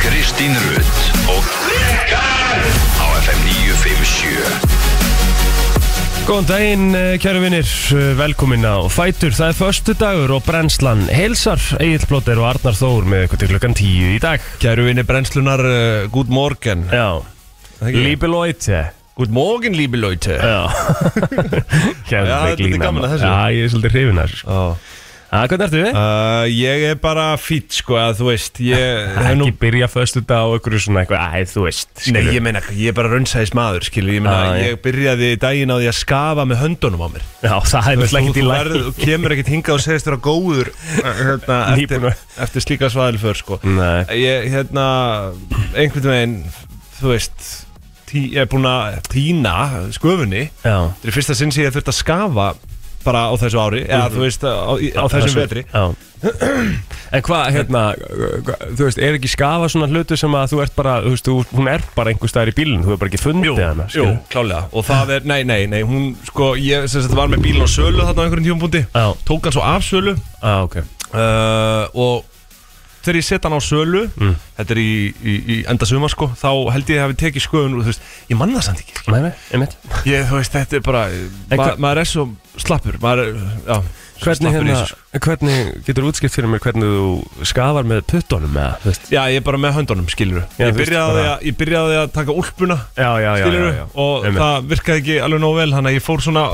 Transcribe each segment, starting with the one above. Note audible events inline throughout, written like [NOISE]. Kristín Rutt og Rikar á FM 957 Góðan daginn, eh, kæru vinnir, velkomin á Fætur. Það er förstu dagur og brennslan heilsar. Egil Blóter og Arnar Þór með ykkur til klukkan tíu í dag. Kæru vinni brennslunar, uh, gút morgen Já, Líbelóite. Gút morgen, líbi lauti Eh. [LAUGHS] Já, Geðveik Já, þetta er lína, gaman að maður. þessu. Já, ég er svolítið hrifin að þessu. sko. Já, hvernig eh? ertu við? Uh, ég er bara fýtt sko að þú veist ég, hef nú, Ekki byrja förstu dag á ykkur svona eitthvað, æ, þú veist. Nei, skilur. ég meina, ég er bara raunsaðis maður skilur, ég Já, meina, já. ég byrjaði daginn á því að skafa með höndunum á mér Já, það er náttúrulega ekki Þú til verð- læg. þú kemur ekkert hingað og segist þér að góður uh, [LAUGHS] hérna, eftir, Nýbúin eftir slíka svaðilför sko. Nei. ég, hérna, einhvern veginn þú veist tí, ég er búin að týna sköfunni Já. þetta er fyrsta sinn sem ég hef þurft að skafa bara á þessu ári, eða þú veist á, í- á þessum vetri Mhm. Já. En hvað, hérna, hva- þú veist, er ekki skafa svona hlutu sem að þú ert bara, þú veist, þú- hún er bara einhver staðar í bílinn, þú hefur bara ekki fundið hana, Jú, skilur? klálega Og það er, nei, nei, nei, hún, sko, ég sem sagt var með bílinn á sölu þarna á einhverjum tíumbúndi Já. Tók hann svo af sölu Já, ok. uh, og þegar ég setja hann á sölu Mm. þetta er í, í, í enda suma sko þá held ég að hafi tekið skoðun og þú veist, ég manna það samt ekki Nei, nei, einmitt. ég, þú veist, þetta er bara, ma hver- maður er svo slappur maður, er, já, svo Hvernig, slappur í hérna, þessu, sko. hvernig getur útskipt fyrir mér hvernig þú skafar með puttunum eða, þú veist? já, ég er bara með höndunum, skilur Já, ég þú veist, byrjaði, bara- að, ég byrjaði að taka úlpuna Já, já, já, skilur já, já. og Einmitt. það virkaði ekki alveg nógu vel þannig að ég fór svona,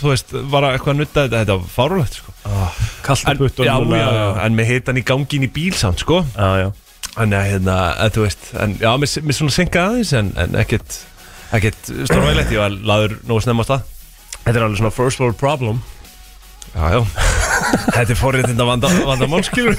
þú veist, var að eitthvað að nutta þetta, þetta var fárulegt sko Kallt en, já, já, já, en með hitan í gangin í bíl samt sko Já, já. En ja, hérna, en þú veist en, Já, mér, mér svona senka aðeins En, en ekkert, ekkert stórvægilegt Ég var laður nógu snemma á stað Þetta er alveg svona first world problem. Já, [LAUGHS] já Þetta er forréttinda vanda, vandamál, skilur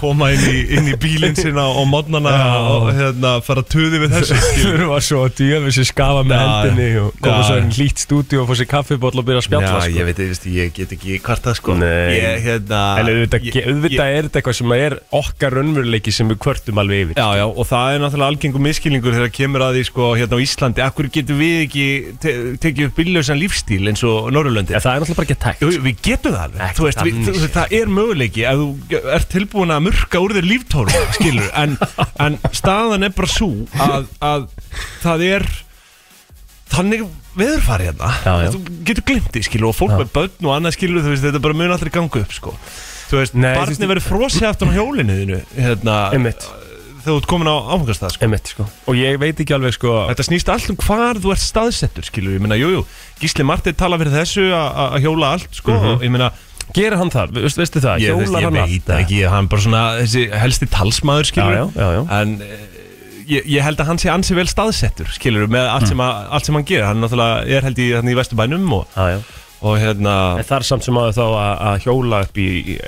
Koma inn í, inn í bílinn sinna á mótnana og hérna, fara tuði við [LAUGHS] þessu Þú skilur. eru að svo djöfis í skafa með Já, hendinni já. og koma Já, svo já. einn hlýtt stúdíu og fá sér kaffiból og byrja að Já, spjalla, sko. ég veit, ég, veist, ég get ekki kvartað, sko Nei. ég, hérna, En auðvitað, ég- ég, auðvitað er þetta eitthvað sem er okkar raunveruleiki sem við kvörtum alveg yfir. Já, já, og það er náttúrulega algengum miskilningur þegar kemur að því, sko, hérna á Íslandi Akkur getum við ekki te tekið upp bíllausan lífstíl eins og Norrlöndi Ja, það er náttúrulega bara ekki tækt. Jú, jú, við getum það alveg Ekki Þú veist, við, þannig. þú, veist, það er möguleiki að þú ert tilbúin að murka úr þér [LAUGHS] líftórum skilur, en, en staðan er bara svo að, að það er þannig veðurfari hérna Já, já. þú getur glimt því skilur og fólk með börn og annað skilur þú veist, þetta bara mun allir ganga upp sko. þú veist, Nei, þú veist, barni verður frosið aftur á hjólinu þínu hérna, Einmitt, þegar þú ert komin á áfengastað sko. einmitt, sko. Og ég veit ekki alveg, sko, Þetta snýst allt um hvar þú ert staðsettur, skilur, ég meina, jújú, Gísli Martið tala fyrir þessu að- að að hjóla allt, sko, og ég meina, gera hann það, veist, veistu það, ég, veist, hjólar ég hann veit það ekki, hann bara svona þessi helsti talsmaður skilur Já, já, já, já. en eh, ég, ég held að hann sé ansi vel staðsettur skilur með allt, sem, að, allt sem hann gerir hann náttúrulega er held í, hann í Vesturbænum og, Mm. Já, já. og hérna En það er samt sem áður þá að, að hjóla upp í,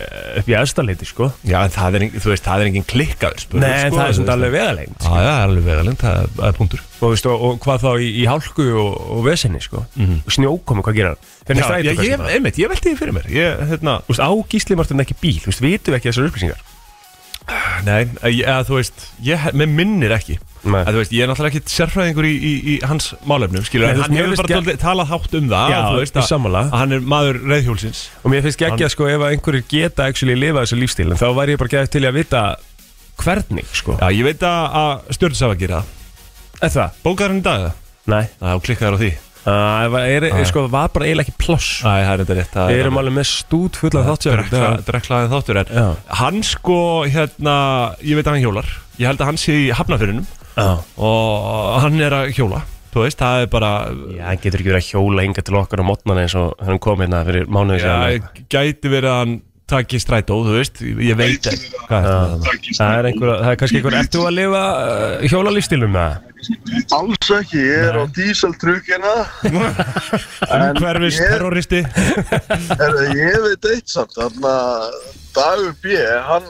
upp í aðstalliti, sko. já, en það er, engin- þú veist, það er engin klikkaður spurning, Nei, en sko, það er þú svona veist. alveg veðalegnd. Já, já, það er alveg vegalinn, það er- það er punktur Og, veist, og, og hvað þá í, í hálku og, og vesenni, sko. Mm. Snjókomi, hvað gera hann? Fyrir Mhm. Já, strætó, ég, kannski ég, bara. einmitt, ég velti því fyrir mér ég, hérna, Þú veist, á Gísli Martin um ekki bíl, þú veist, vitum við ekki þessar upplýsingar. Nei, ég, eða þú veist, ég, með minnir ekki Nei. að, Þú veist, ég er náttúrulega ekkit sérfræðingur í, í, í hans málefnum Skilur, Nei, þú en veist, hann mér hefur finnst bara gert- dálítið talað hátt um það Já, þú veist, ég að, sammála. að hann er maður reyðhjólsins Og mér finnst ekki að sko ef að einhverjir geta actually lifað þessu lífstíl en þá væri ég bara gæðið til í að vita hvernig sko Já, ég veit að, að stjórnsafa gera það Er það? Bókaður hann í dag? Nei Já, klikkaður á því Æ, Það var- er, er, sko, var bara eiginlega ekki pláss það er þetta rétt það Við er erum alveg með stút fulla þáttjóður Drekla- Dreklaðið þáttur en Já. Hann sko, hérna, ég veit að hann hjólar Ég held að hann sé í hafnafyrinum Já, Og hann er að hjóla Þú veist, það er bara hann getur ekki verið að hjóla hinga til okkar á mótnan eins og hann kom hérna fyrir mánuði Já, síðan gæti verið að hann takki strætó, þú veist, ég veit Gæti verið að- Hvað er þetta? Það er einhver, það er kannski einhver, ert þú að lifa uh, hjólalífstílum með það? Alls ekki, ég er á díseltrukkina En Umhverfis ég- [LAUGHS] terroristi Herðu, Ég veit eitt samt Þarna dagur B hann,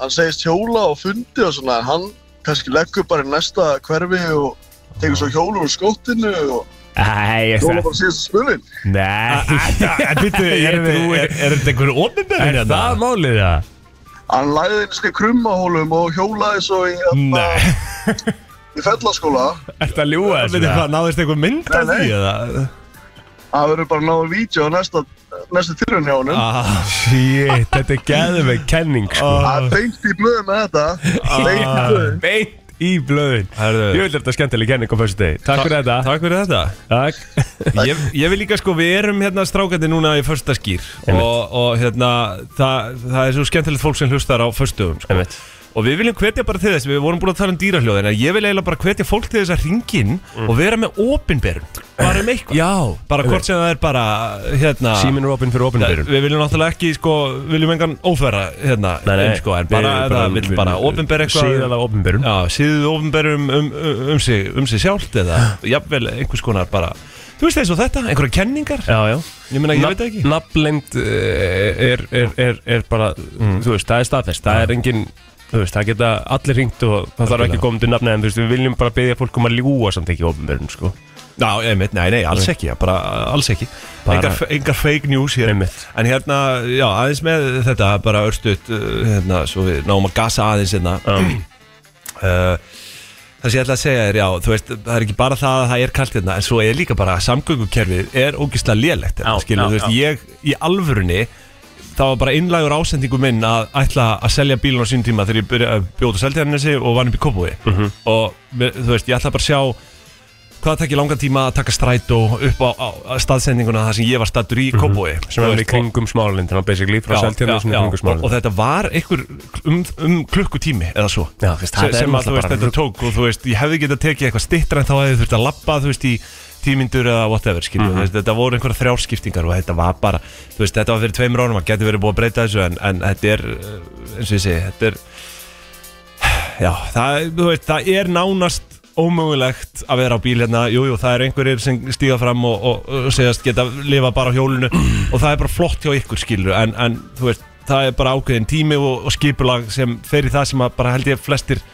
hann segist hjóla og fundi og svona en Hann kannski leggur bara í næsta hverfi og tekur svo hjólum úr skóttinu og Æ, ég hjóla bara síðast spilin Nei, [LAUGHS] Býttu, er, Ég er, trúi- er, er þetta einhver er ofinberðin það málið það? Hann læði inn í krummahólum og hjólaði svo í, hérna, Nei, í fellaskóla Ert það ljúa veitir hvað, náðist einhver mynd af Nei, því nei. eða? Það verður bara náður vídeo á næsta, næsta tilraun hjá honum. Ah, Shit, þetta er geðveik kenning sko Það er beint í blöðum með þetta. Ah. Beint í blöðum. Beint í blöðin Herðu. Ég vil þetta skemmtileg kenning á fyrstu degi Takk fyrir þetta Takk fyrir þetta Takk [LAUGHS] ég, ég vil líka sko, við erum hérna strákandi núna í första skýr og, og hérna, það, það er svo skemmtilegt fólk sem hlustar á förstöðum sko. Einmitt. og við viljum hvetja bara til þess við vorum búin að tala um dýrahljóðin en ég vil eiginlega bara hvetja fólk til þess að ringin mm. og vera með opinberun, bara um eitthvað Já bara hvort sem það er bara hérna, Síminn er opinn fyrir opinbyrjun við viljum náttúrulega ekki sko, viljum engan ófæra hérna, um, sko, en bara, bara, bara, bara opinber eitthvað Síðan að opinbyrjun Já, síðu ofnberum um, um, um, sig, um sig sjálft eða jafnvel einhvers konar bara Þú veist eins og þetta, einhverja kenningar Já, já Ég meina, ég veit það ekki Nafnlend er, er, er, er bara Mm. Þú veist, það er staðfest Það er engin Þú veist, það geta allir ringt og það þarf ekki að koma til nafni en þú veist, við viljum bara byggja fólk um að ljúa samt ekki ofnbjörn, sko. Já, einmitt, nei, nei, alls ekki, já, bara alls ekki Bara- engar, engar fake news hér Einmitt. En hérna, já, aðeins með þetta bara örstuðt, hérna, svo við náum að gasa aðeins hérna uh, Það sem ég ætla að segja er, já, þú veist, það er ekki bara það að það er kalt hérna En svo er líka bara að samgöngukerfið er ógislega lélegt hérna, Já, skilur, já, Þú veist, ég í alvörunni Það var bara innlægur ásendingu minn að ætla að selja bílun á sínum tíma þegar ég byrjaði að bjóta seldiðanessi og vann upp í Kópúi Mhm. og mér- þú veist, ég ætla bara að sjá hvað tekja langan tíma að taka strætó upp á, á, á staðsendinguna þar sem ég var stattur í Kópúi Mhm. sem er í kringum smálindina, basically, frá seltjarnu sem er í kringum og, og smálindina. þetta var einhver um, um klukkutími eða svo Já, þú veist, sem, það er sem að þú náttúrulega veist bara þetta tók og þú veist ég hefði getað tekið eitthvað stittra en þá hefði þurft að labba þú veist í tímyndur eða whatever skilju Mhm. mm veist, þetta voru einhverja þrjárskiptingar og þetta var bara þú veist þetta var fyrir tveimur árum að geti verið búið að breyta þessu en, en þetta er eh, eins og ég segi þetta er já það, þú veist, það er nánast ómögulegt að vera á bíl hérna jújú jú, það er einhverjir sem stíga fram og, og, og segjast geta lifa bara á hjólinu og það er bara flott hjá ykkur skilur en, en þú veist það er bara ákveðin tími og, og skipulag sem fer í það sem að bara held ég flestir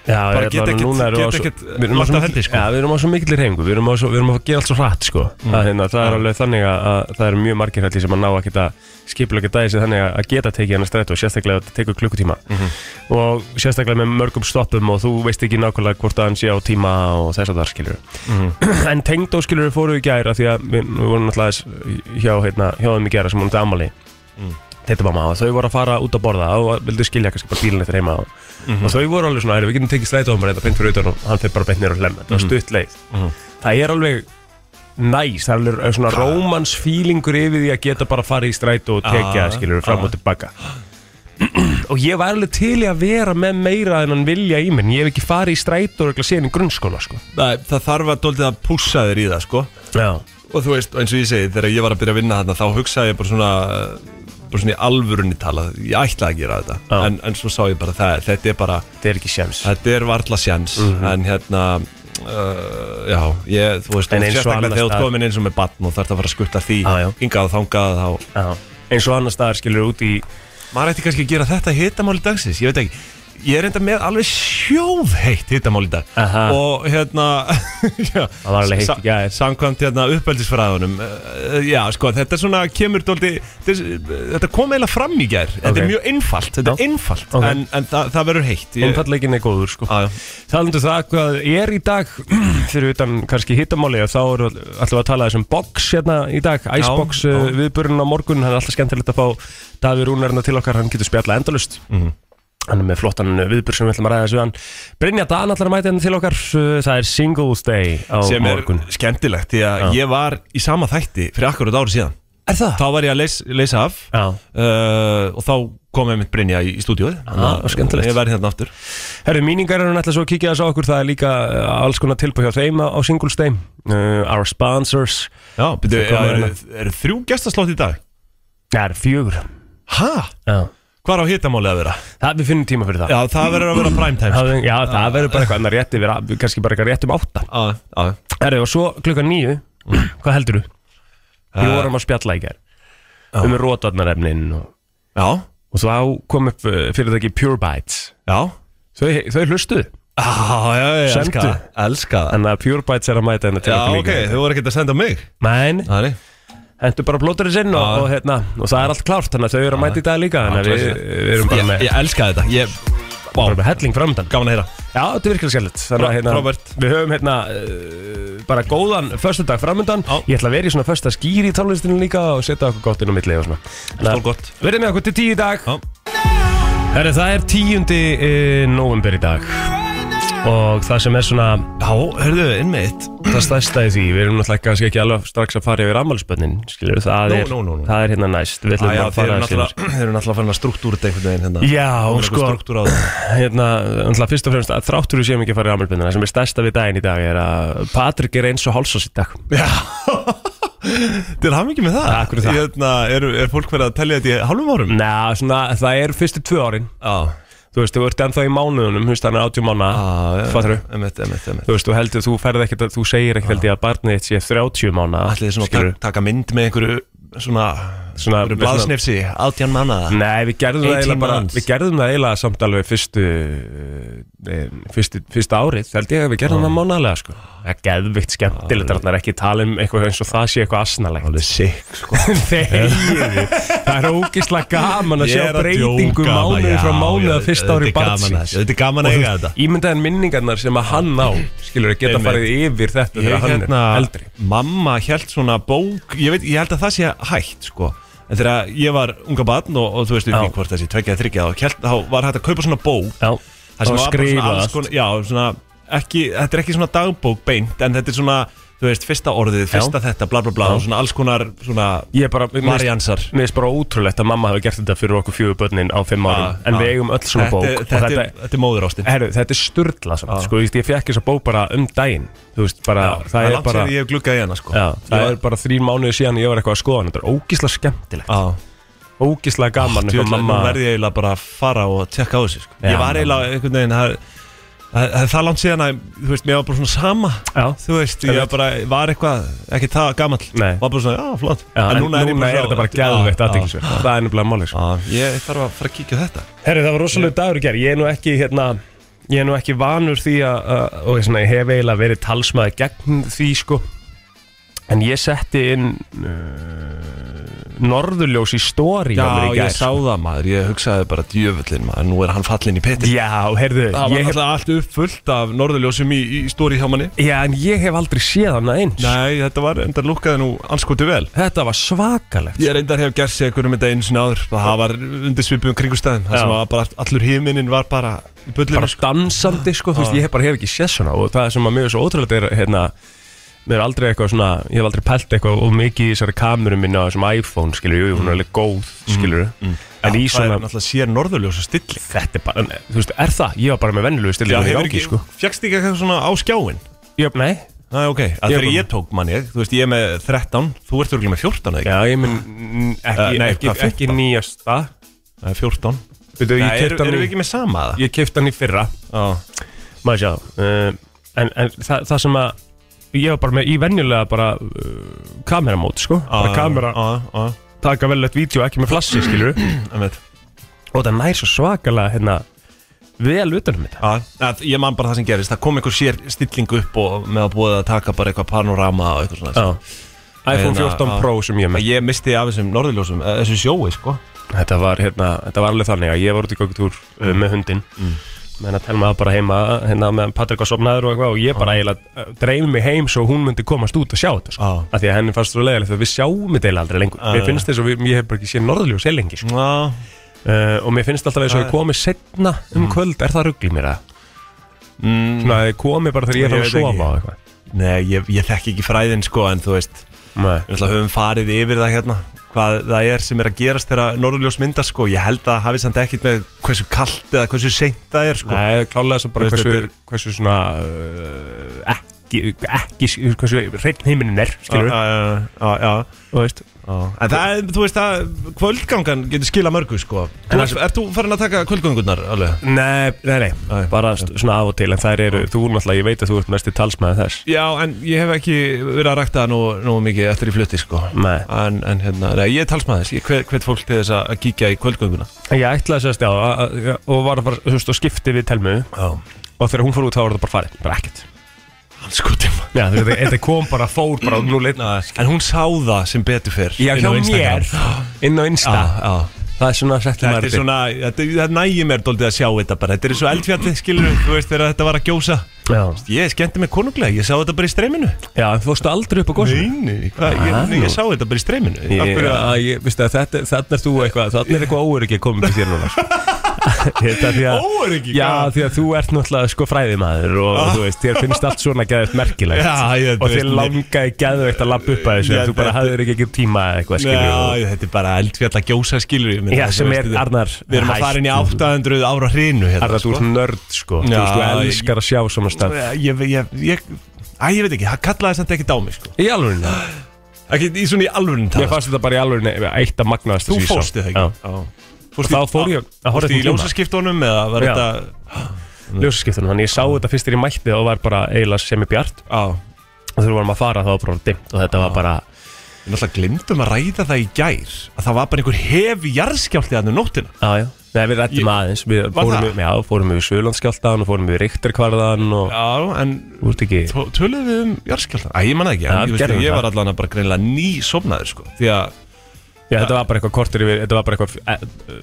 Já, bara ég get ætla að ekkert- núna erum við á get svo- ekkert, við erum á lagt svo á mikil- hendi, sko. Mm. Já, við erum á svo mikillir hengu, við erum á svo- við erum að gera allt svo hratt, sko. Það hérna, það er alveg þannig að að það eru mjög margir hætti sem að ná að geta skipulega dæði sig þannig að- að geta tekið hann að stræta og sérstaklega að þetta tekur klukkutíma Mhm. og sérstaklega með mörgum stoppum og þú veist ekki nákvæmlega hvort að hann sé á tíma og þess að það skilur Mhm. [CLEARS THROAT] en tengdó skilur fóru í gæra því að við, við vorum náttúrulega aðeins hjá, hérna, hjá þeim í gæra sem hún þetta amali Mm. þetta mamma og þau voru að fara út að borða og vildu skilja kannski bara bílinn eftir heima og, og þau voru alveg svona, "Heyrðu, við getum tekið strætó hann bara þetta beint fyrir utan og hann fyrir bara beint nýra og lemma þetta var Mhm. stutt leið það er alveg næs, það er alveg eh, svona rómansfílingur yfir því að geta bara að fara í strætó og tekja Ah, það skilur fram og tilbaka og ég var alveg til í að vera með meira en hann vilja í mér en ég hef ekki farið í strætó og síðan í grunnskóla sko. það, það þarf að doldið að pússa þér í það sko Já, og þú veist, eins og ég segi, þegar ég var að byrja að vinna þarna þá hugsaði ég bara svona bara svona í alvörunni tala, ég ætlaði að gera þetta Já. en, en svo sá ég bara það, þetta er bara þetta er ekki Mhm. sjans þetta er varla sjans en hérna uh, já, ég, þú veist, En eins og sérstaklega annars þegar þú staðar. komin eins og með batn og þarf að fara að skutta því Já, já. hingað og þangað þá Já. eins og annar staðar skilur út í maður ætti kannski að gera þetta hittamáli dagsins, ég veit ekki ég er enda með alveg sjóðheitt hittamál í dag Aha. og hérna já, Það var alveg heitt í sa- gær. samkvæmt hérna uppeldisfræðunum eh, já sko þetta er svona kemur dóldi, þetta kom eiginlega fram í gær þetta Ok. er mjög einfalt, þetta Já. er einfallt Ok. en, en það, það verður heitt ég, einfallegin er góður sko. á, já. Talandu það hvað er í dag [CLEARS THROAT] fyrir utan kannski hittamáli þá erum við alltaf að tala þessum box hérna í dag, Icebox já. uh, viðburinn á morgun, hann er alltaf skemmtilegt að fá Davíð Rúnarna til okkar, hann getur spjalla endalust Mhm. hann er með flottan uh, viðburð sem við ætlum að ræða þessu hann Brynja Dan allar að mæta hérna til okkar uh, það er Singles Day á sem er morgun skemmtilegt því að ég var í sama þætti fyrir akkurat ári síðan Er það? þá var ég að leys, leysa af Já, uh, og þá kom einmitt Brynja í, í stúdíóið Þannig að skemmtilegt. ég verði hérna aftur herru, míningar er hann alltaf svo að kíkja þess á okkur það er líka uh, alls konar tilbúið hjá þeim á á Singles Day uh, Our Sponsors Já, byrju, Svo kom eru hérna. er þrjú gestaslótt í dag? Það er fjögur Hæ? Já. Hvað á hitamálið að vera? Það við finnum tíma fyrir það Já, það verður að vera sko. primetime Það, já, það verður bara eitthvað annar rétt yfir, að- kannski bara eitthvað rétt um átta. Já, já Herru, og svo klukkan nýju, Mm. hvað heldur þú? Við Eh. vorum að spjalla í gær, um rótvarnarefnin og, Já, og þá kom upp uh, fyrirtæki Pure Bites. já Þau, þau hlustuðu, Já, já, já, Sendu. elska það, Elska það en að Pure Bites er að mæta henni til Já, okkur ok, líka. þau voru ekkert að senda mig Men, Þannig hendur bara plóturinn sinn og, Já. og, hérna, og það er allt klárt, þannig að þau eru að mæta í dag líka, þannig að við, við erum bara Ég, með. ég elska þetta Ég Vá. bara með helling framöndan Gaman að heyra Já, þetta er virkilega skemmtilegt Þannig að Frá- hérna, Robert. við höfum hérna uh, bara góðan föstudag framöndan Ég ætla að vera í svona fösta skýri í tónlistinu líka og setja okkur gott inn á milli og svona Þannig að- Stórgott. Verið með okkur til tíu í dag Já. Herri, það er tíundi uh, november í dag og það sem er svona Já, hörðu, innmitt það stærsta í því, við erum náttúrulega kannski ekki alveg strax að fara yfir ammálspönnin, skilur, það, Nú, er, nú, nú, nú. það er hérna næst, við ætlum Já, að þeir eru fara að náttúrulega Þeir eru náttúrulega farin að struktúra þetta einhvern veginn hérna Já, Það er sko. eitthvað Struktúra á það [CLEARS THROAT] hérna, náttúrulega fyrst og fremst að þráttur við séum ekki að fara í ammálspönnin, það sem er stærsta við daginn í dag er að Patrik er eins og hálsás í dag [LAUGHS] Þeir eru hafa mikið með það Akkur er það. Hérna, er, er fólk verið að tellja þetta í hálfum árum? Næ, svona, það er fyrstu tvö árin Já þú veist, þú ert ennþá í mánuðunum, þú veist, hann er 80 mánuða, fattur þú? Emmett, emmett, emmett Þú veist, þú heldur, þú ferð ekkert, að- þú segir ekkert held ég að barnið þitt sé 30 mánuða, Ætli þið svona að ta- taka mynd með einhverju svona Svona- einhverju blaðsnefsi, átján mannaða Nei, við gerðum það 18 eiginlega bara months. Við gerðum það eiginlega samt alveg fyrstu eh, fyrstu, fyrstu árið held ég að við gerðum það mánalega sko Það er geðvikt skemmtilegt þarna er ekki tala um eitthvað eins og það sé eitthvað asnalegt Alveg sikk, sko [LAUGHS] Þegiðu Það er ógislega gaman að sjá breytingu mánuði frá mánuði að fyrsta ári barnsins Þetta er gaman að eiga þetta Ímyndaðan minningarnar sem að hann á skilur að geta Einmitt. farið yfir þetta [LAUGHS] Ég þegar hann hérna, er eldri mamma held svona bók ég, veit, ég held að það sé hægt, sko En þegar ég var unga barn og, og þú veist Já. ekki hvort þessi tveggja eða þryggja þá, hélt- þá var hægt að kaupa svona bók Já, það það sem var bara svona skrifa alls konar já, svona, ekki, þetta er ekki svona dagbók beint en þetta er svona, þú veist, fyrsta orðið fyrsta þetta, bla bla bla, Já. og svona alls konar svona, Ég bara, mér finnst- Variansar. Mér finnst bara ótrúlegt að mamma hafi gert þetta fyrir okkur fjögur börnin á fimm árum Já, En já. við eigum öll svona bók Ah, þetta, og þetta, þetta, þetta er móður ástin Ah. Herru, þetta er sturdla samt, Já. sko, þú veist, ég fekk þessa bók bara um daginn Þú veist, bara, það er bara ég hef gluggað í hana, sko Já, það Ég- er bara þrý mánuði síðan ég var eitthvað að skoða hana. Þetta er ógísla skemmtilegt, Já, ógísla gaman djöfull, eitthvað Ah, nú mamma verði ég eiginlega bara að fara og tjekka á þessu, sko Já, Ég var eiginlega einhvern veginn, það það- það er það langt síðan að, þú veist, mér var bara svona sama Já, Þú veist, ég var bara, var eitthvað, ekki það gamall Nei. Var bara svona, já, flott já, en núna er, bara þetta bara svo- Já, gæðveitt já. aðtækisverð Það er nefnilega máli, sko Já, Ég þarf að fara að kíkja á þetta Herru, það var rosalega dagur í gerð, ég er nú ekki, hérna Ég er nú ekki vanur því að, að- og ég svona, ég hef eiginlega verið talsmaði gegn því, sko En ég setti inn uh, Norðurljós í stóri Já, ég sá það maður, ég hugsaði bara djöfullin maður, nú er hann fallin í peti Já, heyrðu, Það var ég hef alltaf allt uppfullt af norðurljósum í, í stóri hjá manni Já, en ég hef aldrei séð hana eins Nei, þetta var, þetta lukkaði nú anskotu vel Þetta var svakalegt Ég reyndar hef gert sig einhverjum þetta einu sinni áður Það var undir svipum kringustæðum Já. Það sem var bara allur himinin var bara í bullinu Bara dansandi, sko, þú veist, ég hef bara hef ekki séð svona Og það sem að mjög svo ótrúlega er, hérna Mér er aldrei eitthvað svona, ég hef aldrei pælt eitthvað Og mikið í þessari kamerum minna á þessum iPhone, skilur Jú, jú, hún er alveg góð, Mm, skilur En í Það er svona, náttúrulega sér norðurljósa stilling þetta er bara, nei, þú veist, er það? Ég var bara með vennilegu stillingu í gangi, sko Fjækst ekki eitthvað svona á skjáin Jöp, nei Næ, ok, að Ég þegar bara- ég tók manni, þú veist, ég er með 13, þú ert örgulega með 14 eða ekki? Já, ég minn, n- Eh, ekki, nei, ekki, hvað, ekki nýjasta Nei, 14 Veitu, Nei, ég er, kefti erum við hann, ekki með sama í- það? ég keypti hann í fyrra Já. maður sjá uh, en, en það, það sem að ég var bara með í venjulega bara uh, kameramót sko, Ah, bara kamera Já, taka velilegt vídeo ekki með flassi skilur já, einmitt. og það nær svo svakalega hérna vel um utanum þetta Já, að ég man bara það sem gerist Það kom einhver sér stilling upp og með að búið að taka bara eitthvað panorama og eitthvað svona Já. iPhone En, 14 já. Pro sem ég er Að með Ég misti af þessum norðurljósum, eh, þessu sjói sko þetta var, hérna, þetta var alveg þannig að ég var út í göngutúr uh, með hundin mm. menn að telma það bara heima hérna meðan Patrik var sopnaður og eitthvað og ég Ah. bara eiginlega uh, dreif mig heim svo hún myndi komast út að sjá þetta sko. Já. af því að henni fannst svo leiðilegt að við sjáum þetta eiginlega aldrei lengur Ah. mér finnst þess að við, ég hef bara ekki séð norðljós heil lengi sko. Já, Uh, og mér finnst alltaf eins Ah. og ég komi setna um Mm. kvöld, er það ruggli mér að? Mm. Svona að ég komi bara þegar ég Ég er að veit sofa ekki. og eitthvað. Nei, ég, ég þekki ekki fræðin sko en þú veist Nei. Við ætla höfum farið yfir það hérna Hvað það er sem er að gerast þegar norðurljós myndar sko Ég held að það hafi samt ekkit með hversu kalt eða hversu seint það er sko Nei, klálega þess að bara Veist, hversu, þetta er- hversu svona uh, ekki, ekki, hversu hreinn heiminin er, skilur við. Já, Ah, já, já, já, Þú veist. já. En það, er- þú veist að kvöldgangan getur skila mörgu sko En Þú, Er þú farin að taka kvöldgöngunar alveg? Nei, nei, nei, bara st- svona af og til, en þær eru, þú náttúrulega, ég veit að þú ert næsti talsmaði þess. Já, en ég hef ekki verið að rækta nú, nú mikið eftir í flutti, sko. Nei. En, en hérna, nei, ég er talsmaðis, ég hvet, hvet fólk til þess að að kíkja í kvöldgönguna. En Ég ætlaði sérst, já, að- að- já, og var bara, þú veist, og skipti við telmu Já. og þegar hún fór út þá var þetta bara farið, bara ekkert. Alls gott um Já, þú veist, þetta kom bara, fór bara, og nú leitnaði En hún sá það sem betur fyrr. Já, inn hjá á mér Instagram. Inn á Já, Insta já. það er svona settum Þetta er svona, þetta, það nægir mér doldið að sjá þetta bara Þetta er eins og eldfjallið, skilur þú veist þegar þetta var að gjósa Já, Ég skemmti mig konunglega, ég sá þetta bara í streyminu já en fórstu aldrei upp á góðsum Neini, hvað, ég, Ah. ég, sá þetta bara í streyminu Af Ég, hverju að- að, ég, veistu að þetta, þarna er þú eitthvað Þarna er eitthvað óöryggi að koma til þér núna [LAUGHS] sko. Þetta er því að Óöryggi, Já, hvað? því að þú ert náttúrulega sko fræðimaður og, Ah. þú veist, þér finnst allt svona geðvægt merkilegt Já, ég- þú Og þér veist, langaði geðvægt að lappa upp að þessu Ég- En þú bara þetta- hafðir ekki ekki tíma eða eitthvað skilur Já, ég- þetta er bara eldfjall að gjósa skilur ég meina, Já, þú sem veist, er, þetta- Arnar, Við erum að hætt. fara inn í 800 ára hrinu hérna, Arða, þú ert nörd sko Þú Já, veist, þú elskar að sjá svona stað Sko, ég, ég, ég, ég, Æ, ég veit ekki, það kallaði samt ekki dámi sko. Í alvörinni ekki, Í svona í alvöru Mér fannst þetta bara í alvörinni eitt að magnaðast Þú fórst þið ekki Já. Fórstu Þá í- fór ég að horfa Fórstu í til tíma. ljósaskiptunum eða var Já. þetta Ljósaskiptunum, þannig ég sá þetta fyrst þegar ég mætti og var bara eiginlega semibjart Já, og þegar við varum að fara þá var bara dimmt og þetta var bara við náttúrulega glimtum að ræða það í gær að það var bara einhver hefi jarðskjálti þannig nóttina Já, já, Nei, við rættum Ég- aðeins Við fórum, það? í- já, fórum við Sjölandskjáltaðan og fórum við Ríktarkvarðan og Já, en þú ert ekki tö- töluðum við um jarðskjálta Æ, ég manna ekki, Já, en, ég, gerðum veist, ég það. var allan bara greinilega ný sofnaður sko, því að Já, þetta var bara eitthvað kortur yfir Þetta var bara eitthvað, e, e,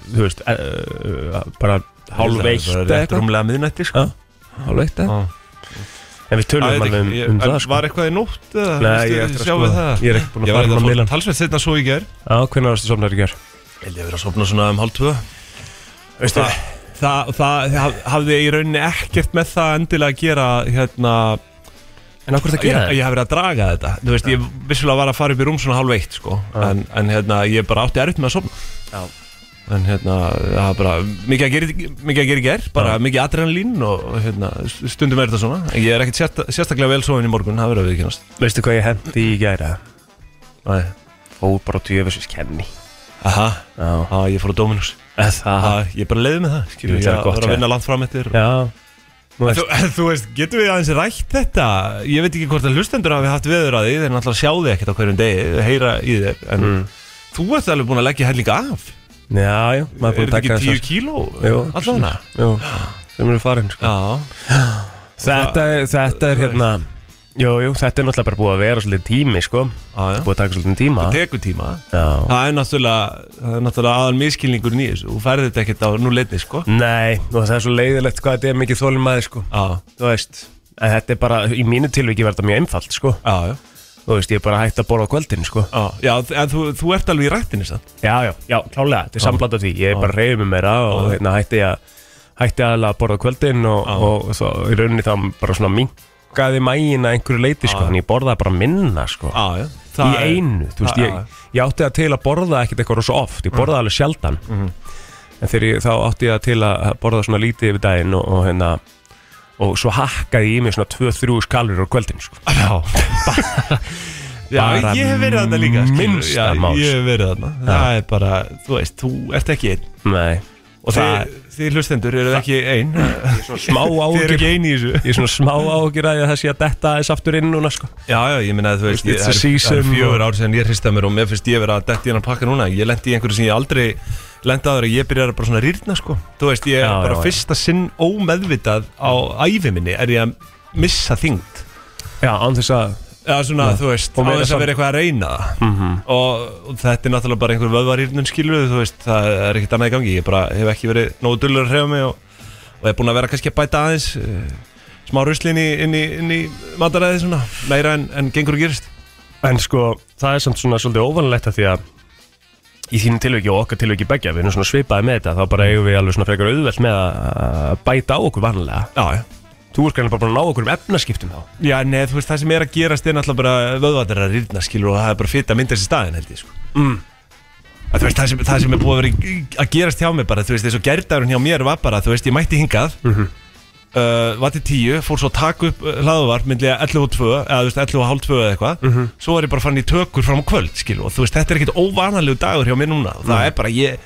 þú veist, e, e, bara hálfveitt Það var eða rétt eitthvað. rúmlega miðnætti sko. Já, Hálfveitt, eða? Já. En við Já, ég tölum veit alveg um, ekki, um ég- það, en sko Var eitthvað í nótt? eða, Nei, veistu, ég er eftir að sjáum skoða við það. það. Ég er ekki búinn að Ég fara fram var á eitthvað miðlan. talsveit setna svo í gær Já, hvernig varstu somnar í gær? Ég verið að sopna svona um hálf tvö Veistu, það, það, það haf- hafði í rauninni ekkert með það endilega að gera hérna, en okkur það ég, gera ég hef verið að draga þetta Þú veist, ég vissulega var að fara upp í rúm svona hálf eitt sko. en, en hérna, ég bara átti erfitt með að sopna Já. En hérna, það var bara mikið að gera, í- mikið að gera í ger, bara mikið adrenalín og hérna, stundum er þetta svona En Ég er ekkert sérsta, sérstaklega vel sofin í morgun, það verður að viðkynast það? Veistu hvað ég hendi í gær, eða? Æ, Fór bara á tjöfisins kenni aha, Já, á, ég fór á [LAUGHS] Dominus það Aha, Ég bara leiði með það, skilur, Jú, ég það er var gott, að ja. vinna langt fram eftir Já, nú Þú, veist þú veist, getum við aðeins rætt þetta? Ég veit ekki hvort að hlustendur hafi haft veður að því Þeir náttúrulega sjá þig ekkert á hverjum degi þeir Heyra í þér En Mm. þú ert alveg búin að leggja hellinga af Já, já, maður er Er búin að þetta taka ekki 10 þessar kíló? Jú. Allavega Jú, sem eru farin, sko Já Þetta, er- þetta er hérna Jú, jú, þetta er náttúrulega bara búið að vera svolítið tími, sko Já, já. Búið að taka svolítið tíma Tekur tíma Já Það er náttúrulega, það er náttúrulega aðal miskilningur nýjus Þú færði þetta ekkert á nú leitni, sko Nei, og það er svo leiðilegt hvað þetta er mikið þólimaði, sko Já, Þú veist En þetta er bara, í mínu tilviki verða mjög einfalt, sko já, já Þú veist, ég er bara hægt að borða á kvöldin, sko Já, já en þú, þú ert alveg í rættinni, sann Já, já, já, klálega, þetta er sambland af því Ég er bara að reyfi með mér að og hérna hætti ég að hætti aðalega að borða á kvöldin og, og svo í rauninni þá bara svona minkaði mægin að einhverju leiti, sko Þannig ég borðaði bara minna, sko Já, já í einu, þú veist, Já, ég, ég átti það til að borða ekkert eitthvað rosa oft, ég Mhm. borðaði alveg sjaldan en þegar ég, þá átti ég það til að borða svona lítið yfir daginn og, og hérna og svo hakkaði ég í mig svona 2-3 skalur á kvöldin, sko Já Já, bara ég hef verið þarna líka skilur. minnsta Já, mál, sko. Ég hef verið þarna Það er bara, þú veist, þú ert ekki einn Nei, Og það- þið, þið hlustendur eru ekki einn smá [LAUGHS] Þið eru áhugir ekki einn í þessu ég er svona smá áhugir að ég- það sé að detta aðeins aftur inn núna, sko Já, já, ég minna að þú veist It's ég- a Það er það season er fjögur og- ár sem ég hrista mér og mér finnst ég vera að detti hennar pakka núna Ég lendi í einhverju sem ég aldrei lendi aður Ég byrjar bara svona að rýrna, sko Þú veist, ég er Já, já, bara já. fyrsta sinn ómeðvitað á ævi minni Er ég að missa þyngd Já, án þess að Já, svona, Mhm. þú veist, Og á meira þess að samt- vera eitthvað að reyna það og, og þetta er náttúrulega bara einhver vöðvarýrnum skilur þú veist, það er ekkert annað í gangi ég bara hef ekki verið nógu dullur að hreyfa mig og, og er búin að vera kannski að bæta aðeins uh, smá ruslin í, inn í, inn í mataræði svona, meira en, en gengur og gerist En sko, það er samt svona svolítið óvanlegt að því að í þínu tilviki og okkar tilviki begja, við erum svona svipaði með þetta, þá bara eigum við alveg svona frekar auðvelt með að bæta á okkur vanlega. Já, já Þú ert greinlega bara búin að ná okkur um efnaskiptum þá. Já, neð, þú veist, það sem er að gerast er náttúrulega bara vöðvarnir að rýrna skilur og það er bara fyrir að mynda þessi staðin held ég sko Mm. Að, þú veist, það, sem, það sem er búið að vera í- að gerast hjá mig bara, þú veist, eins og gerðarinn hjá mér var bara, þú veist, ég mætti hingað Mhm. uh, var til tíu, fór svo að taka upp uh, hlaðuvarp myndlega 11 og 2 eða þú veist, 11 og halv 2 eða eitthvað Mhm. svo var ég bara fann í tökur fram á kvöld, skil og þú veist, þetta er ekkit óvanalegu dagur hjá mér núna og það er bara, ég,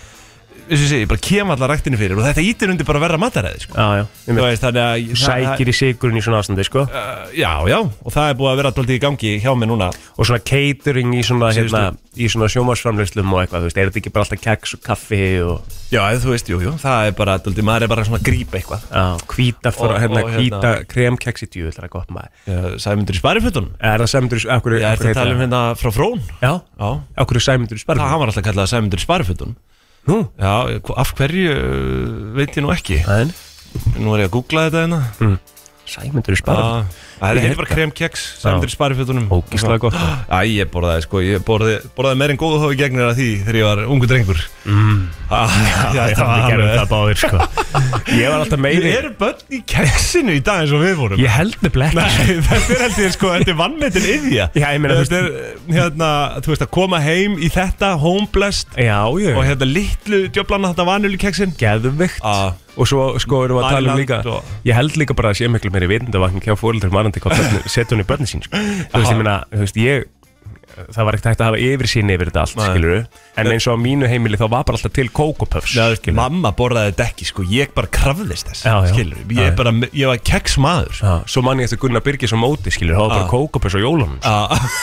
eins og ég segi, ég bara kem allar ræktinu fyrir og þetta ítir undir bara að verra mataræði, sko Já, já. ég Þú meina, veist, þannig að þú Sækir í sigurinn í svona ástandi, sko. Uh, já, já, og það er búið að vera doldið í gangi hjá mér núna Og svona catering í svona, Síðustu. hérna, í svona sjómasframleyslum og eitthvað, þú veist, er þetta ekki bara alltaf keks og kaffi og Já, eða þú veist, jú, jú, það er bara doldið, maður er bara svona að grípa eitthvað já, hvíta, Og- og, hérna, og hérna- hvíta kremkeks í djú, það er gott maður. uh, Sæmundur í sparifötunum Er það sæmundur í, okkur, Ég er að tala um hérna frá frón Já, Já, okkur sæmundur í það sparfum. hann var alltaf kallað Sæmundur í sparifötunum Nú? Já, af hverju uh, veit ég nú ekki En Nú er ég að googla þetta hérna Mm. Sæmundur í spara Ah, Ég Það heitir heyrt bara það. kremkeks Sæmdur í sparifjötunum Ógeðslega gott. [GASPS] Æ, ég borðaði sko Ég borði, borðaði meir en góðu hófi gegnir að því Þegar ég var ungu drengur mm. ah, [LAUGHS] Já, Ég þetta hafði var gerðið alveg það báðir sko Ég var alltaf Ég meiri er börn í keksinu í dag eins og við vorum Ég held með blekk Nei, [LAUGHS] þetta er held ég sko, þetta er vannmetin yðja Já, ég meina, þú Þetta er, hérna, þú veist að koma heim í þetta, homeblessed Já, ég Og hérna litlu djöflana þetta vanjölu keksin Geðvikt Ah. Og svo sko erum við að tala um Mæland líka og- Ég held líka bara að sé miklu meiri vitundavakning Hjá fóreldur marandi hvað [LAUGHS] börn- setja hún í börnin sín sko. Þú veist, ég meina, þú veist, ég Það var ekkert hægt að hafa yfirsýn yfir þetta allt, Nei. skilur En eins og á mínu heimili þá var bara alltaf til kókupöfs skilurðu. Mamma borðaði þetta ekki sko, ég bara krafðist þess Já, já. skilurðu. Ég, Já, já. bara, ég var keks maður sko. Já, Svo mann ég eftir Gunnar Birgis á móti, skilur Það var bara Ah. kókupöfs á jólunum sko. [LAUGHS]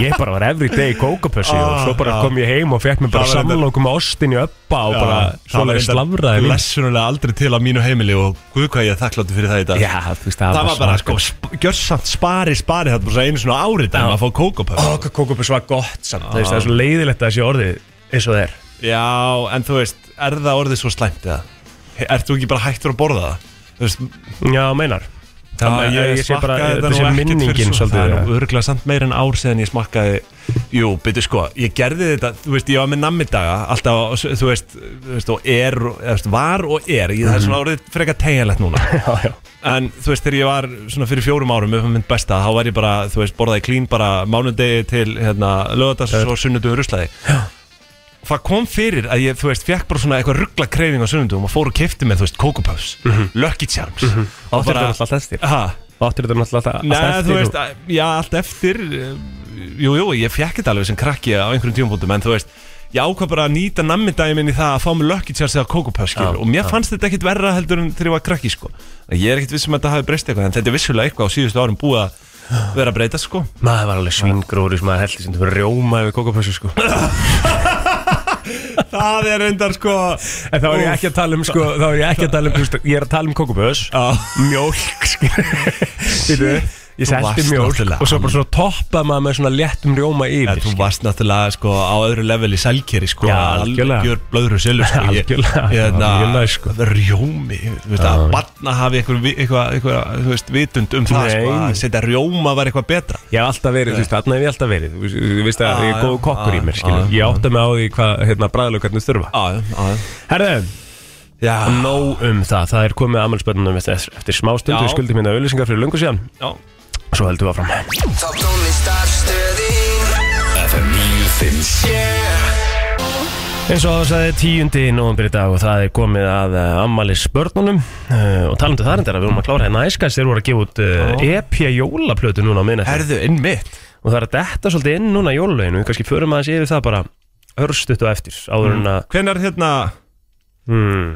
Ég bara var every day kókupössi og Ah, svo bara já. kom ég heim og fekk mér bara Það var reyndar- samlokum á ostin í öppa og bara svona slavraði líf. Lessunulega aldrei til á mínu heimili og guð hvað ég er þakkláttur fyrir það í dag Já, þú veist, það, Það var bara sko, sp- gjörsamt spari spari þetta bara einu svona ári dag að fá kókopöf Ó, hvað kókupöss var gott samt, þú veist, það er svo leiðilegt að það sé orðið eins og það er. Já, en þú veist, er það orðið svo slæmt eða? Ert þú ekki bara hægt fyrir að borða það? Þú veist, Já, meinar. Þannig að ég, ég sé bara, þetta sé nú ekkert minningin fyrir svo svolítið, Það er ja. nú örgulega samt meir en ár Seðan ég smakkaði Jú, byrju sko, ég gerði þetta Þú veist, ég var með nammidaga Alltaf, á- þú veist, þú veist og er og- eða, þú veist, Var og er, ég, Mhm. það er svona orðið freka [LAUGHS] tegjanlegt núna Já, já. En þú veist, þegar ég var svona fyrir fjórum árum upp á mynd besta, þá var ég bara, þú veist, borðaði klín bara mánudegi til hérna, lögadags og sunnudugur ruslaði Það kom fyrir að ég, þú veist, fekk bara svona eitthvað ruggla kreifing á sunnudugum og fór og kefti með, þú veist, kókupöfs, Lucky Charms mm -hmm. Áttir þetta Mhm. náttúrulega alltaf eftir. Ha, Áttir þetta náttúrulega alltaf- Nei, alltaf þú eftir. veist, að, já, allt eftir eh, Jú, jú, ég fekk þetta alveg sem krakki á einhverjum tímapunktum En þú veist, ég ákvað bara að nýta nammindæmi minn í það að fá mig lökki tjáls eða kókupöf, skilur Já, Og mér fannst þetta ekkit verra heldur en þegar ég var krakki, sko Ég er ekkit vissum að þetta hafi breyst eitthvað En þetta er vissulega eitthvað á síðustu árum búið að vera að breyta, sko Maður var alveg svingróri sem maður heldur sem þú verður rjóma yfir kókupössu, sko. Það er reyndar, sko En þá er ég ekki að tala um, [LAUGHS] sko, þá er ég ekki að tala um, þú veist, ég er að tala um kókupöss. mjólk [LAUGHS] Vitu, ég Þú selti varst mjólk náttúrulega og svo bara svona toppað maður með svona léttum rjóma yfir Þú skilur. varst náttúrulega sko á öðru level í sælkeri sko Já, algjörlega. Algjör blöðru silur sko Ég- Algjörlega, Ég hérna algjörlega, sko. Rjómi Þú veist að barna hafi eitthvað, vi- eitthvað, eitthvað þú veist vitund um það Nei. sko Að setja rjóma var eitthvað betra Ég hef alltaf verið, þú veist, þarna hef ég alltaf verið Þú veist- Þú veist að ég er Já, góð já, kokkur í mér, já, skilur já, Ég átta mig á því hvað, hérna, bræðlökarnir þurfa Já, já, Herðu, já nóg um það Það er komið aðmælspöndunum eftir, eftir smá stundu Já. Við skuldum hérna auðlýsingar fyrir lungu síðan Já, og Svo heldum við áfram Top tónlistarstöðin FM 957 eins og það sagði tíundi nóðanbyrði dag og það er komið að ammalis börnunum uh, og talandi um það reyndar að við vorum að klára hérna æskast þeir voru að gefa út uh, EP jólaplötu núna á minna herðu inn mitt og það er að detta svolítið inn núna í jóluleginu við kannski förum aðeins yfir það bara örstutt og eftir áður en að Hvenær hérna hmm,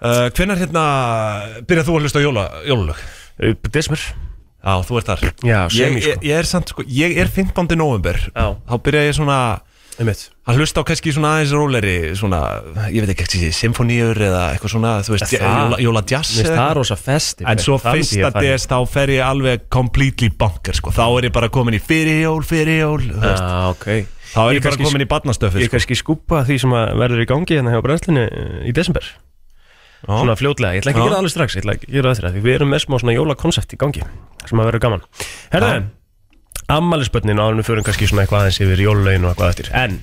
uh, Hvenær hérna Byrjað þú að hlusta á jóla, jólalög? upp desmur Já, þú ert þar já, ég, semi ég, sko ég er samt sko Ég er 15. november Já. Þá byrja ég svona einmitt að hlusta á kannski svona aðeins róleri svona, ég veit ekki ekki, symfoníur eða eitthvað svona, þú veist, Er það- jóla, jóla jazz Mér finnst eða það eitthvað. rosa festi en svo fyrsta DS þá fer ég alveg completely banker, sko, þá er ég bara komin í fyrirjól, fyrirjól, þú veist Já, ok þá Ég er ég, bara kannski- komin í barnastöfið Ég sko. kannski skúpa því sem að verður í gangi hérna hjá brennslinu eh, í desember Já. Svona fljótlega, ég ætla ekki að Já. gera það alveg strax Ég ætla ekki að gera það eftir að því við erum með smá svona jólakonsepti í gangi sem að verður gaman Herðu, ammælisbönnin áður en við förum kannski svona eitthvað aðeins yfir jólulögin og eitthvað eftir En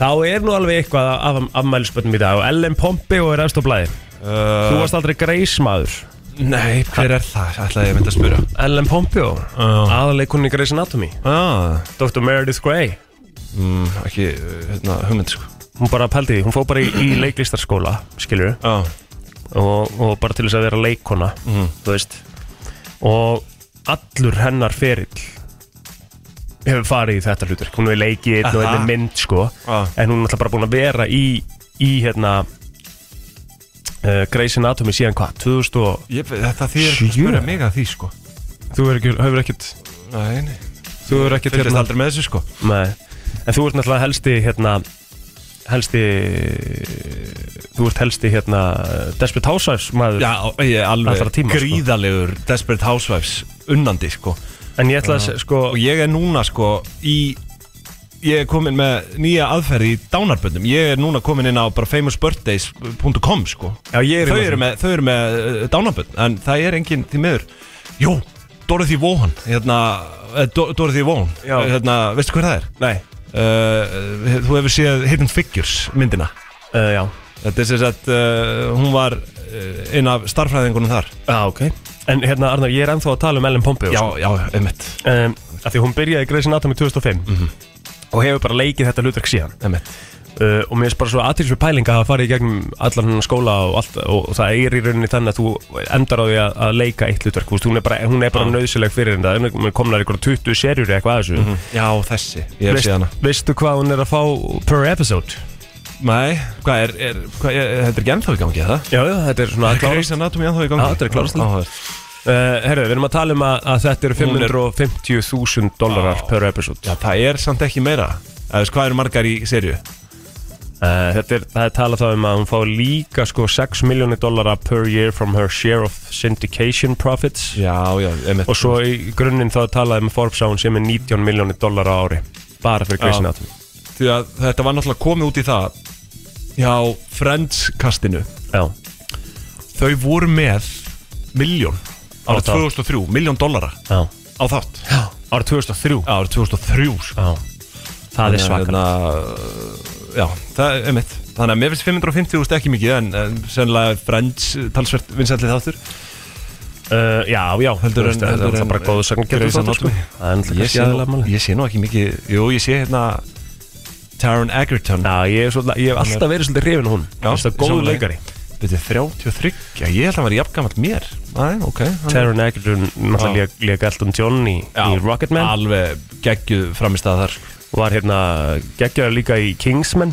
þá er nú alveg eitthvað af ammælisbönnum í dag og Ellen Pompey og er eftir á blæði Þú uh, varst aldrei greismaður nei, hver er það, ætlaði ég myndi að spura Ellen Pompey og Já. aðalekunni Greis Anatomy ah, Dr. Meredith Grey mm, ekki, uh, hérna, hugmynd, sko Hún bara pældi því, hún fór bara í, í leiklistarskóla, skilur ah, og, og bara til þess að vera leikona Mhm. þú veist og allur hennar ferill hefur farið í þetta hlutverk hún hefur leikið einn og Aha. einn mynd sko Ah. en hún er alltaf bara búin að vera í í hérna uh, Grey's Anatomy síðan hvað 2000 og ég, þetta þýr að Sjö. spura mig að því, sko þú hefur ekki, hefur ekkert nei, nei, þú hefur ekkert hérna- fylgist aldrei með þessu, sko Nei. en þú ert náttúrulega helsti hérna helsti þú ert helsti hérna Desperate Housewives maður Já, ég er alveg Allra tíma, sko. gríðalegur Desperate Housewives unnandi sko en ég ætla að se- sko og ég er núna sko í ég er komin með nýja aðferð í dánarböndum Ég er núna komin inn á bara famousbirthdays.com sko Já, ég er um Þau eru það. með, þau eru með uh, dánarbönd En það er enginn því miður Jó, Dorothy Vaughan Hérna, eh, Do- Dorothy Vaughan Já. Hérna, veistu hver það er? Nei, Uh, þú hefur séð Hidden Figures myndina uh, já Þetta er sem sagt, uh, hún var uh, einn af starfræðingunum þar Já, ok En hérna, Arnar, ég er ennþá að tala um Ellen Pompeo Já, já, einmitt, Mhm. um, Af því hún byrjaði í Grey's Anatomy 2005 Og hefur bara leikið þetta hlutverk síðan einmitt. uh, og mér finnst bara svo aðtilsvið pælinga að fara í gegnum allan hennar skóla og allt og, það eigir í rauninni þannig að þú endar á því að, að leika eitt hlutverk, þú veist, hún er bara, hún er bara nöðsileg fyrir þetta, hún er- hún komnar ykkur 20 serjur eða eitthvað að þessu, Já, þessi, ég hef séð hana veistu hvað hún er að fá per episode? Nei, hvað er, er, hvað er, þetta er ekki ennþá í gangi, eða? Já, já, þetta er svona að klára Grey's Anatomy ennþá í gangi Já, þetta er klárast. Áhugavert. uh, Herru, við erum að tala um að, að þetta eru 550.000 dólarar per episode Já, það er samt ekki meira Eða veist, hvað eru margar í serju? uh, Þetta er, það er talað þá um að hún fá líka sko 6 miljónir dólarar per year from her share of syndication profits Já, já, emitt og svo í grunninn þá talaði með Forbes að hún sé með 19 miljónir dólar á ári bara fyrir Grey's Já. Anatomy Því að þetta var náttúrulega komið út í það Já, Friends-kastinu já, Þau voru með miljón Á Ára þátt. 2003, miljón dollara já. á þátt Já, ára 2003 ára 2003 sko. já. það er svakar hérna, Já, það er emitt Þannig að mér finnst 550 úrst ekki mikið En, en sennilega er Friends eh, talsvert vinsætlið þáttur uh, já, já, þú Heldur en- veist, það er heldur en- alltaf bara góðu sagn Grey's Anatomy. sko. það er alltaf ég ekki sé, aðlega nú, máli ég sé nú ekki mikið Jú, ég sé hérna Taron Egerton já, ég, er svolítið, ég hef alltaf verið svolítið hrifin hún Já, það er góðu sjónlega. leikari Þetta er 33, já ég held að hann var jafngamall mér Nei, ok hann- Taron Egerton náttúrulega lék- lék Elton John í, Já, í Rocketman Alveg geggjuð framist að þar sko. var hérna geggjaður líka í Kingsman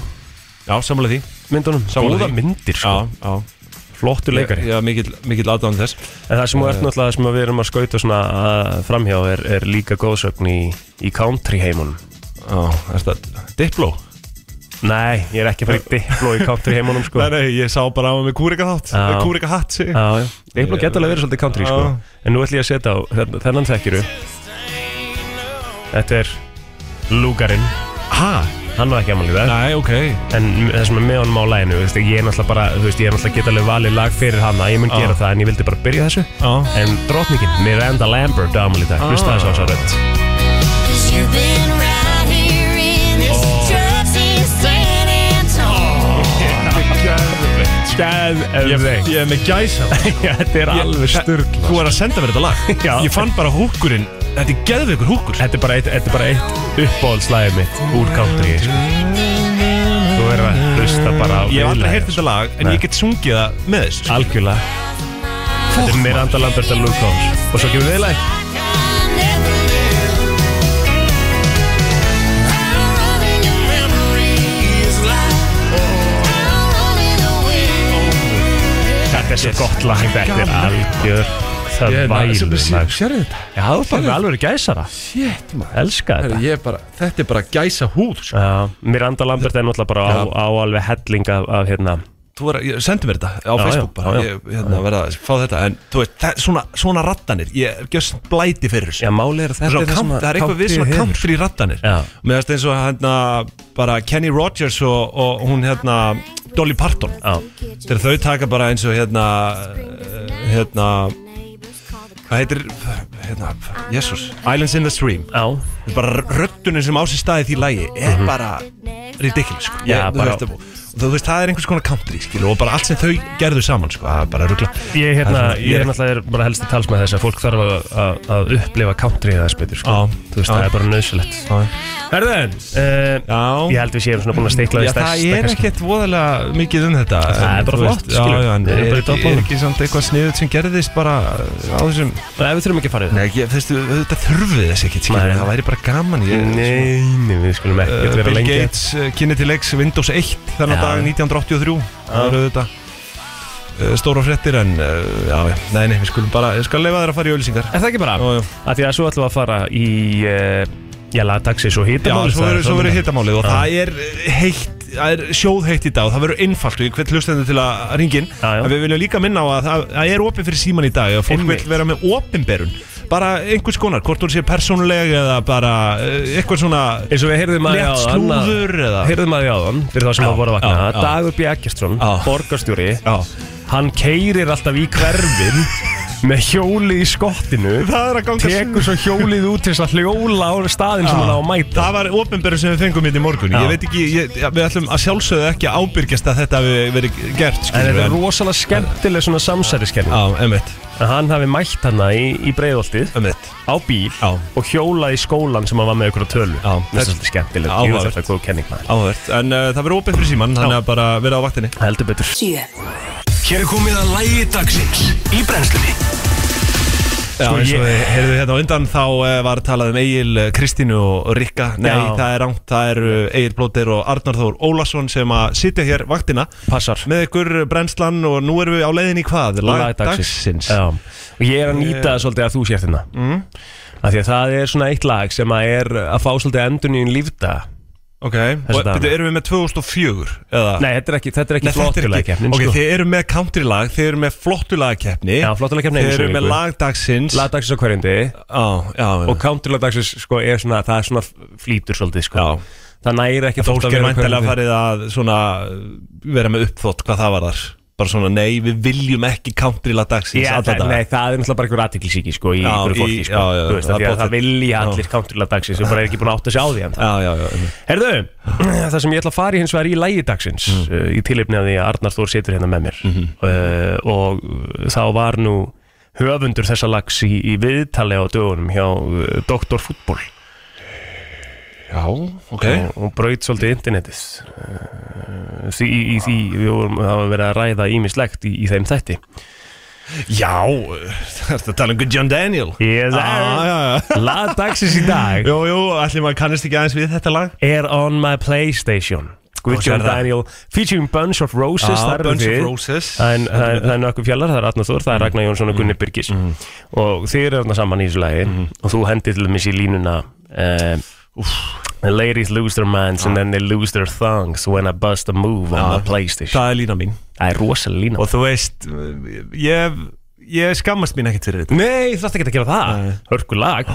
Já, samlega því myndunum, Sammála góða því. myndir sko. Já, já flottur leikari Já, mikill, mikill aðdáðan þess Eh. En það sem þú ert náttúrulega sem við erum að skauta svona að framhjá er, er líka góðsögn í, í country heimunum. Já, er þetta Diplo? Nei, ég er ekki að fara í Diplo í country heimunum sko. [LAUGHS] Nei, nei, ég sá bara á mig kúrika þátt Já. Kúrika hatt sig Já, já. Diplo geta alveg verið svolítið country sko. Já. En nú ætlum ég að setja á þenn- þennan þekkiru. Þetta er Lúgarinn. Ha? Hann var ekki amal í það. Nei, ok En það sem er með honum á læginu, þú veist, ég er náttúrulega bara, þú veist, ég er náttúrulega geta alveg valið lag fyrir hana. Ég mun Já. gera það en ég vildi bara byrja þessu. Já En drotningin, Miranda Lambert, amal í það. Hlusta þessu á þessu rödd. You've been right here in this Oh. truck since San Antonio. Ah. Skæð Ég, ég er með gæsa Já, [LAUGHS] þetta er alveg styrk Þú er að senda mér þetta lag [LAUGHS] Já. Ég fann bara húkurinn Þetta er geðveikur húkur Þetta er bara eitt, þetta er bara eitt uppbóðslæðið mitt úr country sko. Þú er að hlusta bara á Ég hef aldrei viðlagið, heyrt sko. þetta lag En Nei. ég get sungið það með sko. þess Algjörlega, þetta er Miranda Lambert og Luke Holmes Og svo kemur viðlæg Þetta er svo gott lag, þetta er algjör Það vælu lag Sérðu þetta? Já, þú fann alveg gæsara Shit maður Elska Herru, þetta ég er bara, þetta er bara gæsa húð sko. Já, Miranda Lambert er náttúrulega bara á, á alveg helling af, af hérna þú er, ég, sendu mér þetta á Já, Facebook já, bara, já, já. ég hérna, verða að fá þetta en þú veist, það, svona, svona rattanir ég er gjöss blæti fyrir þessu Já, máli er að þetta Svona er það sem count- að það er eitthvað við country svona hefur. country rattanir Já. með þess eins og hérna bara Kenny Rogers og, og hún hérna Dolly Parton Já, þegar þau taka bara eins og hérna eh, hérna hvað heitir hérna, Jesus, Islands in the Stream já, Þetta er bara röttunin sem á sér staði í því lægi er bara ridiculous sko. Já, Ég- þú bara- veist, og- og þú veist, það er einhvers konar country skilu, og bara allt sem þau gerðu saman sko, það er bara ruggla ég, hérna, Það er svona- ég er náttúrulega bara helst að tala með þess að fólk þarf að, að, að upplifa country eða spytur sko. Já. Þú veist, Já. það er bara nöðsilegt Herðin, uh, Já. ég held við séum svona búin að steikla því Já, það stærsta er ekkert voðalega mikið um þetta Það er en bara þú flott, veist, já, skilur. já, en Við er, erum bara í ekki- er toppmálum. ekki samt eitthvað sniðut sem gerðist bara á þessum Nei, við þurfum ekki að fara við Nei, ég, þessi, þetta þurfið þess ekkert skilur, Nei. það væri bara gaman ég, Nei, nei, við skulum ekki Uh, uh, vera Bill lengi Gates uh, kynni til leiks Windows 1 þennan Já. dag 1983 það eru þetta uh, stóra fréttir en uh, já, já, nei, nei, við skulum bara ég skal leifa þér að fara í ölsingar Er það ekki bara? Jú, jú. Af því að svo ætlum við að fara í uh, Já, lagdagsins og Já, hitamáli svo verður- svo verður hittamálið og Já. það er heitt það er sjóðheitt í dag og það verður einfalt og ég hvet hlustendur til að ringin Já, já. en við viljum líka minna á að það, það er opið fyrir síman í dag og fólk vil Einmitt. vera með opinberun bara einhvers konar, hvort hún sé persónuleg eða bara eh, eitthvað svona eins og við heyrðum að Létt slúður eða- heyrðum að því áðan fyrir það sem Já, að voru að vakna já, já. Dagur B. Eggerström, Já. borgarstjóri Já. hann keirir alltaf í hverfin með hjóli í skottinu Það er að ganga tekur svo hjólið út til þess að hljóla á staðin sem hann á að mæta Það var ofinberður sem við fengum hérna í morgun Já. Ég veit ekki, ég, ja, við ætlum að sjálfsögðu ekki að ábyrgjast að þetta hafi verið gert en skilur þetta við, er rosalega skemmtileg svona samsæriskenning Já, emmitt, að hann hafi mætt hana í, í breiðoltið emmitt á bíl Já. og hjólað í skólan sem hann var með ykkur á tölu Já. það er svolítið skemmtileg, Já, Jú, áhugavert. þetta er góð kenning maður Áhvert, en uh, það verið opið fyrir síman, þannig að bara vera á vaktinni heldur betur Hér er komið að lægi dagsins í brennslunni Já, Sko, eins og ég- við heyrðu hérna á undan þá eh, var talað um Egil, Kristínu og Rikka Nei, Já. það er rangt, það eru Egil Blóter og Arnar Þór Ólason sem að sitja hér vaktina Passar. með ykkur eh, brennslan og nú erum við á leiðin í hvað? lagdagsins Já. og ég er að nýta Eh. það svolítið að þú sért hérna mm. af því að það er svona eitt lag sem að er að fá svolítið endun í einn lífda Ok, og dagana. betur, erum við með 2004 eða? nei, þetta er ekki, þetta er Nei, ekki þetta er flottulega ekki keppnin Ok, sko. þið eru með countrylag, þið eru með flottulagkeppni Já, flottulagakeppni einu Þið eru sinni í með viku. lagdagsins lagdagsins á hverjandi Á, já, já og counterlagdagsins sko er svona það er svona flýtur svolítið sko Já. það næri ekki Fólk er væntalega að fara farið að svona vera með uppþótt hvað það var þar bara svona nei við viljum ekki countryla dagsins Já, alla það, daga nei, það er náttúrulega bara einhver aðtiklisíki sko, í Já, einhverju fólki í- sko, já, já, þú veist, það það, er það, það pottet. vilja allir counterlagdagsins sem bara er ekki búin að átta sig á því ennþá. Já, já, já einmitt. Herðu, [CLEARS THROAT] það sem ég ætla að fara í hins vegar í lægi dagsins Mm. uh, í tilipni að því að Arnar Þór situr hérna með mér Mhm. uh, og uh, þá var nú höfundur þessa lags í, í viðtali á dögunum hjá uh, Dr. Fútbol Já, ok og, og Eh, braut svolítið internetið uh, því, í, í því við vorum það var verið að ræða ímislegt í, í þeim þætti Já, [LAUGHS] það er að tala um Good John Daniel Yes, eh. Já, já, já [LAUGHS] Lag dagsins í dag Jú, jú, allir maður kannist ekki aðeins við þetta lag er on my Playstation Good Og John sér það. Daniel featuring Bunch of Roses Já, þar eru Ah, Bunch of þið. Roses. Það er- Mhm. það er- það er nökkum fjallar, það er Arnar Þór, það er Ragnar Jónsson og Gunni Birgis og þið eru þarna saman í þessu lagi Mhm. og þú hendið til dæmis í línuna uh, The ladies lose their minds Ah. and then they lose their thongs when I bust a move on my Playstation Það er lína mín Það er rosalega lína Og þú veist, ég, ég skammast mín ekkert fyrir þetta Ah. Nei, þú þarfst ekki að gera það Hörku lag,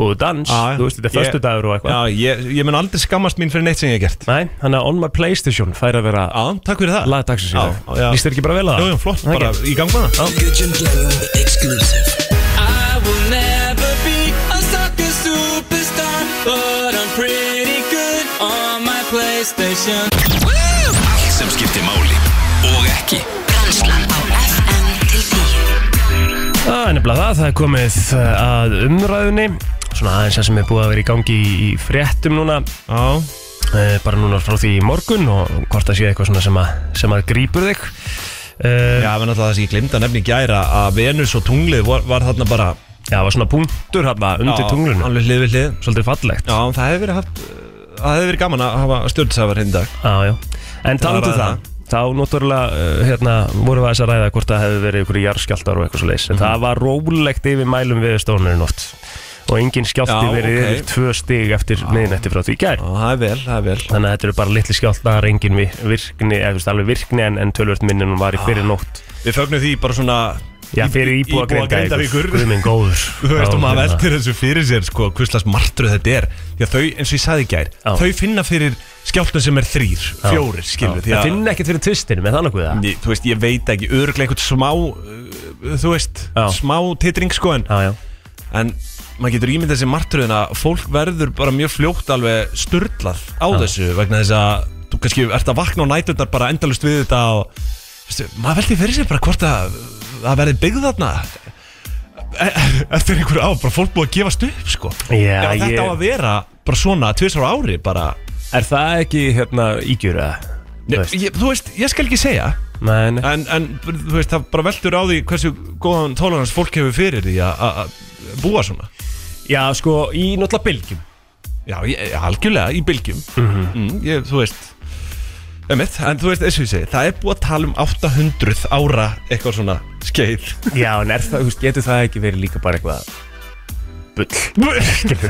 góðu dans, Já, þú veist þetta er ég- föstudagur og eitthvað Já, ég, ég mun aldrei skammast mín fyrir neitt sem ég hef gert Nei, þannig að on my Playstation fær að vera Já, takk fyrir það lag dagsins í Já, já. dag Lýst þér ekki bara vel að Jú, það? jú, flott, Það er bara ekki. í gang með það Já. Oh. I will never be a soccer superstar, but I'm pretty good on my PlayStation. Allt sem skiptir máli og ekki Brennslan á FM til 10 Það er nefnilega það, það er komið eh, að umræðunni Svona aðeins það sem er búið að vera í gangi í, í fréttum núna Já. eh, Bara núna frá því í morgun og hvort það sé eitthvað svona sem að, sem að grípur þig eh, Já, Já, menn alltaf það sem ég glemd að nefni í gæra að Venus og tunglið var, var þarna bara það var svona punktur hérna undir Já, tunglunum Alveg hlið við hlið Svolítið fallegt Já, það hefði verið haft uh, Það hefði verið gaman að hafa stjórnsafar hinn dag Já, já. En Það var talandu að það, þá náttúrulega uh, hérna, vorum við aðeins að ræða hvort það hefði verið ykkur jarðskjáltar og eitthvað svo leis. En Mhm. það var rólegt yfir mælum við stónurinn oft. Og engin skjálti Já, verið ok. yfir tvö stig eftir miðnætti frá því í gær. Já, það er vel, það er vel Þannig að þetta eru bara litli skjáltar, engin vi- virkni, eða þú veist alveg virkni en, en tölvört minnum var í fyrir Ah, nótt. Við fögnum því bara svona Já, fyrir íbúa Grindavíkur. Guð minn góður. [LAUGHS] Þú veist, Já, og maður hérna. veltir þessu fyrir sér, sko, hvuslas martruð þetta er Því að þau, eins og ég saði í gær Já. Þau finna fyrir skjálftum sem er þrýr, Já. fjórir, skilur Já. Það finna ekkert fyrir tvistinu með þannig við það. Ný, þú veist, ég veit ekki, örglega einhvern smá uh, Þú veist, Já. smá titring, sko En Já, já. en maður getur ímyndað sér martröðin að fólk verður bara mjög fljótt alveg sturdlað á þessu vegna þess að þú kannski ert að vakna á næturnar bara endalust við þetta og veistu, maður veldi fyrir sér bara hvort að það verði byggð þarna E- eftir einhverju á, bara fólk búið að gefast upp sko Já, Ef þetta ég- á að vera bara svona tvisar ári bara Er það ekki hérna ígjur eða? Þú Nei, veist. ég, þú veist, ég skal ekki segja Nei, nei. en, en þú veist, það bara veldur á því hversu góðan tólarans fólk hefur fyrir því að- að að búa svona Já, sko, í náttúrulega bylgjum. Mhm. Já, ég, algjörlega í bylgjum mm ég, Þú veist emitt, En þú veist, eins og ég segi, það er búið að tala um 800 ára eitthvað svona skeið Já, en er það, þú veist, getur það ekki verið líka bara eitthvað [LAUGHS] bull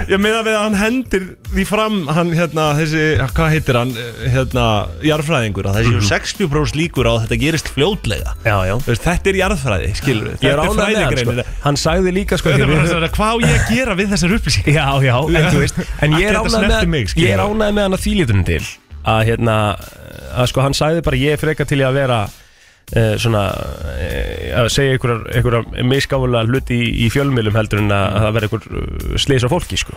Ég meina við að hann hendir því fram hann hérna, þessi, hvað heitir hann hérna, jarðfræðingur að þessi 60% líkur á að þetta gerist fljótlega Mhm. Já, já Þú veist, þetta er jarðfræði, skilur við Ég er Þetta er ánægð með hann, sko. fræðigreinin Hann sagði líka, sko því Þetta er við- bara svona, Hvað á ég að gera við þessar upplýsing? Já, já, [LAUGHS] en þú veist En ég er Þetta ánægð snerti með, mig, skilur ég er við. ánægð með hann að þýlítunum til að hérna að sko hann sagði bara ég er freka til í að vera Uh, svona uh, að segja einhverjar, einhverjar misgáfulega hluti í, í fjölmiðlum heldur en að, að það verði einhver uh, slis á fólki sko.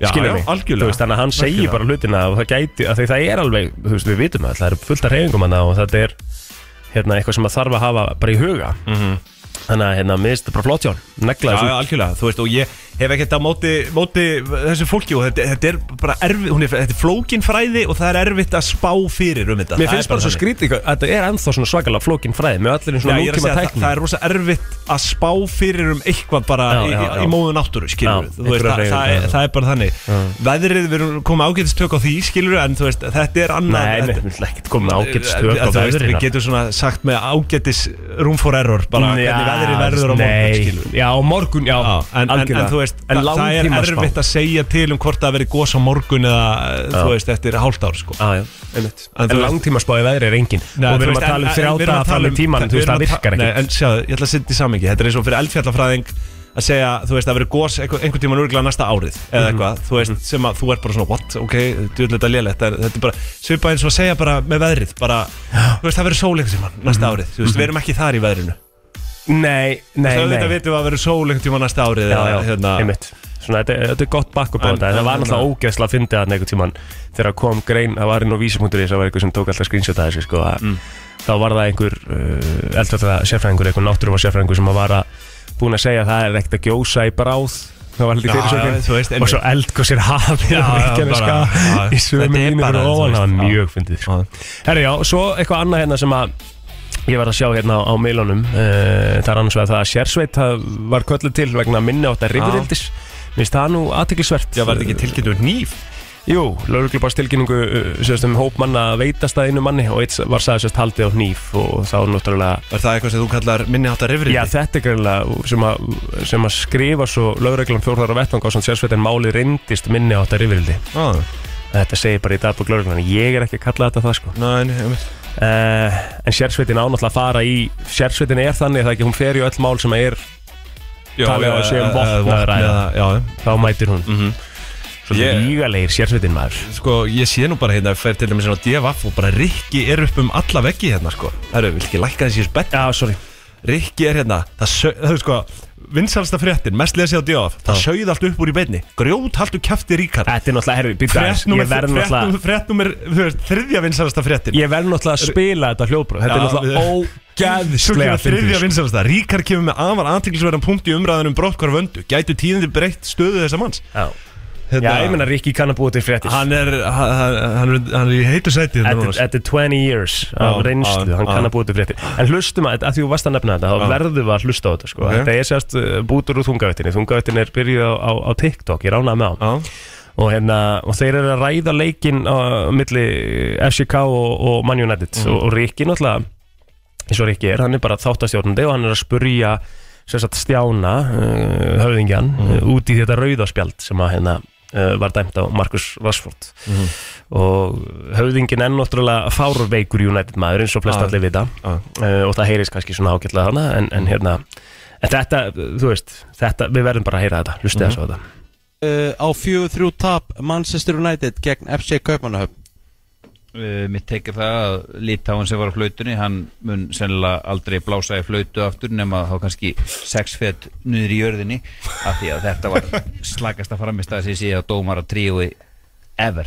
Já, Skilur já, mig? algjörlega. Þú veist, þannig að hann segir Algjörlega. bara hlutina og það gæti, að því það er alveg, þú veist, við vitum það það er fullt af reyfingum hann og þetta er hérna, eitthvað sem að þarf að hafa bara í huga þannig að hérna, miðist þetta bara flott hjá hann negla Mhm. Já, já, þessu algjörlega, þú veist, og ég hef ekkert á móti, móti þessu fólki og þetta, þetta er bara erfið, hún er, þetta er flókin fræði og það er erfitt að spá fyrir um þetta Mér Það finnst er bara svo þannig. skrítið hvað- að þetta er ennþá svona svakalega flókin fræði með allir eins Já, og ég er að nútíma segja, það, tækni það er rosa erfitt að spá fyrir um eitthvað bara Já, í, já, í já. móðu náttúru, skilur Já, við Þú veist, einhverja það, hreyfingar, það, er, já. það er bara þannig Veðrið, við erum komið ágætistök á því, skilur við, en þú veist, þetta er annað Nei, þetta, við erum ekkert komið ágætt Þú stöð á hérna. veist, Við veðrina getum svona sagt með ágætis room for error, bara Já, hvernig veðrið verður á nei. morgun, skilur við Já, á morgun, já, Já, en, en, en algjörlega. þú En veist, það, það er langtímaspá. erfitt að segja til um hvort það veri gos á morgun eða, þú veist, eftir hálft ár, sko. Já, já, einmitt En En þú veist- langtíma spáði veðri er engin Og við erum að tala um þrjáta fram í tíman Þú veist, það virkar Nei, ekki en sjáðu, ég ætla að setja í samingi, þetta er eins og fyrir eldfjallafræðing að segja, þú veist, það verið gos einhver, einhver tíman örgulega næsta árið Mhm. eða eitthvað, þú veist, sem að þú ert bara svona, what, ok, djúðlega lélegt, en þetta er bara svipað eins og að segja bara með veðrið, bara, þú veist, það verið sól einhver tíman næsta Mhm. árið, þú veist, við erum ekki þar í veðrinu, Nei, nei, þú veist, þetta nei vitum við að verið sól einhver tíman næsta árið, Já, já, eða, hérna, einmitt Svona, þetta, þetta er gott bakkup á En- þetta en Það en- var náttúrulega en- ógeðslega að fyndi að einhvern tíman Þegar kom grein, það var inn á vísimundur Það var einhver sem tók alltaf screenshot að þessu sko, að- Mm. Þá var það einhver uh, eldfjölda sérfræðingur Einhver náttúrufa sérfræðingur sem var að búin að segja að það er ekkert að gjósa í bráð Það var Já, heldur já, þú fyrirsökin veist, einmitt. Og svo eldgósir hafið Já, á já, Reykjaneska bara- já, Í þetta sömu er línu bara, fyrir þú ofan veist, Það var já. mjög fyndið sko. Já. Herri já, svo eitthvað annað hérna sem að Ég var að sjá hérna á, á meilunum uh, Það er annars vegar það að sérsveit það var köllu til vegna minni átt að rifurildis Mér finnst það nú aðtiklisvert já, var þetta ekki tilkynntur nýf? Jú, lauruglu bara tilkynningu uh, sérst, um hóp manna að veitast að einu manni og eitt var sagði sérst haldið á hníf og þá náttúrulega Er það eitthvað sem þú kallar minni áttar rifrið? Já, þetta er greinlega sem, að, sem að skrifa svo lauruglan fjórðar á vettvang á svona sérsveitin máli reyndist minni átt að rifrildi ah, Þetta segir bara í dagbúk lauruglan Ég er ekki að kalla þetta það sko Næ, ég veit uh, en sérsveitin á náttúrulega að fara í sérsveitin er þannig að það ekki hún fer í öll mál sem er talið á að sé um vopn að ræða Já, þá mætir hún Mhm. svolítið Ég- yeah. lígalegir sérsveitin maður sko, ég sé nú bara hérna Fer til dæmis hérna á DFF og bara Rikki er upp um alla veggi hérna, sko Herru, vil ekki lækka þessi spett já, sorry Rikki er hérna, það sö- það er sko Vinsalsta fréttin, mest lesið á DFF Það sögð allt upp úr í beinni Grjót haldu kæfti Ríkard þetta er náttúrulega herri býttu aðeins. Fréttnum ég verð náttúrulega er, þú veist, þriðja vinsalasta fréttin ég verð náttúrulega að spila þetta hljóðbrú þetta er Já, náttúrulega sko. við- Svo ógæðslega kemur þriðja vinsalasta Ríkar kemur með afar aðtiklisverðan punkt í umræðunum brottkvar vöndu Gætu tíðandi breytt stöðu þessa manns já. Hérna- já, ég meina Rikki kann að búa til fréttis Hann er, hann, hann- hann er, hann er í heitu sæti þetta Þetta núna, sko. þetta er 20 years af Já, reynslu, já, hann kann já. að búa til fréttir En hlustum að, að því þú varst að nefna þetta, þá verðum við að hlusta á þetta sko. Ok. Þetta er sérst uh, bútur úr þungavettinni, þungavettin er byrjuð á, á, á TikTok, ég ránaði með hann Já, og, hérna, og þeir eru að ræða leikinn á milli FCK og, og Man United Mhm. og, og Rikki náttúrulega eins og Rikki er, hann er bara þáttastjórnandi og hann er að spurja sem sagt Stjána uh, höfðingjan Mhm. uh, út í þetta rauðaspjald sem að hérna uh, var dæmt á Markus Rashford Mhm. og höfðingin enn náttúrulega fárveikur United maður eins og flest Já. allir vita já. uh, og það heyrist kannski svona ágætlega hana en, en hérna en þetta, þú veist, þetta, við verðum bara að heyra þetta Mhm. hlustið þessu á þetta uh, á 4-3 tap Manchester United gegn FC Kaupanahöfn Uh, mitt teikir það að Litáin sem var á flautunni hann mun sennilega aldrei blása í flautu aftur nema þá kannski sex fett nýður í jörðinni af því að þetta var slagast að framist að þessi síða dómara tríói ever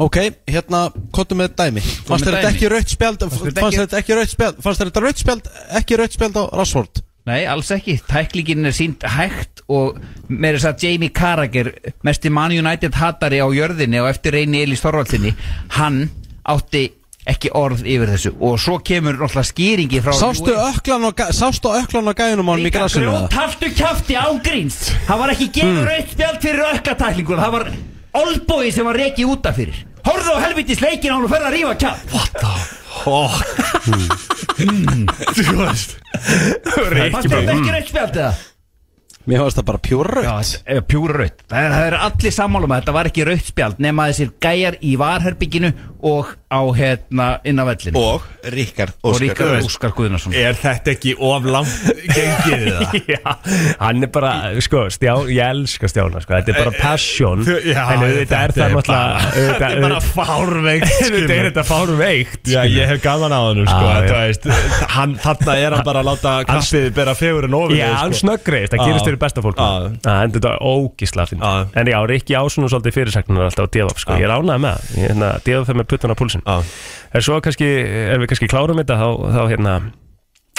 Ok, hérna, kontum með dæmi Fannst með þér þetta dæmi. ekki rautt spjald Fannst þér þetta Fannst ekki- þér þetta ekki rautt spjald Fannst þér þetta rautt spjald Ekki rautt spjald á Rashford Nei, alls ekki, tæklingin er sínt hægt og með þess að Jamie Carragher mesti Man United hatari á jörðinni og eftir reyni Elís Þorvaldsinni hann átti ekki orð yfir þessu og svo kemur náttúrulega skýringi frá Sástu öklan og, gæ- sástu öklan og gæðunum á hann í Líka grasinu grjót, eða? haltu kjafti ágrínst Það var ekki gefur mm. eitt spjald fyrir ökkatæklingur Það var olbói sem var rekið út af fyrir Horðu á helvitis leikin án og ferð að rífa kjaft Þú veist Fannst þetta ekki reynt spjald eða? Mér varst það bara pjúrrögt Já, pjúra raut Það það eru allir sammálum að þetta var ekki raut spjald nema þessir gæjar í varherbygginu og á hérna inn á vellinu Og Ríkard og Óskar Ríkar Óskar Guðnarsson Er þetta ekki of [LAUGHS] langt gengið það? Já, hann er bara, sko, stjá, ég elska Stjána, sko, þetta er bara passion Eh, Já, En auðvitað er það náttúrulega Þetta er bara [LAUGHS] fárveikt Þetta er þetta fárum veikt Já, ég hef gaman á hennum sko, Já, ah, já. veist, hann, Þarna er hann bara að láta kappið bera fegurinn ofið Já, hann snöggreist, það Ah. gerist fyrir besta fólk sko. Já. En þetta er ógisla finn Já. En já, Rikki Ásunum svolítið fyrirsagnar alltaf á D.V.A.P. Ah. sko, ég er ánægð með það hérna, D.V.A.P. fer með puttan á púlsin En svo kannski, ef við kannski klárum þetta þá, þá hérna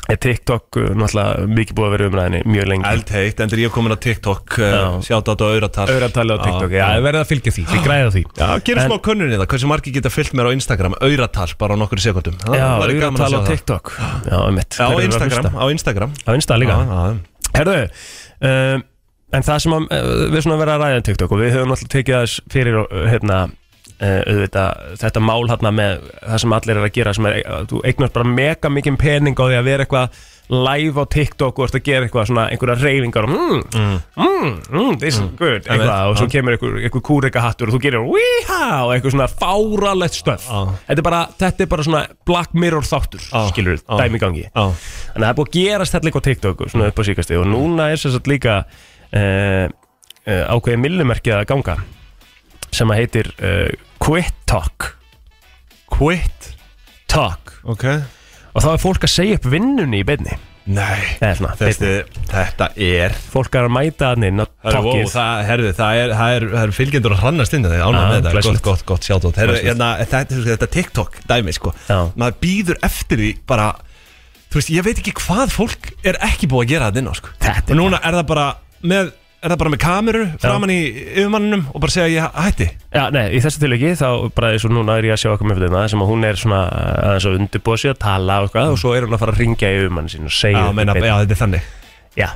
er TikTok uh, náttúrulega mikið búið að vera í umræðinni mjög lengi Eldheitt, endur ég komin á TikTok uh, Já. Sjátt á þetta á Auratal Öðratali á TikTok, já, já. það verður að fylgja því, við græða því Já, gerum En- smá könnun í það, hversu margir geta fyllt mér á Instagram Auratal bara á nokkur sekundum Það Já, væri gaman öðratali á að sjá um það. TikTok Já, einmitt. Já, á Þeir eru að Instagram, hlusta. á Instagram Á Insta líka Já, já. Herðu, um, en það sem að, uh, við svona verðum að ræða um TikTok og við höfum alltaf tekið þess fyrir uh, hérna, uh, auðvitað, þetta mál hérna með það sem allir er að gera sem er, uh, þú eignast bara mega mikið pening á því að vera eitthvað live á TikTok og ert að gera eitthvað svona einhverja reyfingar og mm, mm. Mm, this is good eitthvað, og Ah. svo kemur einhver, einhver kúrika hattur og þú gerir wíha og eitthvað svona fáralegt stöf Ah. þetta, er bara, þetta er bara svona Black Mirror þáttur Já. skilur við, Já. dæmi í gangi Já. Þannig að það er búið að gerast þetta líka á TikTok svona upp á síkasti og núna er sem sagt líka uh, uh, ákveðið millimerkið að ganga sem að heitir uh, Quit Talk Quit Talk Ok og þá er fólk að segja upp vinnunni í beinni Nei, eða svona, beinni. Þessi, þetta er fólk er að mæta hann inn á Herru, wow, talkið það, herðu, það er, það er, það er fylgjendur að hrannast inn þegar ánægð Já, með þetta, glæsilegt. gott, gott, gott sjátt herru, Glæsilegt. hérna, þetta, þetta, þetta TikTok dæmi sko, Já. maður býður eftir því bara, þú veist, ég veit ekki hvað fólk er ekki búið að gera þetta inn á sko. Þetta er og núna er það bara með er það bara með kameru framan í yfirmanninum og bara segja ég hætti Já, nei, í þessu tilviki þá bara eins og núna er ég að sjá okkur með fyrir það sem að hún er svona aðeins að undirbúa sig að tala og, eitthvað, og svo er hún að fara að ringja í um hann sín og segja já, upp í meina, beinni. já, þetta er þannig já,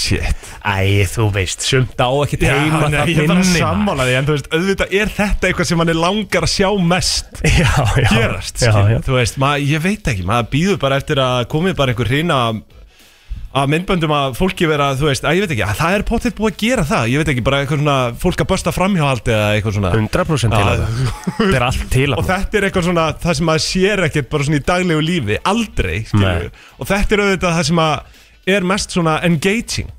shit, æ, þú veist, sumt á ekki já, teima nei, ég er bara sammála því en þú veist, auðvitað er þetta eitthvað sem mann er langar að sjá mest Já, já gerast Já, skilur. já þú veist, mað, ég veit ekki, maður býður bara eftir að komið bara einhver hrina að myndböndum að fólki vera, þú veist, að ég veit ekki, að það er potið búið að gera það, ég veit ekki, bara eitthvað svona fólk að bösta framhjáhaldi eða eitthvað svona 100% til að það Þetta er allt til að [LAUGHS] og þetta er eitthvað svona, það sem maður sér ekkert bara svona í daglegu lífi, aldrei Nei. skilur, við. og þetta er auðvitað það sem að er mest svona engaging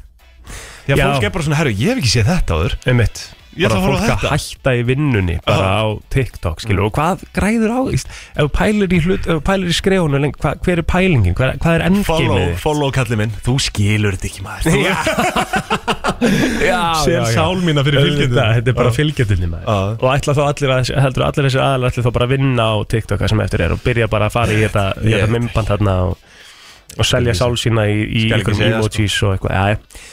því að Já. fólk er bara svona, herru, ég hef ekki séð þetta áður Einmitt Ég ætla bara að horfa á fólk að þetta. hætta í vinnunni bara á TikTok skilur og hvað græður á ef þú pælir í, hlut, ef þú pælir í skrefunum lengi, hva, hver er pælingin, hver, hvað er endgameið follow, þitt? follow kallið minn, þú skilur þetta ekki maður þú já, sér sál mína fyrir fylgjendum Auðvitað, þetta er bara Já. fylgjendunni maður Já. og ætla þá allir að heldur allir þessi aðal ætla þá bara að vinna á TikTok það sem eftir er og byrja bara að fara í þetta, í Ég- þetta mymband þarna og, og selja sál sína í, í Skal ekki einhverjum segja, sko. emojis og eitthvað já, já.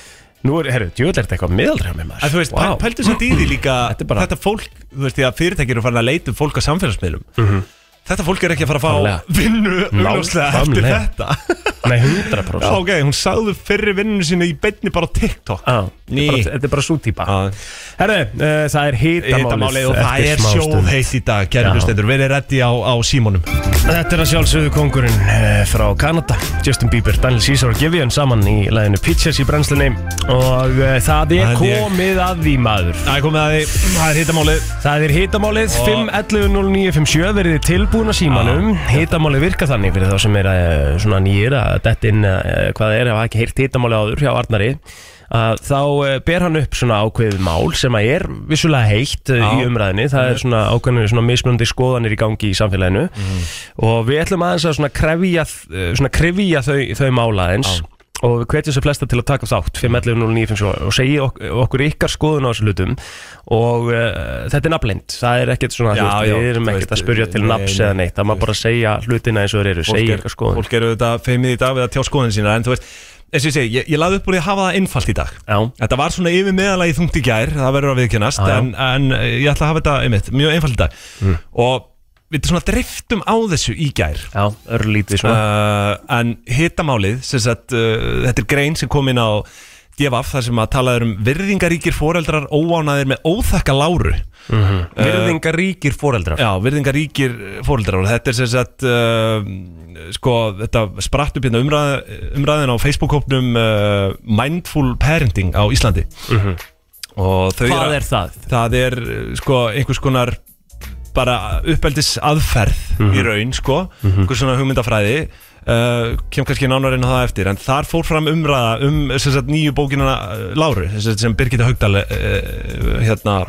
Nú er, herru, djúvel er þetta eitthvað miðaldra með maður En þú veist, wow. Vá. pældu samt í því líka [CLEARS THROAT] Þetta þetta, er bara- fólk, þú veist, því að fyrirtækir eru farin að leita um fólk á samfélagsmiðlum Þetta fólk er ekki að fara að fá Nákvæmlega. vinnu augljóslega eftir Nákvæmlega. þetta [LAUGHS] Nei, Já, 100% ok, hún sagði fyrri vinninu sinni í beinni bara á TikTok Já, þetta Ný. er bara- þetta er bara svo típa Já. Herðu, uh, það er hitamálið Hitamálið og það eftir er smástund. sjóðheit í dag, kæri Já. hlustendur, verið reddi á, á símónum Þetta er að sjálfsögðu kongurinn uh, frá Kanada Justin Bieber, Daniel Caesar og Gevian saman í læginu Pitchers í brennslunni og uh, það er Það er ég. komið að því maður Það er komið að því, það er hitamálið Það er hitamálið Og- 5.11.09.57 verið þið tilbúin að símanum Hitamálið virka þannig fyrir þá sem er eh, svona nýjir að detta inn eh, hvað það er að hafa ekki heyrt hitamálið áður hjá Arnari að þá eh, ber hann upp svona ákveðið mál sem að er vissulega heitt Já. í umræðinni það er svona ákveðinu svona mismunandi skoðanir í gangi í samfélaginu og við ætlum aðeins að svona krefja eh, svona krefja þau, þau mála eins og við hvetjum sér flesta til að taka þátt 5.11.09.57 og segja ok okkur ykkar skoðun á þessu hlutum og uh, þetta er nafnlind, það er ekkert svona Já, þú veist, já, við erum þú ekkert veist, eh, að spurja til nei, nafns nei, eða neitt, það má bara segja hlutina eins og þeir eru, sko. segja ykkar skoðun fólk eru þetta feimið í dag við að tjá skoðun sína En þú veist, eins og ég segi, ég, ég laði upp úr því að hafa það einfalt í dag Já, Þetta var svona yfir meðalagi þungt í gær Það verður að viðkennast Já, Mm. já. en, en eh, ég ætla að hafa þetta einmitt, mjög einfalt í dag Og við svona driftum á þessu í gær Eh, já, örlítið sko. svona uh, En hitamálið sem sagt, uh, Þetta er grein sem kom inn á DFF þar sem að talaður um virðingaríkir foreldrar óánaðir með óþakka láru Mhm. Uh, Virðingaríkir foreldrar Eh, Já, virðingaríkir fóreldrar og þetta er sem sagt uh, sko, þetta spratt upp hérna umræð, umræðin á Facebook-hópnum uh, Mindful Parenting á Íslandi og þau Mhm. Hvað er það? Það er uh, sko einhvers konar bara uppeldis aðferð í Mhm. raun sko, einhvers svona hugmyndafræði Uh, kem kannski nánarinn á það eftir en þar fór fram umræða um sem sagt, nýju bókinana uh, Láru sem, sagt, sem Birgitta Haugdal uh, hérna,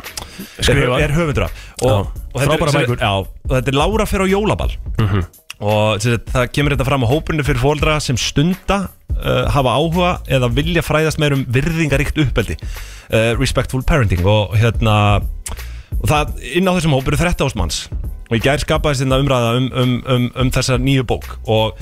Skrifar. er, er höfundur af og, Já. og þetta er- Frábærar sem- bækur. já, og þetta er Lára fyrir á jólaball Mhm, og sem sagt, það kemur þetta fram á hópurinu fyrir fóldra sem stunda uh, hafa áhuga eða vilja fræðast meir um virðingaríkt uppeldi uh, respectful parenting og hérna og það inn á þessum hópur er 13 manns og í gær skapaðist þetta umræða um, um, um, um þessa nýju bók og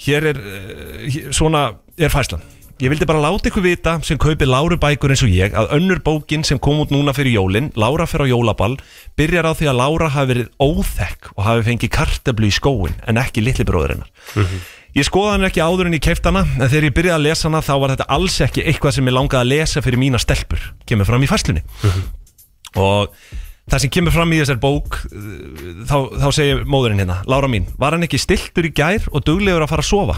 hér er uh, hér- svona er fæslan Ég vildi bara láta ykkur vita sem kaupi Láru bækur eins og ég að önnur bókin sem kom út núna fyrir jólin, Lára fer á jólaball, byrjar á því að Lára hafi verið óþekk og hafi fengið kartablu í skóin en ekki litli bróður hennar. mhm. Ég skoða hann ekki áður en ég keift hana en þegar ég byrjaði að lesa hana þá var þetta alls ekki eitthvað sem ég langaði að lesa fyrir mína stelpur, kemur fram í fæslunni og það sem kemur fram í þessar bók uh, þá, þá segir móðurinn hérna Lára mín, var hann ekki stiltur í gær og duglegur að fara að sofa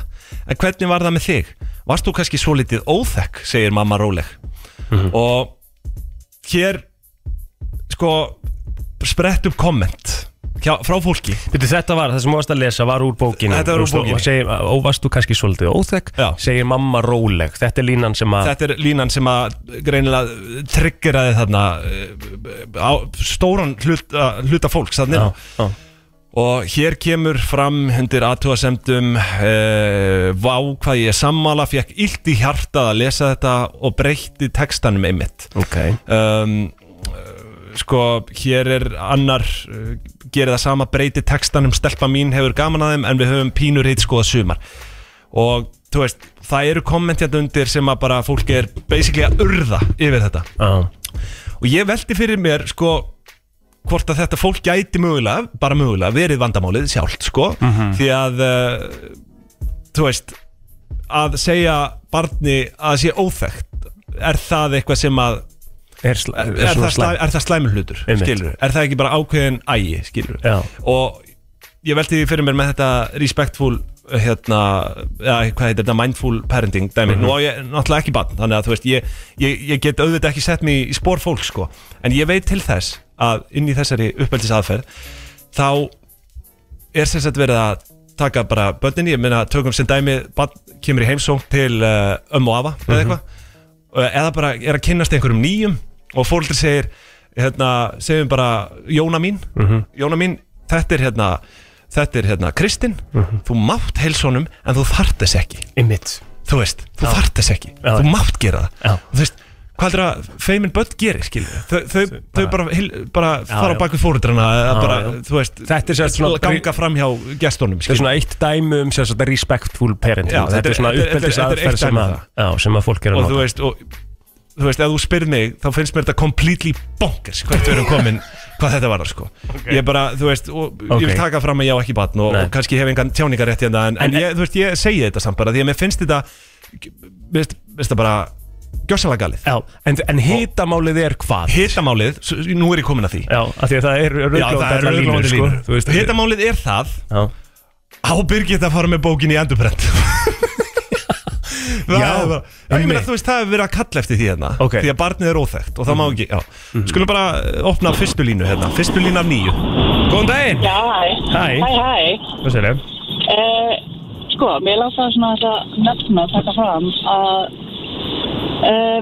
en hvernig var það með þig? Varst þú kannski svo litið óþekk? segir mamma róleg og hér sko sprett upp komment hjá, frá fólki Byrju, þetta var, það sem þú varst að lesa var úr bókinu Þetta var Þú úr veist, bókinni. Og segir, ó, varst þú kannski svolítið óþekk Já. Segir mamma róleg, þetta er línan sem að þetta er línan sem að greinilega triggeraði þarna uh, á stóran hluta, hluta fólks þarna Já, inn á. já. og hér kemur fram undir aðtúasemdum uh, vá hvað ég er sammála fekk illt í hjartað að lesa þetta og breytti textanum einmitt Ok um, sko, hér er annar uh, gerir það sama, breyti textanum stelpa mín hefur gaman að þeim en við höfum pínur hitt skoða sumar og þú veist, það eru kommentjandi undir sem að bara fólk er basically að urða yfir þetta Já. og ég velti fyrir mér sko hvort að þetta fólk gæti mögulega, bara mögulega verið vandamálið sjálft sko Mhm. því að uh, þú veist að segja barni að sé óþekkt er það eitthvað sem að Er, sl- er, er, svona það, slæm, er það slæmur hlutur Einmitt. skilur, er það ekki bara ákveðin ægi skilur, Já. og ég velti því fyrir mér með þetta respectful hérna, ja, hvað heitir þetta mindful parenting dæmi, nú á ég náttúrulega ekki bann þannig að þú veist, ég, ég, ég get auðvitað ekki sett mig í spór fólk sko, en ég veit til þess að inn í þessari uppeldisaðferð þá er sem sagt verið að taka bara börnin, ég meina tökum sem dæmi barn kemur í heimsóng til uh, ömmu og afa eða eitthvað Eh, eða bara er að kynnast einhverjum nýjum og fólkið segir hérna, segjum bara Jóna mín Mhm. Jóna mín, þetta er hérna þetta er hérna Kristinn þú mátt heilsa honum en þú þart þess ekki Mhm. Einmitt þú veist, þú þart þess ekki Já. þú mátt gera það Já. og þú veist, hvað heldur að feimin börn gerir, skilur þau, þau, þau bara, heil- bara fara já. á bak við fóreldrana eða Já, bara, já. þú veist Þetta er sem sagt svona- ganga fram hjá gestunum, Þetta er skilur svona eitt dæmi um sem sagt respectful parenting Já, þetta, þetta er- er svona þetta er- þetta er- þetta er eitt uppeldisaðferð sem, dæmi að- um já, sem að fólk er að og þú nota veist, og þú veist, ef þú spyrir mig, þá finnst mér þetta completely bonkers, hvert við erum komin hvað þetta var sko, ég bara, þú veist og, ég Ok. vil taka fram að ég á ekki batn og, Nei. og kannski hef engan tjáningarétt hérna en, en, En- ég, þú veist, ég segi þetta samt bara því að mér finnst þetta mér finnst mér finnst þetta bara gjössalega galið Já, en, en hitamálið er hvað? hitamálið, s- nú er ég komin að því Já, af því að það er rauðglóðan línur sko. Þú veist, hitamálið er það Já. á Birgitta að fara með bókin í endurbrent Já, Já, bara, ég meina einmitt. þú veist það hefur verið að kalla eftir því hérna Ok. Mhm. Því að barnið er óþekkt og það má ekki já. Skulum bara eh, opna fyrstu línu hérna Fyrstu línu af nýju Góðan daginn Já, hæ. Hæ. Hæ, hæ. Hvað segir þau? Eh, sko, mér langaði svona þess að nefna, taka fram að eh,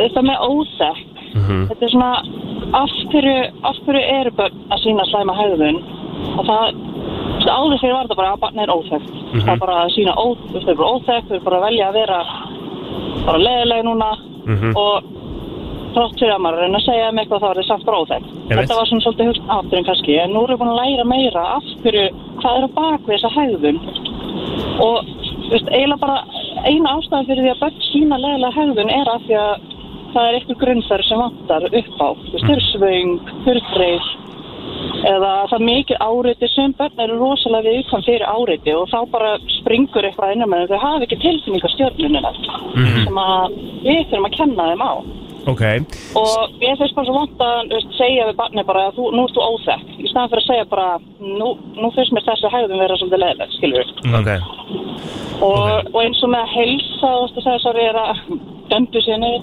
þetta með óþekk, Mhm. þetta er svona af hverju, af hverju eru börn að sína slæma hegðun og það þú veist, áður fyrir var þetta bara að barn er óþekkt það er bara að sína ó, þú veist, þau eru bara óþekkt þau eru bara að velja að vera bara leiðileg núna Mhm. og þrátt fyrir að maður er að reyna að segja um eitthvað þá er þið samt bara óþekkt Ég veit. þetta var svona svolítið hugst afturinn kannski en nú erum við búin að læra meira af hverju hvað er á bakvið þessa hegðun og þú veist, eiginlega bara eina ástæðan fyrir því að börn sína leiðilega hegðun er af því að það er eitthvað grunnferð sem vantar upp á þú veist, þurrsvöng, þurrtreif eða það er mikið áreiti sem börn eru rosalega viðkvæm fyrir áreiti og þá bara springur eitthvað innan með þau hafa ekki tilfinningastjörnunina Mhm. sem að við þurfum að kenna þeim á Ok, og ég finnst bara svo vant að þú veist, segja við barni bara að þú, nú ert þú óþekk í staðan fyrir að segja bara nú, nú finnst mér þessi hægðum vera svolítið leiðilegt skilur við Mm. ok og, og eins og með að heilsa og þess að sorry er að döndu sinni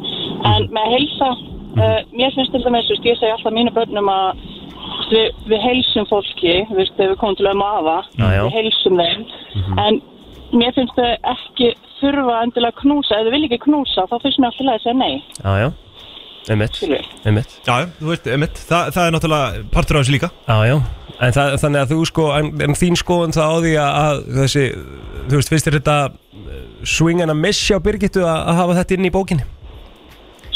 en með að heilsa Mhm. uh, mér finnst til dæmis, þú veist, ég segi alltaf mínu börnum að þú veist, við, við heilsum fólki þú veist, þegar við komum til ömmu og afa Já, Mhm. já. við heilsum þeim en mér finnst þau ekki þurfa endilega að knúsa, ef þau vil ekki knúsa þá finnst mér alltaf leið að segja nei Já, já, einmitt, einmitt Já, já, þú veist, einmitt, Þa, það er náttúrulega partur á þessu líka Já, já, en það, þannig að þú sko, en, en þín skoðun það á því að, að þessi, þú veist, finnst þér þetta eh, swing and a miss hjá Birgittu að, að hafa þetta inn í bókinni?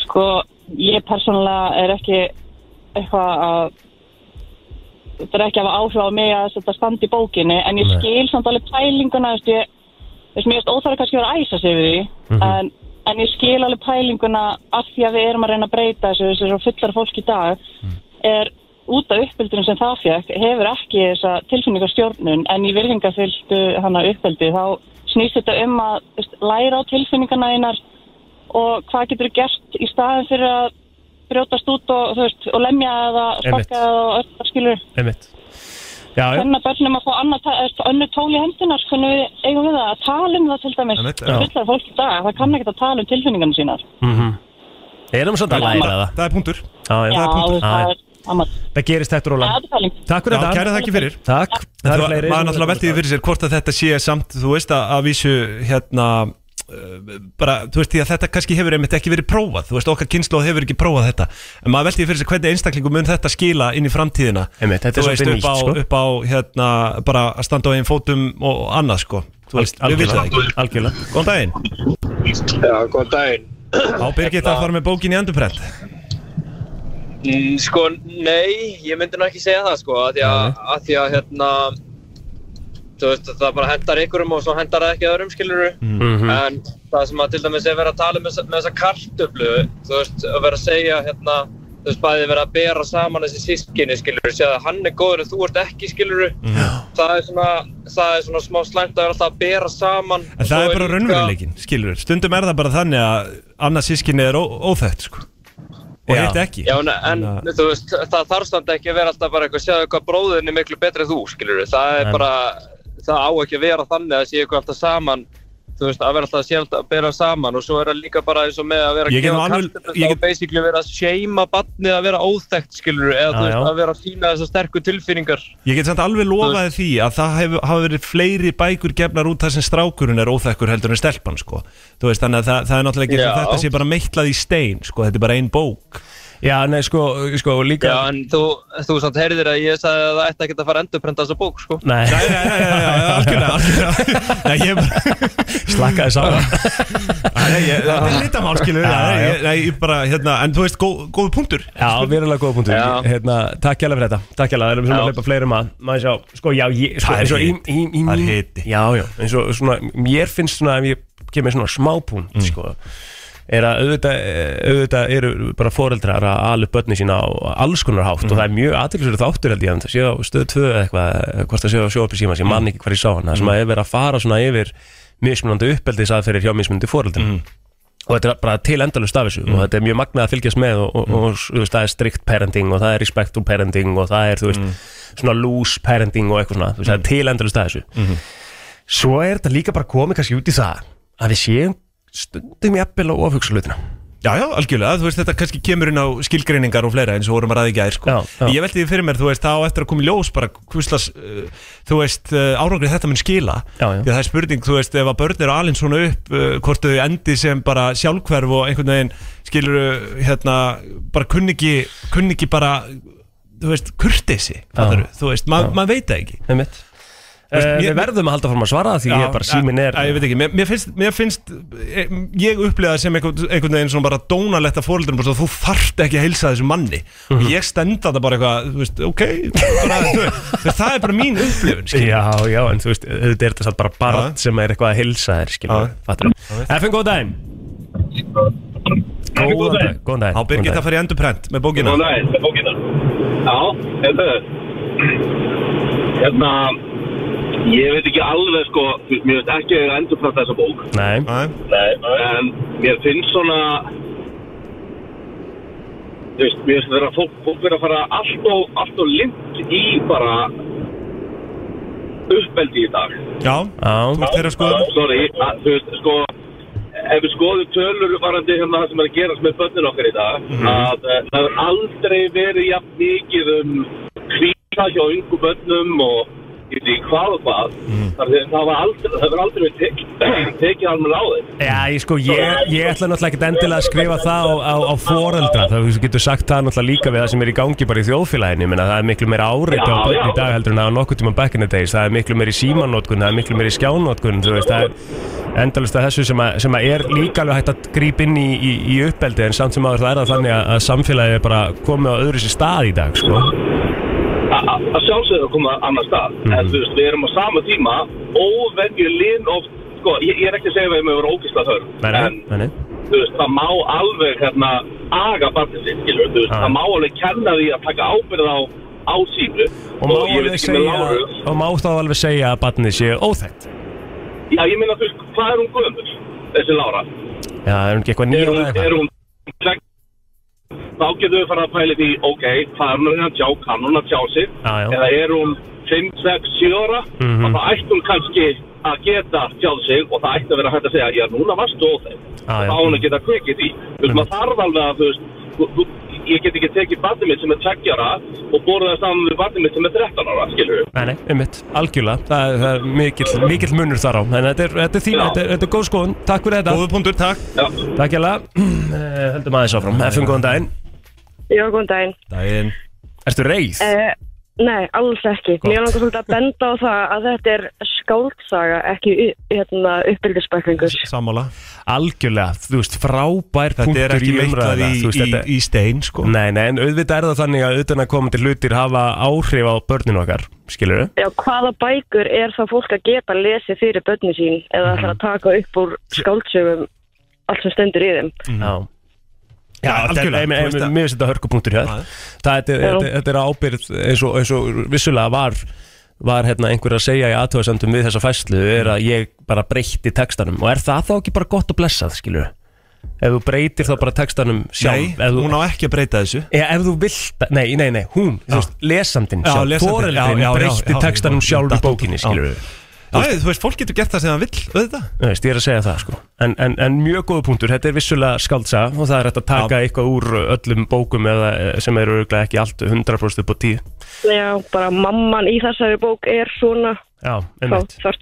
Sko, ég persónulega er ekki eitthvað að þetta er ekki að hafa áhrif á mig að þetta standi í bókinni en ég Nei. skil samt alveg pælinguna þú veist, ég, þú veist, mér finnst óþarf kannski að vera að æsa sig við því Mhm. en, en ég skil alveg pælinguna af því að við erum að reyna að breyta þessu þessu svo fullar fólk í dag er út af uppeldunum sem það fjökk hefur ekki þessa tilfinningarstjórnun en í virðingafylltu hana uppeldi þá snýst þetta um að þú veist, læra á tilfinningarna einar og hvað getur gert í staðin fyrir að brjótast út og, þú veist, og lemja eða Einmitt. sparka eða og öll skilur Einmitt Já, já, hennar börnum að fá annað ta- eða önnur tól í hendunar hvernig við eigum við það að tala um það til dæmis Einmitt, já. fullar fólk í dag, það kann ekkert að tala um tilfinningarna sínar mhm Erum samt að læra það Það er punktur Já, já, Já, það Já, er amat já. Það gerist þetta róla Takk fyrir Já, þetta kæra þakki fyrir Takk Það eru fleiri Maður náttúrulega veltið fyrir sér hvort að þetta sé samt Þú veist að að vísu hérna eh, bara, þú veist því að þetta kannski hefur einmitt ekki verið prófað, þú veist okkar kynnslóð hefur ekki prófað þetta, en maður veltið fyrir sér hvernig einstaklingu mun þetta skila inn í framtíðina Einmitt, þetta er þú veist svolítið upp á, nýtt, sko. upp á hérna, bara að standa á einn fótum og annað sko, þú veist, við vitum það ekki Algjörlega, algjörlega Góðan daginn Já, góðan daginn Hérna- Á Birgit að fara með bókin í endurprent Mm, Sko, nei, ég myndi nú ekki segja það sko, að því að, að, því að hérna, þú veist, það bara hendar ykkurum og svo hendar það ekki öðrum, skilur Mhm. Mm. En það sem að til dæmis er verið að tala með, með þessa kartöflu, þú veist, að vera að segja, hérna, þú veist, bæði verið að bera saman þessi sískinni, skilur við, segja að hann er góður en þú ert ekki, skilur Mm. Það er svona, það er svona smá slæmt að vera alltaf að bera saman. en það er bara raunveruleikin, skilur stundum er það bara þannig að annað sískinni er ó- óþekkt sko, og hitt ekki Já, en, en Þannig þú veist, það þarf samt ekki að vera alltaf bara eitthvað, séðu eitthvað bróðin er miklu betri en þú, skilur það er Nei. bara, það á ekki að vera þannig að séu eitthvað alltaf saman, þú veist, að vera alltaf að séu alltaf að bera saman og svo er það líka bara eins og með að vera Ég get nú alveg- kartöflur, ég þá get- er basically verið að seima barnið að vera óþekkt, skilur Já, eða þú veist, já. að vera að sína þessar sterku tilfinningar. Ég get samt alveg lofaði því að það hefur hef verið fleiri bækur gefnar út þar sem strákurinn er óþekkur heldur en stelpan sko. Þú veist þannig að það, það er náttúrulega ekki Já. þetta sé bara meitlað í stein sko, þetta er bara ein bók. Já, nei, sko, sko líka Já, en þú, þú samt heyrðir að ég sagði að það ætti ekki að fara að endurprenta þessa bók, sko. Nei, nei, nei, nei, nei, nei [LAUGHS] algjörlega, algjörlega Nei, ég bara Slakkaði saman Nei, ég- það er litamál skilur Já, Nei, já. ég- nei, ég bara, hérna, en þú veist, góð, góð punktur Já, verulega góða punktur hérna, Takk hjálpa fyrir þetta Takk hjálpa, það erum svona að leipa fleirum að Maður sjá, sko, já, ég, sko, Það er eins og í, hiti. í, í, Það er hiti Já, já, eins og svona Mér finnst svona ef ég kemur svona smápunkt sko, er að auðvitað, auðvitað eru bara foreldrar að ala upp börni sína á alls konar hátt og það er mjög aðtilsverið þáttur held ég að það sé á stöð 2 eða eitthvað hvort það sé á sjóapi síma, ég man ekki hvar ég sá hann það sem að er verið að fara svona yfir mismunandi uppeldis aðferðir hjá mismunandi foreldrum og þetta er bara til endalust af þessu og þetta er mjög magnað að fylgjast með og, og, og þú veist, það er strict parenting og það er respectful parenting og það er, þú veist, svona loose parenting og eitthvað svona, þú veist, það er til endalust af þessu svo er þetta líka bara komið kannski út í það að við séum stundum jafnvel á ofhugsa hlutina Já, já, algjörlega, þú veist, þetta kannski kemur inn á skilgreiningar og fleira eins og vorum að ræði gæðir, sko. já. Ég veldi því fyrir mér, þú veist, þá eftir að koma í ljós bara, hvuslas, uh, þú veist, uh, árangrið þetta mun skila. Já, já. Því að það er spurning, þú veist, ef að börn eru alinn svona upp, uh, hvort þau endi sem bara sjálfhverf og einhvern veginn skilur, hérna, bara kunni ekki, kunni ekki bara, þú veist, kurtesi, fattar þú veist, ma- já. maður veit það ekki. Einmitt. Eh, við verðum að halda fórum að svara því ég er bara síminn er að, ég veit ekki, mér, mér finnst, mér finnst eh, ég upplega það sem einhvern, einhvern veginn svona bara dónalegt að fóreldurum bara svo, þú þarft ekki að heilsa þessu manni Mhm. og ég stend þetta bara eitthvað, þú veist, ok bara, þú veist, það er bara mín upplifun skilur. Já, já, en þú veist, auðvitað er þetta satt bara barn sem er eitthvað að hilsa þér, skiljum Fattur FN, góð daginn Góðan dag, góðan dag Á Birgit að fara í endurprent með bókina Góðan daginn, með bókina. Já, þetta er Hérna, ég veit ekki alveg sko, þú veist, mér veist ekki að endurprata þessa bók. Nei. Nei. En mér finnst svona, þú veist, mér finnst vera fólk, fólk vera að fara allt og, allt og lind í bara uppbeldi í dag. Já, þú ert þeirra skoðum Sorry, að, þú veist, sko Ef við skoðum tölur varandi hérna það sem er að gerast með börnin okkar í dag Mhm. að eh, það hefur aldrei verið jafn mikið um kvíða hjá yngu börnum og ég veit ekki hvað og hvað Mhm. þar því það var aldrei, það hefur aldrei verið tekið, [CLEARS THROAT] tekið alveg á þeim Já, ég sko, ég, ég ætla náttúrulega ekkert endilega að skrifa það á, á, á foreldra þá þú getur sagt það náttúrulega líka við það sem er í gangi bara í þjóðfélaginu, menna það er miklu meira áreita á Já, börn í já. dag heldur en það var nokkuð tíma back in the days, það er miklu meira í símanótkun það er miklu meira í skjánótkun, þú veist það er endalist að þessu sem að, sem að er líka alveg hægt að grípa inn í, í, í uppeldi en samt sem áður það er það þannig að, að samfélagið er bara komið á öðru sér stað í dag, sko A- a- að sjálfsögðu að koma annar stað Mhm. en þú veist, við erum á sama tíma óvenju linn oft sko, ég, ég er ekki að segja að við erum að vera ógisla þörf Nei, nei, nei, nei. þú veist, það má alveg hérna aga barnið sitt, skilur, þú veist, Já. það má alveg kenna því að taka ábyrð á á sínu Og má, alveg segja, og má þá alveg segja að barnið sé óþægt já, ég meina, þú veist, hvað er hún gömur þessi Lára, Já, er hún ekki eitthvað er nýjum hún, eða eitthvað? er hún tveggja? þá getum við fara að pæla í því, ok, hvað er hún að tjá, kann hún að tjá sig Já, já. eða er hún 5, 6, 7 ára Mhm. og þá ætti hún kannski að geta tjáð sig og það ætti að vera hægt að segja já, núna varstu óþæg Ah, Já, já. þá á hún að geta kvikið í þú veist, maður þarf alveg að þú veist, þú, þú, ég get ekki tekið barnið mitt sem er 20 ára og borðið það saman við barnið mitt sem er 13 ára, skilur Nei, nei, einmitt, algjörlega, það, er- það er mikill, mikill munur þar á, en þetta er, þetta er þín, Já. þetta er, þetta er góð skoðun, takk fyrir þetta. Góðu punktur, takk. Já. Takk jæla, [CLEARS THROAT] höldum aðeins áfram, FM góðan daginn. Já, góðan daginn. Daginn. Ertu reið? Eh, nei, alls ekki. Mér langar svolítið að benda á það að þetta er skáldsaga, ekki u- hérna, uppbyldisbæklingur. Sammála. Algjörlega, þú veist, frábær Þetta er punktur ekki í meitlað umræða, í- þú veist, í- þetta- í stein, sko. Nei, nei, en auðvitað er það þannig að utan að komandi hlutir hafa áhrif á börnin okkar, skilur við? Já, hvaða bækur er það fólk að geta lesið fyrir börni sín eða ætlar Mhm. að taka upp úr skáldsögum allt sem stendur í þeim? Já. Já, Mhm. algjörlega, algjörlega þú veist það. Mér finnst þetta hörkupunktur hér Það þetta er, Já. þetta, þetta er ábyrð eins og, eins og vissulega var var hérna einhver að segja í aðtöðasendum við þessa fæslu er að ég bara breytti textanum og er það þá ekki bara gott og blessað skilur ef þú breytir þá bara textanum sjálf Nei, hún á ekki að breyta þessu Já, ef þú vilt, nei, nei, nei, hún þú veist, lesandinn Já, sjálf, lesandinn, já, foreldrin já, já, já, breytti já, textanum já, sjálf í datt út, bókinni já. skilur Já, þú veist, fólk getur gert það sem það vill, auðvitað Þú veist, ég er að segja það sko En, en, en mjög góða punktur, þetta er vissulega skaldsa og það er hægt að taka eitthvað úr öllum bókum eða eh, sem eru auðvitað ekki allt 100% upp á 10 Já, bara mamman í þessari bók er svona. Já, Þá einmitt Ah. þarf,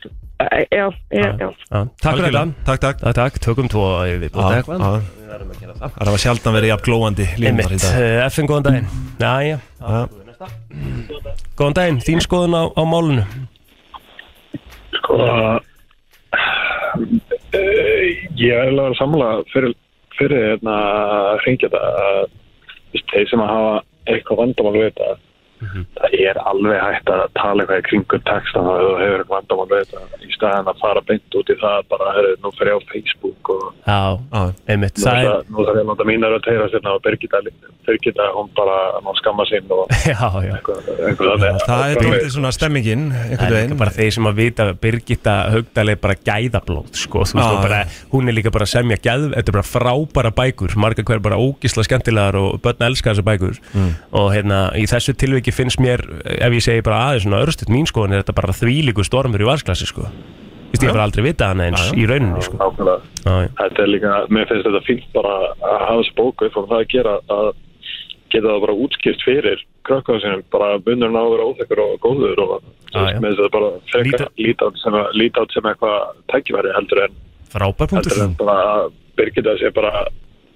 já, já, Já, já. Takk fyrir þetta Algjörlega. Takk, takk Takk, takk, tökum tvo við bóta Já, eitthvað já. Við verðum að gera það Það var sjaldan verið jafn glóandi línunar í Einmitt, dag eh, FN góðan daginn Já, já, góðan daginn, þín skoðun á, á málunu Sko eh, Ég er alveg að samla fyrir, fyrir hérna að hringja þetta að þú veist, þeir sem að hafa eitthvað vandamál við þetta það er alveg hægt að tala eitthvað í kringu textan og þú hefur eitthvað vandamál við þetta í staðan að fara beint út í það bara, herru, nú fer ég á Facebook og Já, einmitt nú Það þarf er, að- nú þarf ég að láta mínar að heyra sérna og Birgitta, Birgitta, hún bara hún skamma sín og [LAUGHS] já, já eitthvað þannig Það er dótið svona stemmingin Það einhvern er líka veginn bara þeir sem að vita að Birgitta Haugdal er bara gæðablóð sko, þú veist, Já, og bara, hún er líka bara að semja gæð, þetta er bara frábæra bækur margar hver bara ógisla skemmtilegar og börn elska þessar bækur Mm. og hérna, í þessu tilviki finnst mér ef ég segi bara aðeins svona örstuð mín skoðan er þetta bara þvílíku stormur í varsklassi sko. Þú veist, ég bara aldrei vita hana eins Já, já. í rauninni sko. Nákvæmlega. Já, já. Þetta er líka, mér finnst þetta fínt bara að hafa þessu bóku upp og það að gera að geta það bara útskipt fyrir krökkum sinum, bara munurinn á að vera óþekkur og góður og Já, já. með þess að þetta bara frekar líta át sem, líta át sem eitthvað tækifæri heldur en frábær punktur heldur en bara að Birgitta sé bara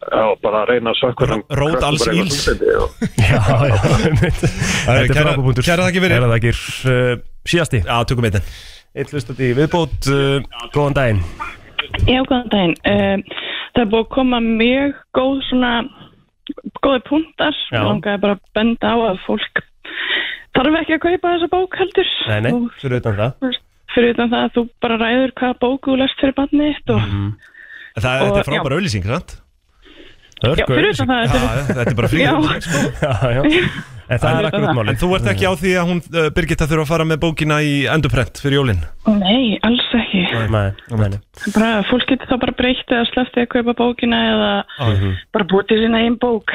já, bara að reyna að um sökkur rót alls ills. og, Já, já, einmitt. Herru, Þetta er kæra- frábúbundur kærar þakkir fyrir. Kæra þakkir uh, Síðasti Já, tökum eitt Eitt hlustandi í viðbót uh, Góðan daginn Já, góðan daginn. Uh, það er búið að koma mjög góð svona, góði punktar. Já. Ég langaði bara að benda á að fólk þarf ekki að kaupa þessa bók heldur. Nei, nei, Þú- fyrir utan það Fyrir utan það að þú bara ræður hvaða bóku þú lest fyrir barnið þitt og Mm. Það Og- þetta er frábæra auðlýsing, sant? Já, fyrir utan það, þetta er- Þetta er bara frí Já. auglýsing, sko. [LAUGHS] Já, já En það er akkurat málið. En þú ert ekki á því að hún, uh, Birgitta, þurfa að fara með bókina í endurprent fyrir jólinn? Mm. Nei, alls ekki. Nei, nei, Bara, fólk getur þá bara breytt eða sleppti að kaupa bókina eða nei. bara búið til sína einn bók.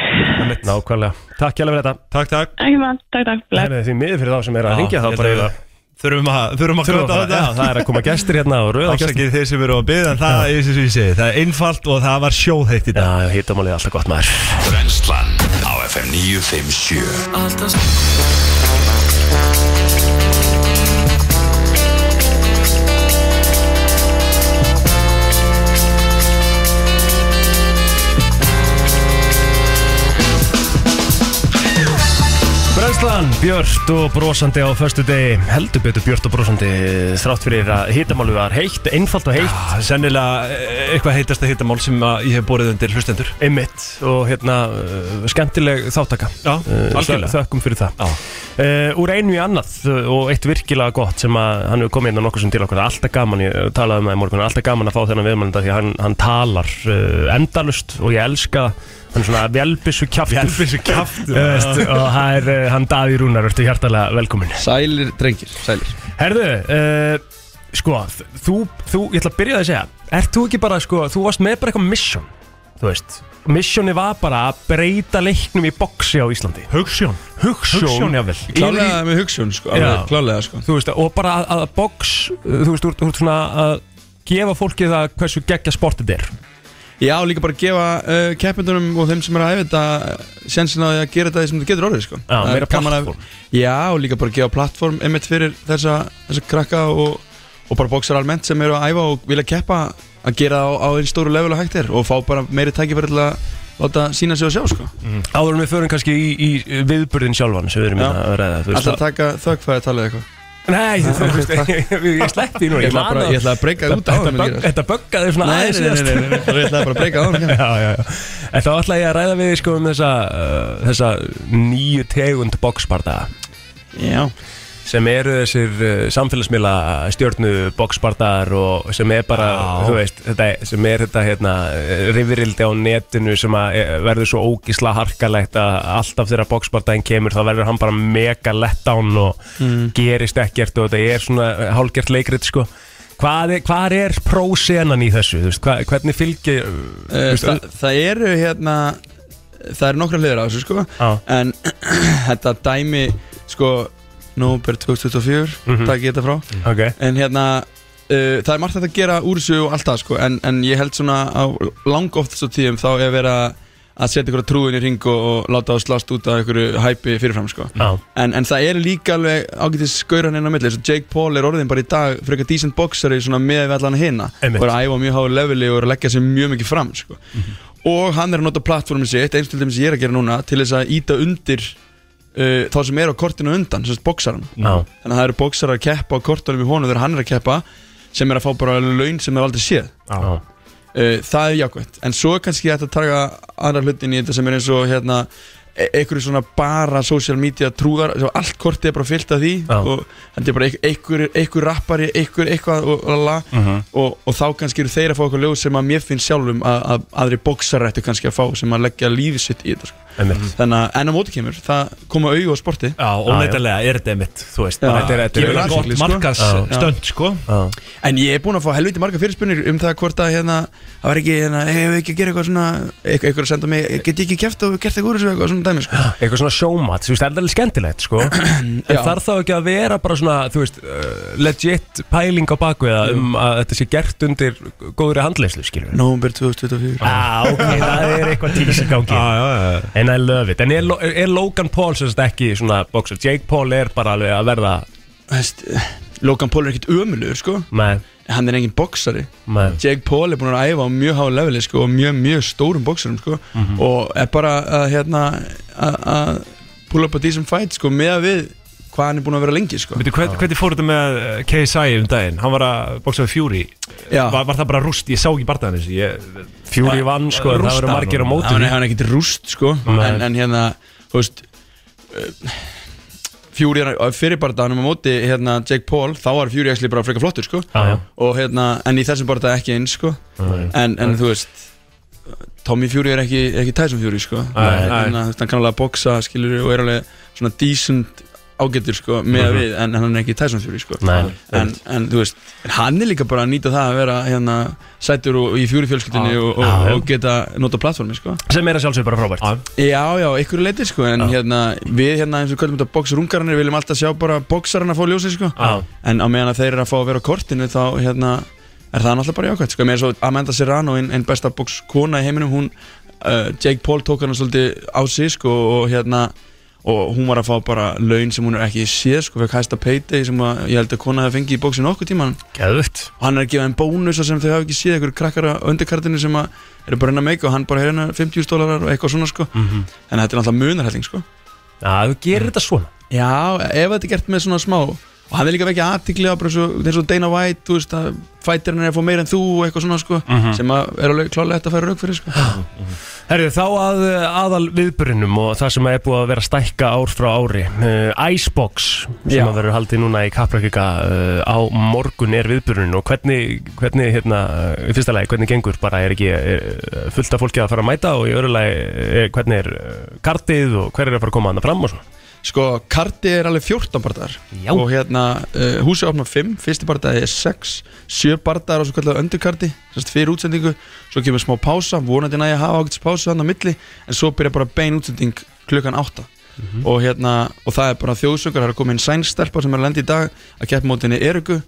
Nákvæmlega. Takk hjálpa fyrir þetta. Takk, takk. Ekki mann, takk, takk, bless. Nei, nei, því miður fyrir þá sem er að Já, hringja ég þá bara held að- Þurfum að, þurfum að Þurfum að- já, það er að koma gestir hérna og rauða gestir. Ásakið þeir sem eru að byggja, en það er eins og ég segi, það er einfalt og það var sjóðheitt í dag. Já, hittamálið er alltaf gott maður. Brennslan á FM 957 Alltaf Brennslan, Björn og brosandi á förstu degi, heldur betur Björn og brosandi þrátt fyrir að hittamálið var heitt, einfalt og heitt. Já, sennilega eh, eitthvað heitast að hittamál sem að ég hef borðið undir hlustendur Einmitt og hérna uh, skemmtileg þáttaka Já, algjörlega. Eh, Þökkum fyrir það uh, Úr einu í annað uh, og eitt virkilega gott sem að hann hefur komið inn á nokkuð sem til okkur alltaf gaman, ég uh, talaði um það í morgun alltaf gaman að fá þennan viðmælenda því að hann, hann talar uh, endalust og ég elska það. hann er svona velbissu kjaftur Vélbyssu kjaftur. [LAUGHS] og það er uh, hann Daví Rúnar, ertu hjartalega velkomin Sælir drengir, sælir Herðu, uh, sko þú, þú, ég ætla að byrja að segja Ert þú ekki bara, sko, þú varst með bara eitthvað mission Þú veist Missioni var bara að breyta leiknum í boksi á Íslandi Hugsjón Hugsjón, Hugsjón, jafnvel Klárlega með hugsjón, sko, alveg, Já. klárlega, sko. Þú veist, og bara að, að boks uh, Þú veist, þú ert- þú ert svona að gefa fólki það hversu geggja sportið er Já, og líka bara að gefa uh, keppindunum og þeim sem eru að æfa þetta Sjensin á því að gera þetta því sem þetta getur orðið sko. Já, Það er meira gaman að- platform. Já, og líka bara að gefa plattform einmitt fyrir þessa, þessa krakka og, og bara bóksar almennt sem eru að æfa og vilja keppa að gera það á, á einn stóru level og hægt er og fá bara meiri tækifæri til að láta sína sig og sjá sko. Mhm. Áður en við förum kannski í, í viðburðin sjálfan sem við erum Já. hérna að ræða þú veist, Alltaf að taka þögfæði að tala eitthvað Nei, [LAUGHS] þú þú veist, ég, ég sleppti því nú Ég ætla man bara- að- ég ætla að breika það út á Þetta honum, bögg- ég- Þetta böggaði svona Nei, aðeins nei, nei, síðast. nei, nei, nei, bara ég ætlaði bara að breika það á [LAUGHS] honum, Já, já, já En þá ætla ég að ræða við sko um þessa, uh, þessa nýju tegund boxbardaga Já sem eru þessir uh, samfélagsmiðla stjórnu boxbardagar og sem er bara, þú veist, þetta, sem er þetta hérna, eh, rifirildi á netinu sem að eh, verður svo ógísla harkalegt að alltaf þegar boxbardaginn kemur þá verður hann bara mega letdown og Mm. gerist ekkert og þetta er svona eh, hálfgert leikrit sko Hvað er, hvað er prósenan í þessu? Þú Veist, hvað, hvernig fylgir... Eh, það, það eru hérna það eru nokkra hliður á þessu sko en [CLEARS THROAT] þetta dæmi sko Nóber 2024 Mhm. takk ég þetta frá Ok. en hérna uh, það er margt hægt að gera úr þessu og allt það sko en, en ég held svona á lang oftast á tíum þá er verið að að setja ykkur trúin í ring og, og láta það slást út af ykkur hæpi fyrirfram sko Já. en, en það er líka alveg ágætis skauran inn á milli þess að Jake Paul er orðin bara í dag fyrir eitthvað decent boxari svona með við allan hina Einmitt. og er að æfa á mjög háu leveli og er að leggja sér mjög mikið fram sko. og hann er að nota plattformið sitt eins til þeim sem ég er að gera núna til þess að íta undir uh, þá sem er á kortinu á undan sem sagt boxaran Já. þannig að það eru boxarar að keppa á kortunum í honum þegar hann er að keppa sem er að fá bara laun sem er aldrei séð Já. uh, það er jákvæmt en svo er kannski hægt að taka aðra hlutin í þetta sem er eins og hérna e- einhverju svona bara social media trúðar svo allt kortið er bara fyllt af því Já. og þetta er bara einhver- einhver, einhver rappari einhver eitthvað og lala Mhm. og, og þá kannski eru þeir að fá eitthvað ljóð sem að mér finnst sjálfum að, að aðri bóksar ættu kannski að fá sem að leggja lífið sitt í þetta sko. Einmitt. þannig að enn á móti kemur það koma auðu á sporti Já, óneitanlega er þetta einmitt, þú veist, Já. bara þetta er- þetta er Gefur gott athygli, sko. markaðsstönd, Já. sko. Já. En ég er búinn að fá helviti marga fyrirspunir um það hvort að hérna, það var ekki, hérna, hefur við ekki að gera eitthvað svona, eitthvað, eitthvað að senda mig, get ég ekki kæft og gert eitthvað úr þessu eitthvað svona dæmi, sko. eitthvað svona sjómat, þú veist, það er alveg skemmtilegt sko. en Já. þarf þá ekki að vera bara svona, þú veist, uh, legit pæling á bakveða um að þetta sé gert undir góðri handleyslu, skilur við Nómber 2024 Já, ok, það er eitthvað tílis í gangi En I love it En er, Lo- er Logan Paul sem sagt ekki svona boxer? Jake Paul er bara alveg að verða Þess, Logan Paul er ekkit ömulugur, sko. Nei Hann er engin boksari. Nei. Jake Paul er búinn að æfa á mjög háu leveli, sko, og mjög, mjög stórum boksarum, sko. Mhm. Og er bara að, hérna, að- að pull up a decent fight, sko, með að við hvað hann er búinn að vera lengi, sko. Veitu, hvern, hvernig fór þetta með eh, KSI um daginn? Hann var að bóksa við Fury var, var það bara rúst? Ég sá ekki barðan þessu ég, Fury vann, sko, en það rústaði voru margir á honum. móti hann er, hann er ekkert rúst sko Nei. en, en hérna, þú veist uh, Fury er eh, fyrir barðanum á móti hérna Jake Paul þá var Fury actually bara frekar flottur sko Já, já. og hérna, en í þessum barða ekki eins sko Nei. en, en þú veist Tommy Fury er ekki, ekki Tyson Fury sko Nei, nei. Þannig að hann kann alveg að boksa skilur og er alveg svona decent ágættur sko með Mhm. við en hann er ekki Tyson Fury sko Nei, en, en þú veist, en hann er líka bara að nýta það að vera hérna sætur og, og í Fury fjölskyldinni Já. og, og, Já, já. og geta nota plattformi sko Sem er að sjálfsögur bara frábært Já, já, ykkur leiti sko En hérna, við hérna eins og kvöldum þetta bóksrungarnir Viljum alltaf sjá bara bóksarana að fá ljósið sko Já. En á meðan að þeir eru að fá að vera á kortinu Þá hérna, er það náttúrulega bara jákvæmt sko Mér er svo Amanda Serrano, ein, ein besta bókskona í heiminum Hún, uh, Jake Paul tók hana svolítið á sig sko Og hérna, og hún var að fá bara laun sem hún er ekki séð sko Fekk hæsta payday sem að, ég held að kona hefði fengið í bóksinu okkur tíman Geðvögt og hann er að gefa þeim bónusa sem þau hafa ekki séð einhverju krakkar á undirkartinu sem að eru bara hennar meika og hann bara hefur hennar 50 dólarar og eitthvað svona sko Mhm. en þetta er náttúrulega munarhelling sko Já, þú gerir þetta svona Já, ef þetta er gert með svona smá og hann er líka vekja aðtikli á bara svo, eins og Dana White, þú veist að fætirinn er að fá meira en þú og eitthvað svona sko Mhm. sem að er alveg klálega hægt að færa rauk fyrir sko Herðu, þá að uh, aðal viðburinnum og það sem er búið að vera að stækka ár frá ári uh, Icebox sem Já. að verður haldið núna í Kaplakika uh, á morgun er viðburinn og hvernig, hvernig hérna, uh, í fyrsta lagi, hvernig gengur bara er ekki er, uh, fullt af fólki að fara að mæta og í öðru lagi, er, hvernig er uh, kartið og hver er að fara að koma hana fram og svona Sko, karti er alveg 14 barðar Já. og hérna, uh, húsið opnar 5 fyrsti barðar er 6, 7 barðar og svo kallar öndurkarti, sérst fyrir útsendingu svo kemur smá pása, vonandi næja að hafa ágætis pásu hann á milli, en svo byrja bara bein útsending klukkan 8 Mhm. og hérna, og það er bara þjóðsöngar það er komin sænstelpa sem er að lenda í dag að kepp mótinni Eriku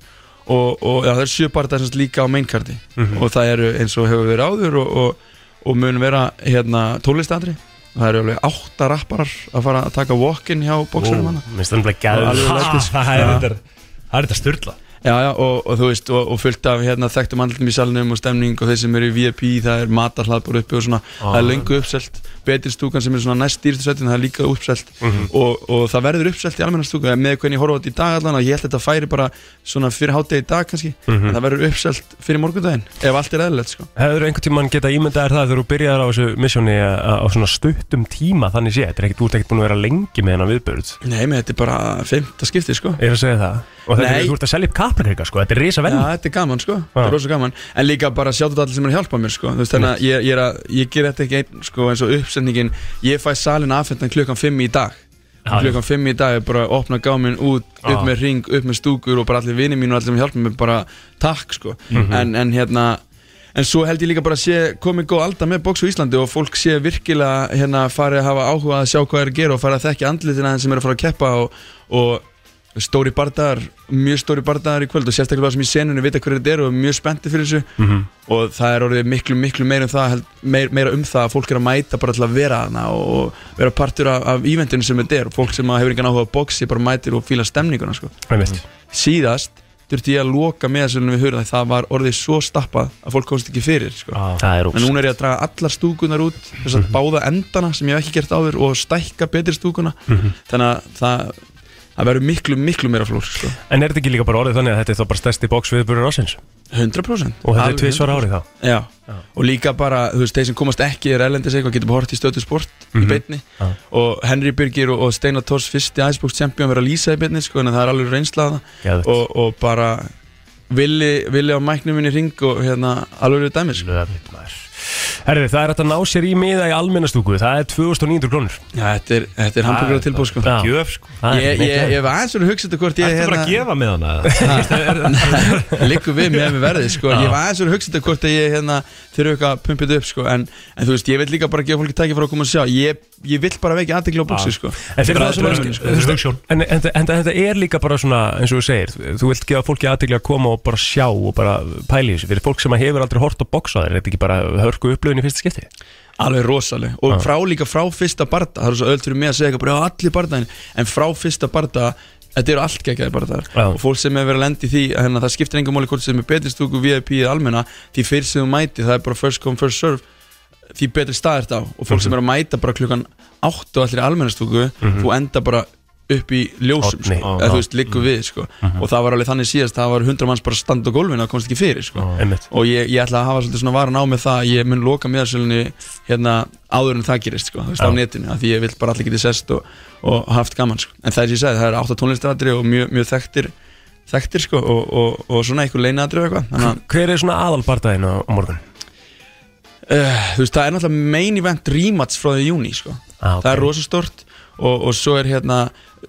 og, og ja, það er 7 barðar sérst líka á mainkarti Mhm. og það eru eins og hefur verið áður og, og, og mun vera hérna, tólistandri það eru alveg 8 rapparar að fara að taka walk-in hjá bóksurum hana minnst þannig að geða Alveg [LAUGHS] lætis. Það er Já. þetta Það er þetta styrla Já, já, og, og þú veist, og, og fullt af hérna, þekktum andlutum í salnum og stemning og þeir sem eru í VIP, það er matarhlaðbúr uppi og svona, Ah. það er löngu uppselt betur stúkan sem er svona næst dýrstu sætin, það er líka uppselt Mhm. og, og það verður uppselt í almenna stúka með hvernig ég horfa á þetta í dag allan og ég held að þetta færi bara svona fyrir hátegi í dag kannski Mhm. en það verður uppselt fyrir morgundaginn ef allt er eðlilegt, sko Hefur einhvern tímann geta ímyndaðir það þegar þú byrjar á þessu missjóni á svona stuttum tíma þannig sé, þetta er ekkert, þú ert ekkert búin að vera lengi með hennar viðburð Nei, með þetta er bara fymta skipti, sko Ég er að segja það Og þetta Nei. er, þú ert að selja upp kaplakrika sko, þetta er risa venn Já, þetta er gaman sko, þetta er rosa gaman En líka bara sjáttu þetta allir sem er að hjálpa mér sko Þú veist, Þannig að ég, ég, er að, ég ger þetta ekki einn sko, eins og uppsendingin Ég fæ salin afhentan klukkan 5 í dag Já, já. Klukkan 5 í dag er bara að opna gáminn út Já. Upp með ring, upp með stúkur Og bara allir vinir mín og allir sem hjálpa mér bara takk sko Mhm. en, en hérna En svo held ég líka bara að sé komið góð alda með bóks á Íslandi og fólk sé virkilega hérna farið að hafa áhuga að sjá hvað er að gera og farið að þekkja andlitina þeim sem eru að fara að keppa og, og stóri bardagar, mjög stóri bardagar í kvöld og sérstaklega það sem í senunni vita hverju þetta eru og mjög spenntið fyrir þessu Mhm. og það er orðið miklu, miklu meira um það, held, meir, meira um það að fólk er að mæta bara til að vera hana og vera partur af, af ívendinu sem þetta er og fólk sem að hefur engan áhuga á bóksi bara mætir og fíla stemninguna sko Einmitt. síðast þurfti ég að loka með þessu við höfum það, það var orðið svo stappað að fólk komst ekki fyrir sko. Það er en núna er ég að draga allar stúkunar út þess Mhm. að báða endana sem ég hef ekki gert áður og stækka betri stúkuna Mhm. þannig að það, það verður miklu, miklu meira flór sko. En er þetta ekki líka bara orðið þannig að þetta er þá bara stærsti bóks viðburður ásins? 100% Og þetta Alveg er tvisvar 100%. árið þá? Ah. Já. og líka bara, þú veist, þeir sem komast ekki er ellendis eitthvað, getur bara hort í stötu sport Mhm. í beinni Já. og Henry Birgir og, og Steinar Tors fyrsti Icebox champion verið að lýsa í beinni, sko, en það er alveg reynslaða Geðvegt. og, og bara villi, villi á mæknum minni ring og hérna, alveg dæmis sko. Herri, það er hægt að ná sér í miða í almennastúku, það er 2900 krónur Já, þetta er, þetta er hamburgur á tilbúð sko. Já. Gjöf, sko. Ég, ég, ég var aðeins verið að hugsa þetta hvort ég Ertu bara að gefa með hana [LAUGHS] Liggur við með mér verðið sko. Já. Ég var aðeins verið að hugsa þetta hvort að ég hérna, þurfa eitthvað að pumpa þetta upp sko. en, en þú veist, ég vil líka bara gefa fólki tæki fyrir að koma og sjá Ég, ég vil bara vekja aðtekla á bóksi sko. En fyrir það sem er- En en- en þetta er líka bara svona eins og þú segir, þú vilt gefa fólki aðtekli að koma og bara sjá og bara pæli í þessu fyrir fólk sem að hefur aldrei hort á bóksa þér, er þetta ekki bara hörku upplöfin í fyrsta skipti? Alveg rosaleg Og frá líka frá fyrsta barda Það er svo öll fyrir mig að segja eitthvað bara "Já, allir bardaðin En frá fyrsta barda Þetta eru allt geggjaði bardaðar Og fólk sem hefur verið að lenda í því hérna, Það skiptir engum máli hvort sem er betri stúku VIP eða almenna Því fyrr sem þú mæti það er bara first come first serve Því betri stað er þetta á Og fólk sem er að mæta bara klukkan 8 og allir í almenna stúku Mhm. Þú enda bara upp í ljósum Árni, sko, á, eða á. þú veist, liggum við sko. Mhm. og það var alveg þannig síðast, það var hundra manns bara að standa á gólfinu og komst ekki fyrir sko. Einmitt. og ég, ég ætla að hafa svolítið svona varan á með það að ég mun loka miðarsölunni hérna áður en það gerist sko, þú veist, Já. á netinu, af því ég vil bara allir getið sest og, og haft gaman sko. en það er sem ég sagði, það er átta tónlistadri og mjög, mjög þekktir þekktir sko, og, og, og svona einhver leinadri og eitthvað, þannig að Hver er svona aðalbardaðin á á morgun? uh, þú veist, það er náttúrulega main event rematch frá því í júni, sko Ah, ok. það er rosa stort og, og svo er hérna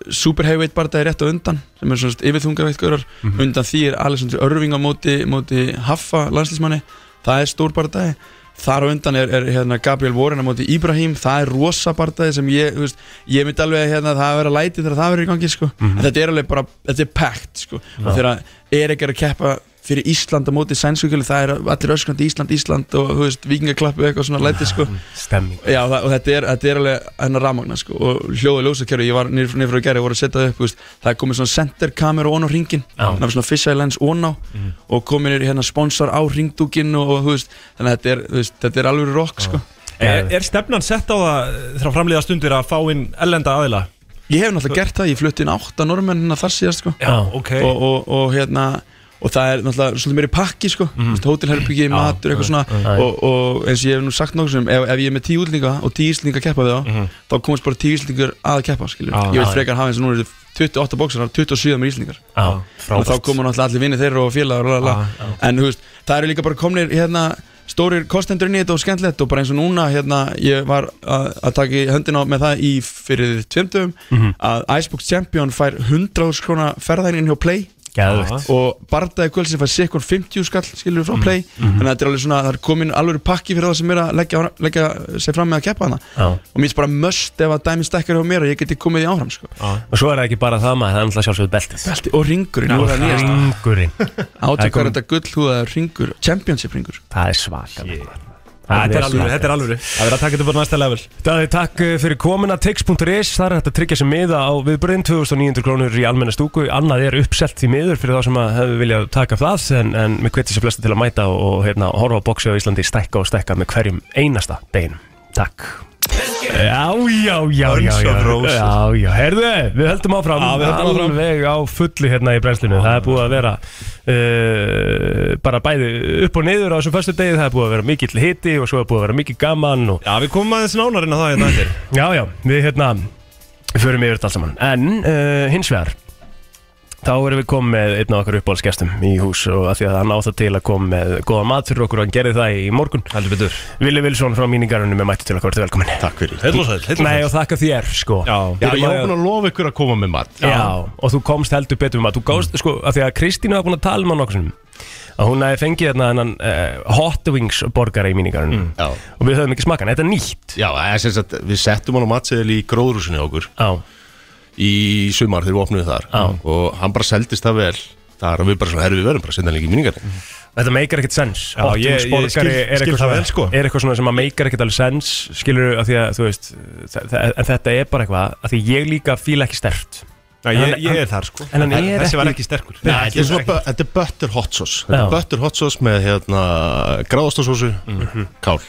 super heavyweight barndagi rétt á undan sem er svona yfirþungarveittgörar mm Mhm. undan því er Alessandri Örving á móti, móti Haffa landslísmanni, það er stór barndagi þar á undan er, er hérna, Gabriel Warren á móti Ibrahim, það er rosa barndagi sem ég, þú veist, ég myndi alveg að hérna, það vera læti þegar það verður í gangi sko. Mhm. en þetta er alveg bara, þetta er packed sko. og Já. þegar Erik er að keppa fyrir Ísland á móti sænsvíkjölu, það er allir öskrandi Ísland, Ísland og þú veist, vikingaklappu eitthvað svona læti sko. Stemming Já, það, og þetta er, þetta er alveg hennar rafmagna sko, og hljóðu ljósakerfi, ég var niður niður frá í gerði, voru að setja það upp, þú veist, það er komið svona senderkamera ón á ringin, Já. náttúrulega svona fisheye lens ón á Mhm. og komin er hérna sponsor á ringdúkin og, og þú veist, þannig að þetta er, þú veist, þetta er alveg rock sko. Er, er stefnan sett á það þrjá framlíða stundir að fá inn ellenda aðila? Ég hef náttúrulega gert það, ég flutti inn átta normenn hérna þar síðast sko. Já, ok. og, og, og hérna og það er náttúrulega svolítið meiri pakki sko Mhm. mm. hótelherbyggi, Já, matur, eitthvað svona já, já. og, og eins og ég hef nú sagt nokkuð sem ef, ef ég er með tíu útlendinga og tíu íslendinga að keppa við þá þá komast bara tíu íslendingar að keppa skilur Mhm. Já, ég vil já, frekar hafa eins og nú eru 28 bóksarar 27 með íslendingar Já, og þá koma náttúrulega allir vinni þeirra og félagar og la, la, la. Já, en þú veist, það eru líka bara komnir hérna stórir kostendur inn í þetta og skemmtilegt og bara eins og núna hérna ég var að að taka í höndina á- með það í fyrir tveimtum Mhm. að Icebox Champion fær 100.000 krona ferðænin hjá Play Geðveikt. og bardaði kvöld sem fær sikkur 50 skall skilur frá Mhm. Play Mhm. þannig að þetta er alveg svona, það er komin alveg pakki fyrir það sem er að leggja, leggja sig fram með að keppa hana Já. og mér finnst bara möst ef að dæmi stekkar hjá mér og ég geti komið í áfram sko. Og svo er það ekki bara það maður, það er alltaf sjálfsögð beltið Beltið og ringurinn, nú Og er það nýjasta. ringurinn átökar þetta gullhúða ringur championship ringur Það er svakar Þetta er alvöru, þetta er alvöru Það verður að taka þetta bara næsta level Daði, takk eh, fyrir komuna tix.is Það er hægt að tryggja sem miða á viðbrinn 2900 krónur í almenna stúku Annað er uppselt í miður fyrir þá sem að hefðu viljað taka það En, en mér hveti sér flesta til að mæta og, og hérna, horfa á boxi á Íslandi stækka og stækka með hverjum einasta deginum Takk Já, já, já, já, Guns já, of Roses. já, já, herðu, við höldum áfram, Já, við höldum áfram. alveg á fullu hérna í brennslinu, það er búið að vera uh, bara bæði upp og niður á þessum föstu degi, það er búið að vera mikill hiti og svo er búið að vera mikill gaman og... Já, við komum aðeins nánar inn á það hérna eftir Já, já, við hérna, við förum yfir þetta allt saman, en uh, hins vegar, þá erum við komið með einn af okkur uppáhaldsgestum í hús og að því að hann á það til að koma með góða mat fyrir okkur og hann gerði það í morgun Heldur betur Vili Vilsson frá míningarunum er mættu til okkur, velkomin Takk fyrir Heill og sæll, heill og Nei sæll. og þakka þér sko Já, Já, ég var búin að lofa ykkur að koma með mat Já, og þú komst heldur betur um að þú gást, sko, að því að Kristín var búin að tala um hann okkur sinnum að hún hefði fengið þarna þennan uh, Hot Wings borgara í míningarunum Mm. Já. og við höfum ekki smakkan, þetta er nýtt Já, það er sem sagt, við settum hann á matseðil í gróðrúsinu hjá okkur Já. Í sumar þegar við opnum þar Já. Og hann bara seldist það vel Þar að við bara svona herfið verðum bara að senda hann líka í minningar Þetta meikar ekkert sens Já, Hot ég- Wings ég skil- borgari er, skil eitthvað það svona, vel, sko. er eitthvað svona sem að meikar ekkert alveg sens skilur að því að þú veist þa- þa- en þetta er bara eitthvað að því ég líka fíla ekki stert Já, ég- ég er þar, sko. En hann En er þessi var ekki sterkur. Nei, þetta er svona, bu- þetta er butter hot sauce Þetta Já. er butter hot sauce með hérna gráðastasósu, kál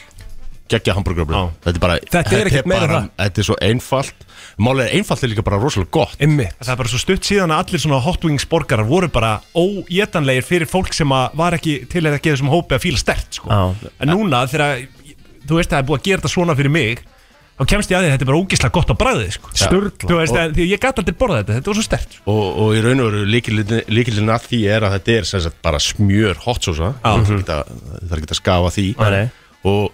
geggja hambúrgarblöð Þetta er bara Mhm. Þetta er ekkert meira en bara- það. Þetta er svo einfalt Málið er einfalt er líka bara rosalega gott Einmitt Það er bara svo stutt síðan að allir svona hot wings borgarar voru bara óétanlegir fyrir fólk sem að var ekki til að gefa þessum hópi að fíla stert sko. Já. En núna þegar þú veist að það er búið að gera þetta svona fyrir mig þá kemst ég að því að þetta er bara ógislega gott á bræði sko. Sturla. Þú veist að því að ég gæti aldrei borða þetta, þetta var svo sko. stert og, og í raun og veru líkilinn líkilinn að því er að þetta er sem sagt bara smjör hot sauce það er ekki að- það er ekki að skafa því Mhm. Nei. og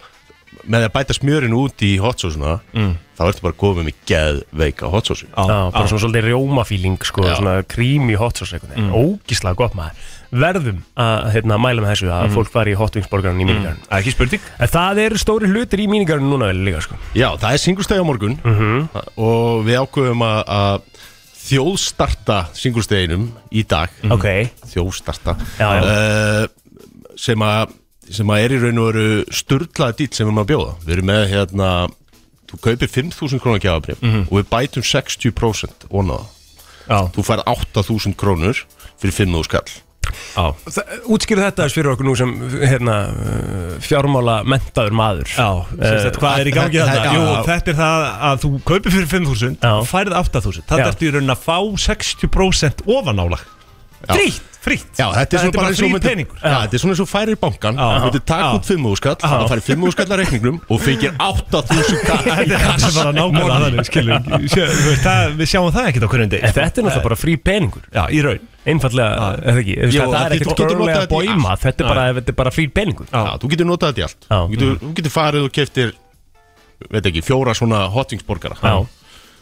með því að bæta smjörin út í hot sauce Mm. þá ertu bara komið með geðveika hot sauce Já, bara svona svolítið rjómafíling sko, Já. svona krími hot sauce einhvern veginn, ógíslega gott maður verðum að hérna, mæla með þessu að Mm. fólk fari í hot wings borgarinn í míningarinn mm. ekki spurning en það eru stóri hlutir í míningarinn núna vel líka sko. Já, það er singulstegi á morgun Mhm. og við ákveðum að, að þjóðstarta singulsteginum í dag okay. þjóðstarta Mhm. Já, já. Eh, sem, að, sem að er í raun og veru sturlaða dýl sem við erum að bjóða við erum með hérna þú kaupir 5.000 krónar gjafabrif og við bætum 60% ónaða Mhm. Já. þú fær 8.000 krónur fyrir 5.000 skall Já. útskýru þetta aðeins fyrir okkur nú sem hérna, uh, fjármála mentaður maður Eh, Já, Sem sagt, hvað er í gangi þarna? Jú, þetta er það að þú kaupir fyrir 5.000 og færið 8.000 Já. Þetta ertu í raunin að fá 60% ofanálag Já. Grýtt! Frýtt? Já, þetta er Þetta er svona bara bara eins og frír myndir- peningur. Já, þetta er svona eins og færir bankan Já. Þú myndir taka Já. út 5 úrskall Já. Það færi 5 úrskall að reikningnum Og fengir [LAUGHS] 8000 [LAUGHS] kall í Það er bara nákvæmlega þannig, skilur [LAUGHS] Sjö- þú veist, það- Við sjáum það ekkert á hverjum deg Þetta er náttúrulega bara frí peningur Já, í raun Einfallega, eða ekki Þú veist, Jú, Það er það ekkert getur- getur notað görlega þetta í bóima allt. Þetta er Já. bara, þetta er bara frí peningur Já, þú getur notað þetta í allt Þú getur, þú getur farið og keftir Veit ekki, fjóra svona hotvingsborgara Já.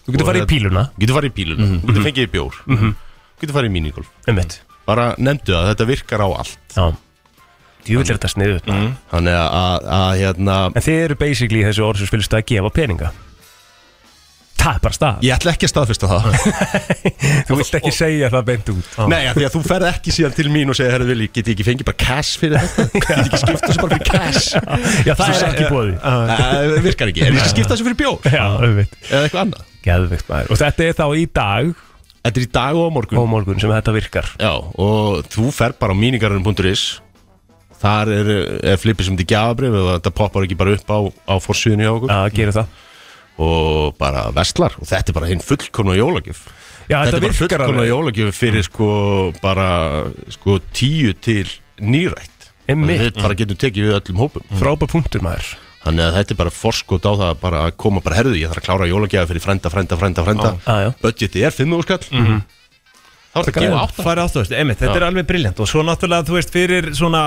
Þú getur Og farið í þetta- píluna. Þú getur farið í píluna Þú getur fengið í bjór Mhm. Þú getur farið í minigolf Einmitt. Bara nefndu það, þetta virkar á allt Mhm. Já Djúvill er þetta sniðut Þannig að- að, að hérna En þið eru basically í þessu orð sem spilist að gefa peninga Það er bara stað Ég ætla ekki að staðfesta það [LAUGHS] Þú vilt ekki segja það beint út Nei, af því að þú ferð ekki síðan til mín og segir Herra Vili, get ég ekki fengið bara cash fyrir þetta? Get ég ekki skipta þessu bara fyrir cash? [LAUGHS] Já, það Svo er ekki sagði- bóði Nei, Það virkar ekki, en ég skal skipta þessu fyrir bjór Já, auðvitað Eða eitthvað annað Geðvikt maður Og þetta er þá í dag Þetta er í dag og á morgun Og morgun sem þetta virkar Já, og þú ferð bara á míningarinn.is Þar er, er flippið sem til gjafabrif og þetta poppar ekki bara upp á, á forsýðinu hjá okkur Já, gerir það Og bara vestlar og þetta er bara hinn fullkona jólagjöf Já, þetta er bara virkar fullkona alveg. jólagjöf fyrir sko bara sko tíu til nýrætt Einmitt. Mm. Við bara getum tekið við öllum hópum Frábær punktur maður Þannig að þetta er bara forskot á það bara að koma bara herðu, ég þarf að klára jólagjöf fyrir frenda, frenda, frenda, frenda ah, Budgeti er 5 úrskall Mhm. Þá er þetta að gefa 8 Færi áttu, veist, einmitt, þetta Já. er alveg briljant Og svo náttúrulega, þú veist, fyrir svona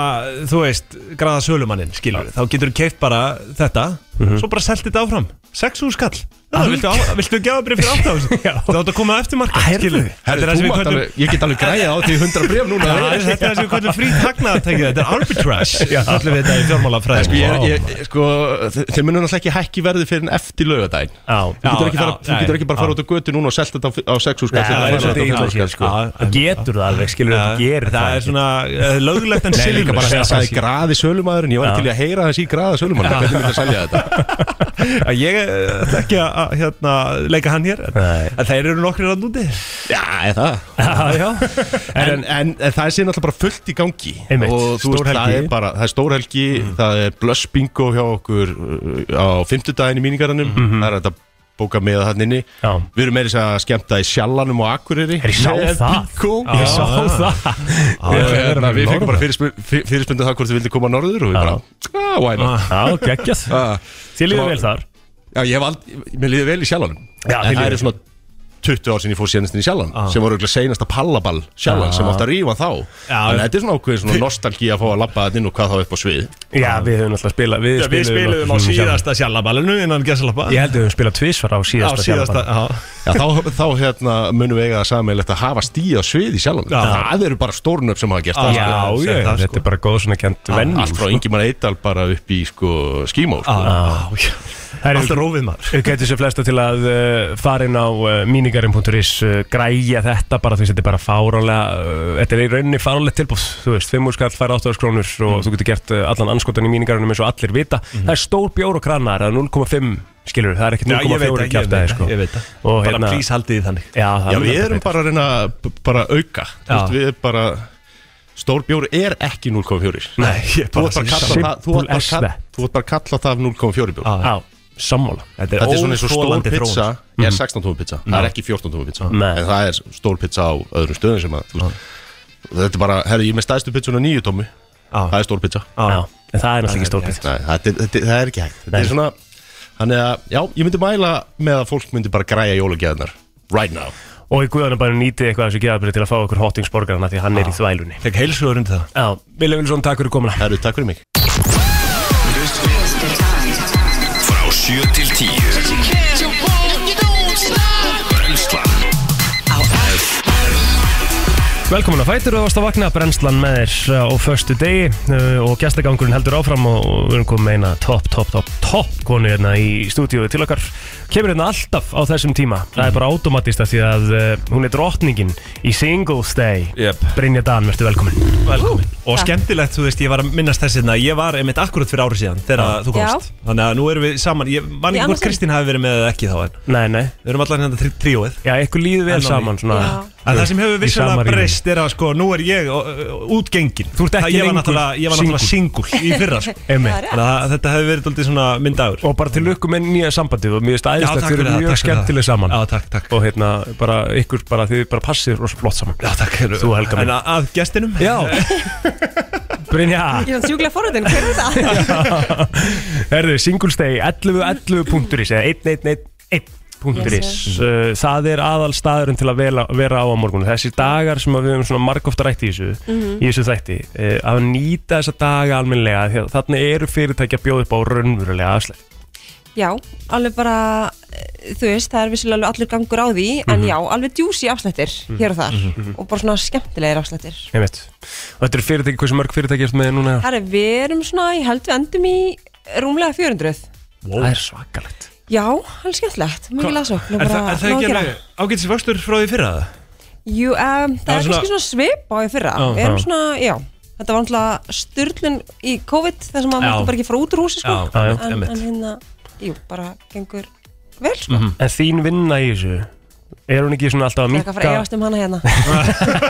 Þú veist, graða sölumanninn, skilur Þá getur þú keift bara þetta Mhm. Svo bara selt þetta áfram, 6 úr skall Já, viltu, á- viltu gefa brif fyrir 8 [LAUGHS] ára Þú átt að koma á eftirmarka, skilur Herðu, Þetta er það þú sem við mátt köllum alveg- ég get alveg græjað á því 100 bréf núna. Já, Þetta er það sem við köllum frýt hagnaðartækið Þetta er arbitrage, Já. köllum við þetta í Nei, sko, fjármálafræði ég, ég, sko, þe- þeir munum náttúrulega ekki hækki verði fyrir en eftir laugadaginn Þú Já, getur ekki, fara, já, já, þú getur ekki bara já. fara út á götu núna og selta þetta á fi- á 6 úr skall Nei, það er svolítið illa séð, sko. Það getur það alveg, skilur við, það gerir það er svona Eh, löglegt en Nei, líka silfurlaust. bara þegar það sagði Já. graði sölumæðurinn Ég var Já. til í að heyra þess í graða sölumæðurinn Hvernig myndi að selja þetta? [LAUGHS] að ég eh, ætla ekki að- að hérna, leika hann hér en, en þeir eru nokkri rann úti Já, eða það Já, En, en, en, en það er sér náttúrulega bara fullt í gangi Einmitt, og þú veist, það stórhelgi. Mm. er bara það er stórhelgi, það er blöss bingo hjá okkur uh, á fimmtudaginn í míningarannum það er þetta bóka með hann inni Mhm. Já. við erum meira þess að skemmta í sjallanum og akkuriri Ég sá það Ég sá það Ég ætla að vera með Við fengum bara norðan. fyrirspurn- fyr- fyrirspurnu það hvort þið vildi koma norður og við bara, ah, why not Ah. Já, [LAUGHS] geggjað Þið líður vel þar Já, ég hef aldrei, mér líður vel í sjálfanum Já, þér En það líður eru vel. svona 20 ár sinni ég fór síðanistin í sjálfan Ah. sem voru auðvitað seinasta pallaball sjálfan Ah. sem átti að rífa þá Já. Þannig að þetta er svona ákveðin svona nostalgí að fá að labba þetta inn og hvað þá upp á svið Já, við höfum alltaf spilað Við, Já, við spiluðum á síðasta sjallaballinu innan gæsalappa Ég held við höfum spilað tvísvar á síðasta sjallaballinu Já, þá, þá hérna munum við eiga það sammeilegt að hafa stíð á svið í sjálfan Það eru bara stórnöf sem hafa gert Já, það, já, sko. já, Það, þetta er bara góð svona kent sko. venn Allt frá Ingimann Eidal bara upp í sko skímó sko. Alltaf rófið maður Við getum sér flesta til að uh, fara inn á uh, mínigarinn.is uh, græja þetta bara því að þetta er bara fárálega uh, þetta er í rauninni fárálegt tilbúð þú veist, 5 skall fær 8 krónur og Mhm. þú getur gert uh, allan anskotan í mínigarinnum eins og allir vita það er stór bjór og kranar, það er 0,5 skilur, það er ekkert Já, ég veit 0,4 það, ég kjátt veit aðeins það, sko. ég veit það. Og Bara please haldið þið þannig. Já, það Já, mun við alltaf erum breytast. bara að reyna að b- bara auka Þú veist, Já. Við erum bara Stór bjór er ekki 0,4 Nei, ég er bara Þú ert bara að svo kalla það- þú simple ert bara að as kalla- that. Þú ert bara að kalla það 0,4 bjór Já, sammála Þetta er, svona eins og stór óþolandi pizza þróun. er Mhm. 16 tómi pizza, Já. það er ekki 14 tómi pizza Nei. en það er stór pizza á öðrum stöðum sem að þú veist, þetta er bara, herri, ég er með stæðstu pizzuna 9 tómi það er stór pizza Já, en það er náttúrulega ekki stór pizza. Nei, þetta, er- þetta, það er ekki hægt þetta Nei. er svona, þannig að, já, ég myndi mæla með að fólk myndi bara græja jólagjæðnar right now og í guðanum bara nýtið eitthvað af þessu geðabrið til að fá okkur hottingsborgarna því hann er í þvælunni Fekk heilsugur undir það Já, Vilja Vilsson, takk fyrir komuna Herru, takk fyrir mig Frá 7 til 10 Brenslan á F Velkomin að fætur og varst að vakna brennslan með þér á föstu degi uh, og gæstegangurinn heldur áfram og og við erum komið með eina topp, topp, topp, topp konu hérna í stúdíu til okkar kemur hérna alltaf á þessum tíma það Mm. er bara automatist af því að uh, hún er drottningin í Singles Day Jep. Brynja Dan, verður velkomin Velkomin Og skemmtilegt, þú veist, ég var að minnast þessi hérna, Ég var einmitt akkurat fyrir ári síðan þegar þú komst Þannig að nú erum við saman Ég man Í ekki annað hvort sinn. Kristín hafi verið með eða ekki þá en Nei, nei Við erum allar hérna tríóið Já, ykkur líður vel saman, svona. Já, Já. En það sem Í hefur sama vissulega rými. breyst er að sko, nú er ég ó, ó, útgengin Þú ert ekki Ég var lengur náttúrulega, ég var náttúrulega singul í fyrra sko. [LAUGHS] Einmitt. Þannig að það- þetta hefur verið daldið svona myndagur Og bara til lukku með nýja sambandi og mér finnst Já, aðeins takk þau fyrir eru það, mjög takk fyrir skemmtileg saman Já, takk, takk Og hérna, bara ykkur, bara þið bara passir og flott saman Já, takk Þú helga En mig að, að gestinum Já [LAUGHS] Brynja Ég var sjúklega forðin, hver er það? Herðu, singulstegi 1111.is eða 1111.is Yes, uh, Það er aðal staðurinn til að vera, vera á á morgunu Þessir dagar sem að við höfum svona margóft rætt í þessu Mhm. í þessu þætti uh, að nýta þessa daga almennilega því að þarna eru fyrirtæki að bjóða upp á raunverulega afslætt [LAUGHS] Já, alveg bara, eh, þú veist, það er vissilega alveg allur gangur á því, en Mhm. já, alveg djúsi afslættir hér og þar Mhm. og bara svona skemmtilegir afslættir. Ég veit Og þetta eru fyrirtæki, hversu mörg fyrirtæki ertu með núna? Herri, við erum svona, ég held við endum í rúmlega 400. Wow. Það er svakalegt Já, alveg skemmtilegt, mikið lasokn og Er það, bara er það nóg að ekki gera. alveg ágætis vöxtur frá því fyrra það? Jú, um, það, Það er er kannski svona svip á í fyrra Já, Við erum já. svona, já Þetta var náttúrulega styrlun í COVID þar sem maður Já. mátti bara ekki fara út úr húsi sko. Já, já, en, einmitt. en hérna, jú, bara gengur vel sko. Mhm. En þín vinna í þessu Er hún ekki svona alltaf að Það er ekki að fara að minka eigast um hana [LAUGHS] hérna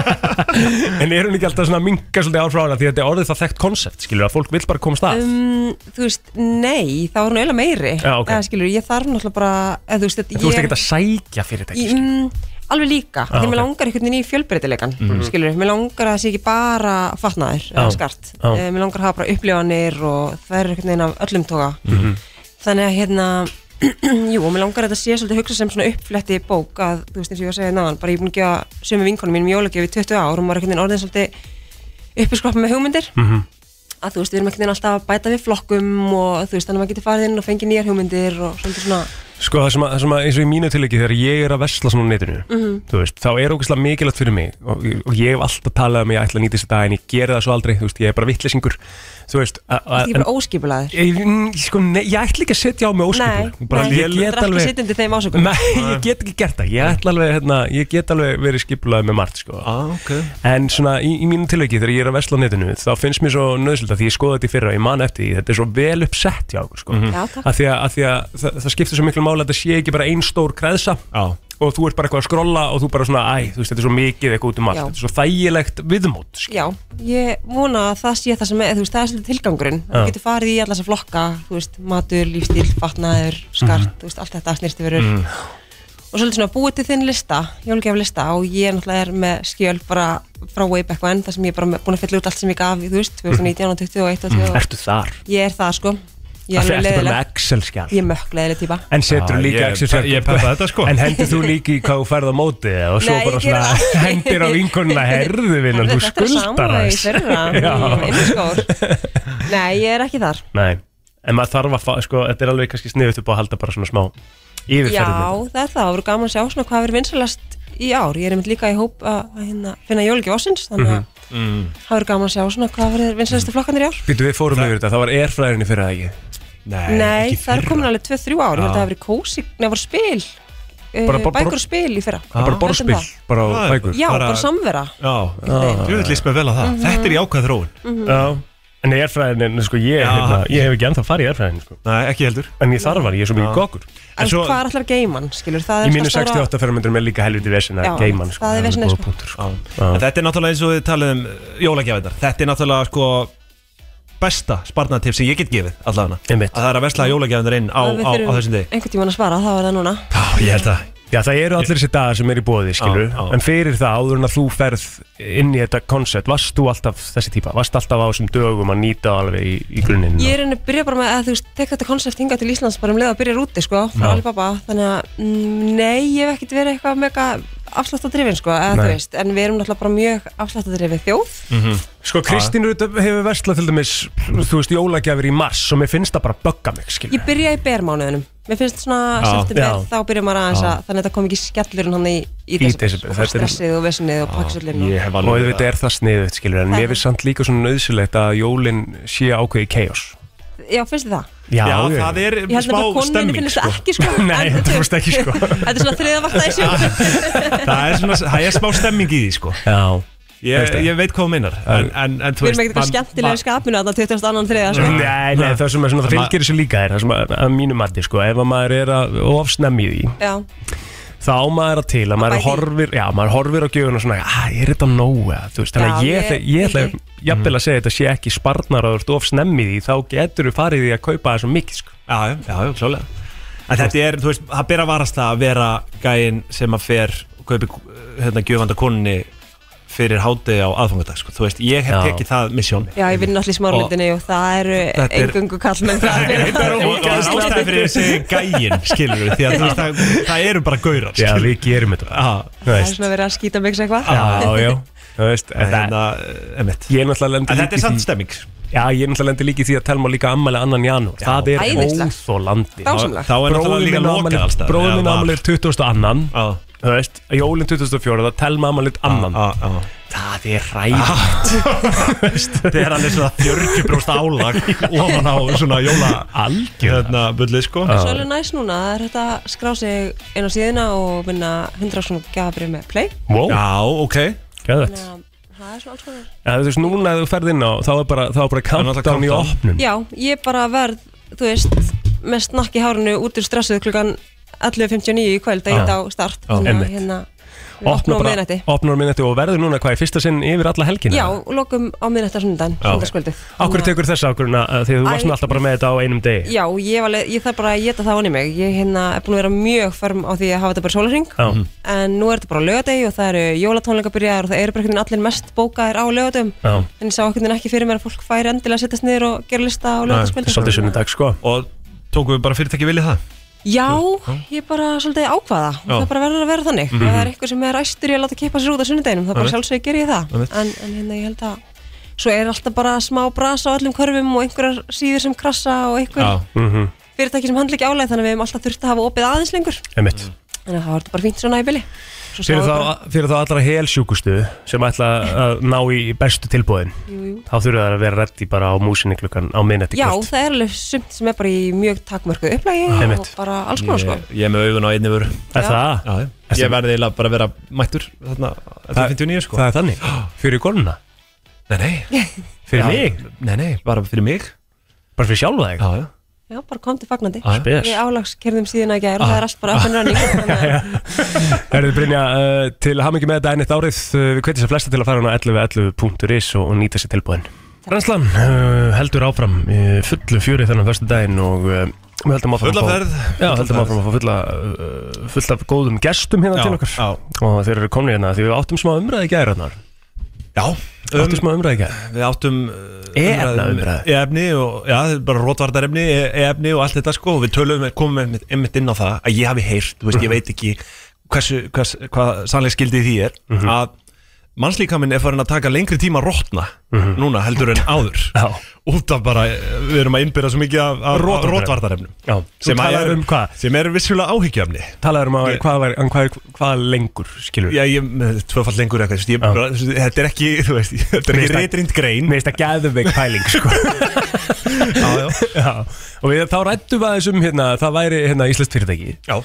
En er hún ekki alltaf svona að minka svolítið ár frá hana Því að þetta er orðið það þekkt konsept Skilur að fólk vil bara komast að um, Þú veist, nei, þá er hún eiginlega meiri Já, ok. Eða, skilur, Ég þarf náttúrulega bara eða, Þú veist, En Þú veist ekki að sækja fyrirtæki Ég, mm, alveg líka, Já, því mér Ah, ok. langar einhvern veginn í fjölbreytilegan Mhm. Ah, skilur, mér langar að það sé ekki bara fatnaður eða Já, skart, já. Eh, mér langar að hafa bara upplifanir og það er einhvern veginn af öllum toga Mhm. þannig að hérna [CLEARS THROAT] jú, og mér langar að þetta sé svolítið hugsa sem svona uppfletti bók að, þú veist eins og ég var að segja náðan bara ég er búin að gefa sömu vinkonum mínum jólagjöf í 20 ár og maður er einhvern veginn orðin svolítið uppiskroppa með hugmyndir Mhm. að þú veist, við erum einhvern veginn alltaf að bæta við flokkum og þú veist, þannig að maður getur farið inn og fengið nýjar hugmyndir og svolítið svona Sko það sem, að, það sem að eins og í mínu tiliki þegar ég er að vesla svona á netinu Mhm. þú veist, þá er ógeðslega mikilvægt fyrir mig og, og ég hef alltaf talað um að ég ætla að nýta þessi dag en ég geri það svo aldrei, þú veist, ég er bara vittlisingur þú veist a- a- Þú ert ekki bara óskipulaður? Ég, mm, sko, nei, ég ætla ekki að setja á mig óskipulaður Nei, Bara nei, ég þú get ert ekki alveg- sitjandi þeim ásökunum. Nei, ég get ekki gert það, ég ætla alveg, hérna, ég get alveg verið skipulaður með margt sko. ah, okay. En svona í, í mínu tiliki þegar ég er að vesla á netinu þá finnst mér svo nöðsölda því ég skoði þetta í fyrra og ég man eftir því, þetta er svo vel uppsett hjá okkur sko Mhm. Já, takk. að því að, að, því að það, það skiptir svo miklu máli að þetta sé ekki bara ein stór kreðsa Já. og þú ert bara eitthvað að skrolla og þú bara svona æ, þú veist, þetta er svo mikið eitthvað út um allt Já. þetta er svo þægilegt viðmót sko. Já, ég vona að það sé það sem er, þú veist, það er svolítið tilgangurinn Já. þú getur farið í alla þessa flokka, þú veist, matur, lífstíl, fatnaður, skart, Mhm. þú veist, allt þetta snirtifurur Mhm. og svolítið svona búið til þinn lista, jólgef lista og ég náttúrulega er með skjöl bara frá way back when, þar sem ég er bara með- búin að fylla út allt sem ég gaf, þú veist, 2019 og 2021 og 20 Mhm. Ertu þar? Ég er það, sko Ég er Það alveg ertu bara með leiðileg Excel-skjál Ég er mökk leiðileg típa En setur Já, líka ég- Excel-skjál ég peppa þetta, sko. En hendur þú líka í hvað þú færð á móti eða, og svo Nei, bara ég geri svona það. hendir á vinkonuna herðu vinnan, Þetta þú er skuldar samúræði í aðeins. fyrra, [LAUGHS] Já. í skór [LAUGHS] Nei, ég er ekki þar Nei, en maður þarf að fá, sko, þetta er alveg kannski sniðut upp á að halda bara svona smá yfirferðinu. Já, það er það, það voru gaman að sjá svona hvað verið vinsalast í ár, ég er einmitt líka í hóp að að hérna, finna jólugjöf ásins þannig að Mm. Mhm. það verið gaman að sjá svona hvað verið vinsalastu flokkanir í ár Býtu við fórum yfir þetta, það var erfræðinni fyrir það ekki? Nei, það er komin alveg 2-3 ár, ég held að Já. það hafi verið kósi, nefnir voru spil uh, Bara- bara- bækur og spil í fyrra Já, bara Heldur borðspil, það? bara á bækur. Já, Bara- bara samvera Já, Já. þú veist líst mér vel á það Mhm. Þetta er í ákvæð þróun Mhm. Já, en erfræðinni, sko, ég, hérna, ég hef ekki ennþá farið í erfræðinni, sko. Nei, ekki heldur. En ég þarf að, ég er svo mikið kokkur. En svo, hvað er alltaf geiman, skilur, það er Í það mínu stóra- 68 ferramendur með líka helviti vesina, Já, geiman, sko. það er vesenið, sko. Punktur, sko. En þetta er náttúrulega eins og við talið um jólagjafinnar Þetta er náttúrulega sko besta sparnatif sem ég get gefið allavega Einmitt. Að það er að vesla jólagjafinnar inn á, að við á, á þurfum þessum degi Einhvern tímann að svara, það var það núna Ég held það Já, það eru allir þessi dagar sem er í bóði, skilur Já, já. En fyrir það, áður en að þú ferð inn í þetta koncept Varst þú alltaf þessi típa? Varst alltaf á þessum dögum að nýta alveg í, í grunninn? Ég er henni að byrja bara með að þú veist, tek þetta konsept hingað til Íslands bara um leið að byrja rúti sko, frá Já. Alibaba, þannig að mm, nei, ég hef ekkert verið eitthvað mega afsláttadrifin sko, eða þú Nei. veist, en við erum náttúrulega bara mjög afsláttadrifin þjóð. Mhm. Sko, Kristín Rut hefur verslað til dæmis, þú veist, jólagjafir í mars og mér finnst það bara að bögga mig, skilur Ég byrja í bermánuðunum, mér finnst svona Já. september, Já. þá byrja maður aðeins Já. að, þannig að þetta kom ekki skellurinn hann í, í, Í í desember, þetta er- stressið og vesenið og pakksöllin og... Og auðvitað er það sniðut, skilur En Það. mér finnst samt líka svona nöðsilegt að jólin sé ákveði chaos Já, finnst þið það? Já, Já, ég- það er Ég held smá nefnilega að konunni stemming, finnist það ekki sko [LAUGHS] Nei, en þetta þú- fórst ekki, sko. [LAUGHS] Þetta er svona þriðavakta [LAUGHS] í sjálf Það er svona, það er smá stemming í því sko Já Ég, ég veit hvað hún meinar En, en, en þú Við erum ekkert eitthvað man- skemmtilega í skapinu að það 22. þriða sko. Nei, nei, það sem er svona, það fylgir þessu líka er, það sem að, að mínu mati, sko, ef að maður er að ofsnemmi því, Já, þá á maður að til að maður bæði. horfir, já, maður horfir á gjöfuna svona, að er þetta nógu eða, þú veist, þannig að Já, ég- ég, Mhm. ég, ég ætla jafnvel að segja þetta sé ekki sparnar og þú ert of snemmi í því, þá getur þú farið í því að kaupa það svo mikið, sko. Já, já, já, klálega. En þetta er, þú veist, það byrja að varast það að vera gæinn sem að fer og kaupi hérna gjöfanda konni fyrir hádegi á aðfangadag, sko. Þú veist, ég hef Já. tekið það misjón. Já, ég vinn allir í smárlindinni og það eru Þetta er- engungu kallmenn það Þetta er ástæði fyrir þessi gæinn, skilur við, því að þú veist, það, það eru bara gaurar, Já, skilur við gerum þetta. Já, [LAUGHS] þú Það er veist. svona verið að skýta mig eitthvað Já, já, þú veist En hérna, emitt Ég er náttúrulega lendi En líka þetta er í því- samt stemming. Já, ég er náttúrulega lendi líka í því að telma líka ammæli annan janúar Það er Æðislegt. óþólandi Dásamlegt. Þá- þá er náttúrulega líka lokað alls staðar, eða Bróðin minn var. ammæli er 22. Þú veist, jólinn 24. Það telma ammæli annan Það er ræðið Þetta er alveg svona 40% álag ofan á svona jóla Algjörlega. hérna, bullið sko Það er svolítið næst núna, það er þetta að skrá sig inn á síðuna og vinna 100 svona gafabrið með play Wow. Já, ok Gæðvett Það er svona alls konar Já, þú veist, núna ef þú ferð inn á Þá er bara, þá er bara countdown í countdown. opnun Já, ég bara verð, þú veist, með snakk í hárinu út úr stressuð klukkan 11.59 í kvöld að Já. ég á start Já. Þannig Einmitt. að hérna, við opnum á miðnætti opnar minnætti og verður núna hvað í fyrsta sinn yfir alla helgina Já, og lokum á miðnætti á sundan, Já. sundarskvöldið Akkur tekur þess ákvörðuna uh, því að þú varst Æ. nú alltaf bara með þetta á einum degi Já, ég, var, alveg- ég þarf bara að geta það onni mig Ég hérna, er búin að vera mjög förm á því að hafa þetta bara sólarring Já. En nú er þetta bara lögadegi og það eru jólatónleika byrjaðar og það eru bara einhvern veginn allir mest bókaðir á lögadum Já. En ég sá einhvern veginn ekki fyrir mér að fólk færi endilega að setjast niður og gera lista á Nei, lögadagskvöldi svolítið sunnudag. Dag sko Og tókum við bara fyrirtæki viljið það Já, ég bara svolítið ákvaða Já. Það bara verður að vera þannig Mhm. Ef það er eitthvað sem er æstur í að láta kippa sér út á sunnudeginum þá bara Einmitt. sjálfsög ger ég það Einmitt. en, en hérna ég held að Svo er alltaf bara smá bras á öllum körfum og einhverjar síður sem krassa og einhver Mhm. fyrirtæki sem handla ekki álæg þannig að við hefum alltaf þurft að hafa opið aðeins lengur Einmitt Mm. Þannig að það var þetta bara fínt svona í byli Svo sjáum Fyrir við bara- þá, fyrir þá allra helsjúkustu sem ætla að ná í bestu tilbúðin Jú, jú. þá þurfa það að vera reddi bara á músinni klukkan á minnætti Já, það er alveg sumt sem er bara í mjög takmörku upplagi og Ah, Einmitt. bara alls konar sko Ég er með augun á einni vöru Er það? Já, já. Ég verði eiginlega bara að vera mættur þarna Það- 59 sko það er [GASPS] þannig. Fyrir konuna? Nei, nei [LAUGHS] Fyrir Já, mig? Nei, nei, bara fyrir mig Bara fyrir sjálfa þig? Já, já Já, bara kom til fagnandi Já, já. Spes. Við álagskerðum síðan að gæra og Ah. það er allt bara up and running [LAUGHS] þannig að- Herðu Brynja, uh, til hamingi með þetta ennett árið uh, við hvetjum sér flesta til að fara hún á 11.11.is og, og nýta sér tilbúðin Renslan uh, heldur áfram uh, fullu fjöri þennan förstu daginn og uh, við höldum áfram Fulla að fá- ferð. Já, Fulla höldum ferð. áfram að fá fulla, uh, fullt af góðum gestum hérna Já, til okkar já. og þeir eru komni hérna því við áttum smá umræði gæri hérna Já um- Áttum smá umræði gæri Við áttum uh, um E-efnaumræðu. E-efni og, já, það er bara rótvardarefni E-efni og allt þetta sko og við tölum, komum einmitt, einmitt inn á það að ég hafi heyrt, þú Mhm. veist, ég veit ekki hversu, hvers, hvað sannlega skildið því er Mhm. að mannslíkaminn er farin að taka lengri tíma að rótna Mhm. núna heldur en áður já. út af bara, eh, við erum að innbyrja svo mikið af, af Rotvardarefnum. rótvardarefnum Já. Þú sem, talar er- um hvað? sem er vissulega áhyggjöfni Talaður um að hvað, var, um hvað, hvað lengur skilur Já, ég, tvöfall lengur eitthvað, þú veist, ég bara, þú veist, þetta er ekki, þú veist, Mér þetta er ekki finnst það- reytrind grein Mér finnst það gæðumveik pæling, sko [LAUGHS] Já, já Og við, þá rættum við aðeins um, hérna, það væri hérna íslenskt fyrirtæki Já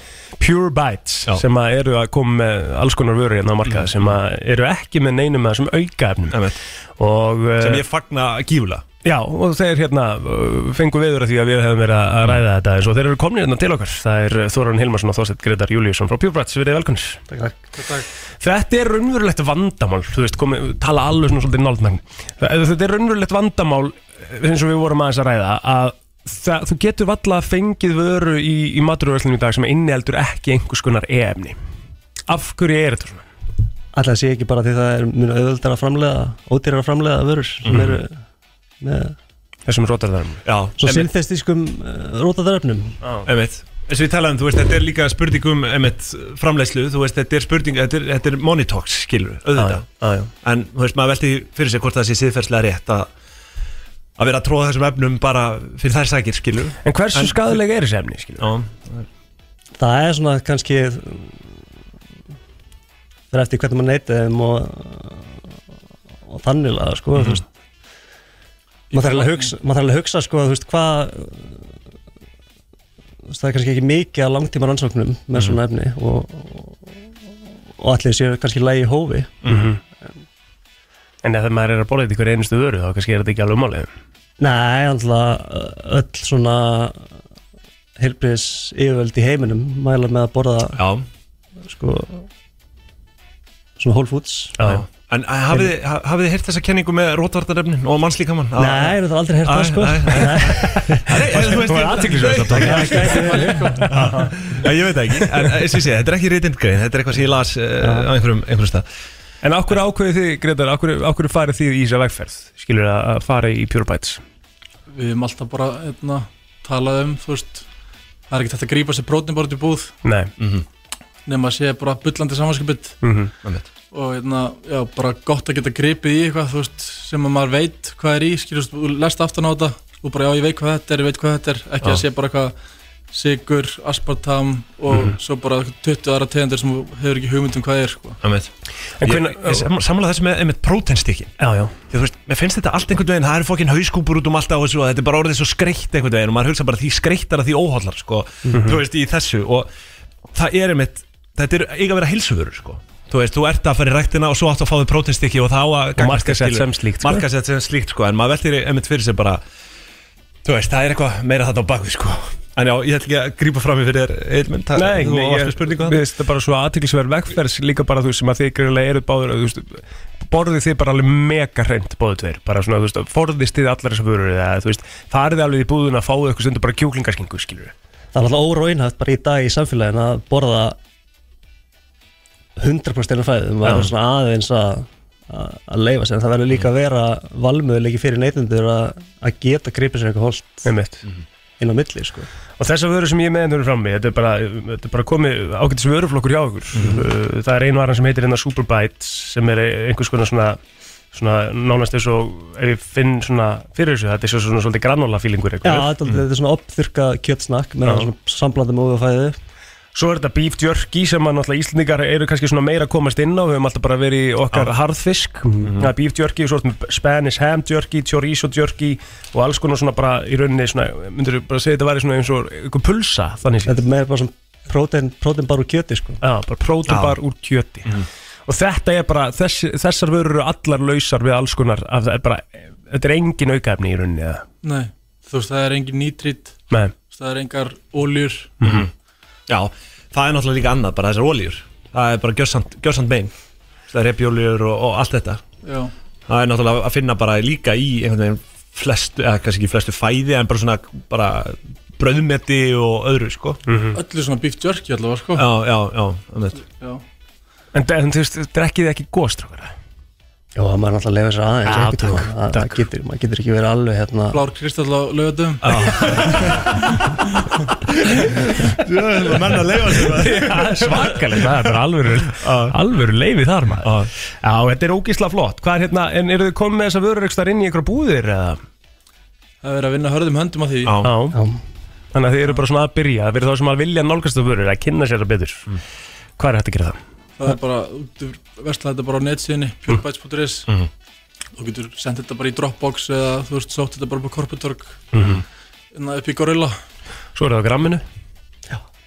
Pure Bites Sem að eru að koma með alls konar vöru hérna á Mhm. markað Sem að eru ekki með neinum með þessum aukaefnum Og eh, sem ég fagna gífulega Já, og þeir hérna uh, fengu viður að því að við hefum verið að ræða þetta eins og þeir eru komnir hérna til okkar Það er eh, Þóran Hilmarsson og Þorsteinn Gretar Júliusson frá Pure Brats, við erum velkonir Þetta er raunverulegt vandamál, þú veist, komi, tala alveg svona svolítið náldmenn Þetta er raunverulegt vandamál, eh, eins og við vorum aðeins að ræða að það, þú getur valla fengið vöru í, í maturvörslunum í dag sem inniheldur ekki einhvers konar e-efni Af hverju er þetta svona? Alltaf sé ekki bara því það er mjög auðvöldar að framlega, ódýrar að framlega vörur sem Mhm. eru með Þessum rótarðarum Já, svo einmitt. synþestískum uh, rótaðaröfnum Einmitt. eins og við talaðum, þú veist, þetta er líka spurning um einmitt, framleiðslu, þú veist, þetta er spurning þetta er, þetta er monitox, skilur, auðvitað já, já. en, þú veist, maður velti fyrir sér hvort það sé siðferðslega rétt að að vera að tróða þessum efnum bara fyrir þær sækir, skilur En hversu skaðleg er þessi efni, skilur? Já, Það er svona kannski fyrir eftir hvernig maður neyti þeim og, og þannig að sko, þú veist maður þarf alveg að hugsa, maður þarf alveg að hugsa sko, þú veist, hvað þú veist, það er kannski ekki mikið að langtíma rannsóknum með svona efni og, og, og allir séu kannski lægi í hófi Mhm. En ef maður er að borða þetta í hverju einustu vöru þá kannski er þetta ekki alveg málið Nei, alltaf öll svona heilbriðis yfirvöld í heiminum mæla með að borða Já. sko svona whole foods Já. En eh, hafið þið- ha- hafið þið heyrt þessa kenningu með rótvartarefnin og mannslíkamann? Að- Nei, ég hef það aldrei heyrt það, Æ, sko. æ, æ. Nei, þú veist, Það var ég- athyglisvert að taka. Já, gæti verið, sko. Já, Ég veit það ekki, en eh, eins og ég segi, þetta er ekki reytindgrein, þetta er eitthvað sem ég las eh, á einhverjum, einhverjum stað En okkur ákveðið þið, Gretar, okkur, okkur farið þið í þessa vegferð, skilur að að fara í Pure Bites? við höfum alltaf bara einna, talað um þú veist, það er ekki þetta að grípa sér brótin bara út í búð Nei. Mhm. nema að sé bara bullandi samanskipið Mhm. Einmitt. og einna, já, bara gott að geta gripið í eitthvað þú veist, sem að maður veit hvað er í skilur, þú lest aftan á þetta og bara já ég veit hvað þetta er, ég veit hvað þetta er ekki að Já. sé bara eitthvað sigur, aspartam og Mhm. svo bara 20 aðra tegundir sem þú hefur ekki hugmynd um hvað er sko. Einmitt. En Ég, hvenær- ég sam- samla þessu með einmitt prótenstikkin Já, já Þú veist, mér finnst þetta allt einhvern veginn, það eru fokkin hauskúpur út um allt á þessu og þetta er bara orðið svo skreitt einhvern veginn og maður hugsa bara því skreittar að því óhóllar, sko Mhm. Þú veist, í þessu og það er einmitt, þetta er eiga að vera heilsuvörur, sko Þú veist, þú ert að fara í ræktina og svo áttu að fá því prótenstikki og þá að gagnast þér, markaðssett skilur. sem slíkt, sko. Markaðssett sem slíkt, sko, en maður veltir einmitt fyrir sér bara Þú veist, það er eitthvað meira þetta á bakvið, sko En já, ég ætla ekki að grípa fram í fyrir Eilmund, það Nei, þú nei, varst með ég, spurningu mér finnst þetta bara svo aðtiklisverð vegferð líka bara þú veist, sem að þið greiðlega eru báður þú veist, borðið þið bara alveg mega hreint báðu tveir, bara svona, þú veist, forðist þið allar þessar vörur eða þú veist, farið alveg í búðuna að fáið eitthvað stundu bara kjúklingaskingu skilur Það er alltaf óraunhæft bara í dag í samfélagin að borða 100% einu fæðum og það er Já. svona aðeins að að að leifa sér, en það verður líka að vera valmöðulegi fyrir neytendur að að geta gripið sér eitthvað holst inn á milli sko. og þessar vörur sem ég er með hérna frammi þetta er bara, þetta er bara komið ágætis vöruflokkur hjá okkur Mhm. Uh, það er einu varan sem heitir hérna Superbites sem er einhvers konar svona, svona nánast eins og ef ég finn svona fyrir þessu þetta er svo svona svolítið granola fílingur Já, þetta er- þetta er svona opþurka kjötsnakk með Mm-hmm. Já. svona samblandum ógafæði Svo er þetta beef jerky sem að náttúrulega Íslendingar eru kannski svona meira að komast inn á Við höfum alltaf bara verið í okkar harðfisk Mhm. Það er beef jerky, svo er þetta Spanish ham jerky, chorizo jerky Og alls konar svona bara í rauninni svona Myndur bara segja þetta væri svona eins og einhver pulsa þannig séð Þetta er meira bara svona prótein, prótein bara úr kjöti sko. Mhm. Já, bara prótenbar úr kjöti Og þetta er bara, þess, þessar vörur eru allar lausar við alls konar af, það er bara, Þetta er engin aukaefni í rauninni eða? Nei, þú veist, það er engin nýtrít Nei. það er engar óljur Mhm. Já, það er náttúrulega líka annað bara þessar oljur Það er bara gjössand, gjössand bein Það er repjóljur og, og allt þetta Já. Það er náttúrulega að finna bara líka í einhvern veginn flestu, eða kannski ekki flestu fæði en bara svona bara bröðmeti og öðru sko öllu svona beef jerky allavega sko Já, já, já, einmitt. já. En, en þú veist, drekkið þið ekki góstrókar Já, það maður náttúrulega leifa sér Já, aðeins einhvern tímann. Það- það getur, maður getur ekki verið alveg Ah. hérna blár kristall á lögatum Jöfnum, menn að leifa sér það. Já, Svakalegt, það er bara alvöru, alvöru leifi þar maður Já, þetta er ógísla flott Hvað er hérna, en eru þið komið með þessa vörur ekstra inn í einhverja búðir eða? það er verið að vinna hörðum höndum að því Já. Þannig að þið eru bara svona að byrja Það verður þá sem að vilja nálgast að vörur að kynna sér það betur Hvað er hægt að gera það? það er bara, þú versla þetta bara á netsíðinni purebytes.is Mhm. þú getur sendt þetta bara í Dropbox eða þú veist, sótt þetta bara upp á Korputorg Mhm. en upp í Gorilla Svo eru það á gramminu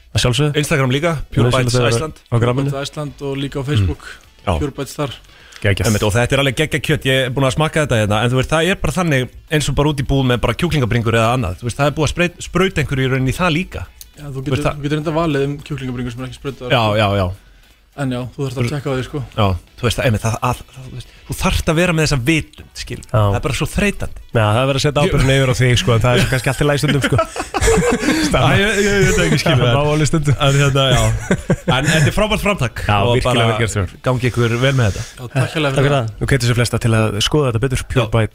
Að sjálfsögðu Instagram líka, Nauðsynlegt Purebytes að vera Iceland Á gramminu Purebytes Iceland og líka á Facebook Mhm. Já. Purebytes þar Geggjað. Einmitt, Og þetta er alveg geggja kjött, ég er búin að smaka þetta hérna En þú veist, það er bara þannig eins og bara út í búð með bara kjúklingabringur eða annað Þú veist, það er búið að spreyt- sprauta einhverju í rauninni í það líka já, þú veist, getur, það- þú getur enda valið um kjúklingabringur sem er ekki sprautar Já, já, já. en já, þú þarfst að tjekka á því sko Já, þú veist, einmitt, það, að, þú, veist, þú [LAUGHS] þarft að vera með þessa vitund, skil Það er bara svo þreytandi Já, það verður að setja ábyrðin yfir á þig sko en Það er svo kannski allt í lagi stundum sko Æ, ég, ég, ég veit ekki skilur [LAUGHS] Má alveg stundum En hérna, [LAUGHS] já En þetta er frábært framtak Já, Og virkilega vel bara gert þér. Gangi hérna. ykkur vel með þetta Já, takk hérlega fyrir það Þú getur sér flesta til að skoða þetta betur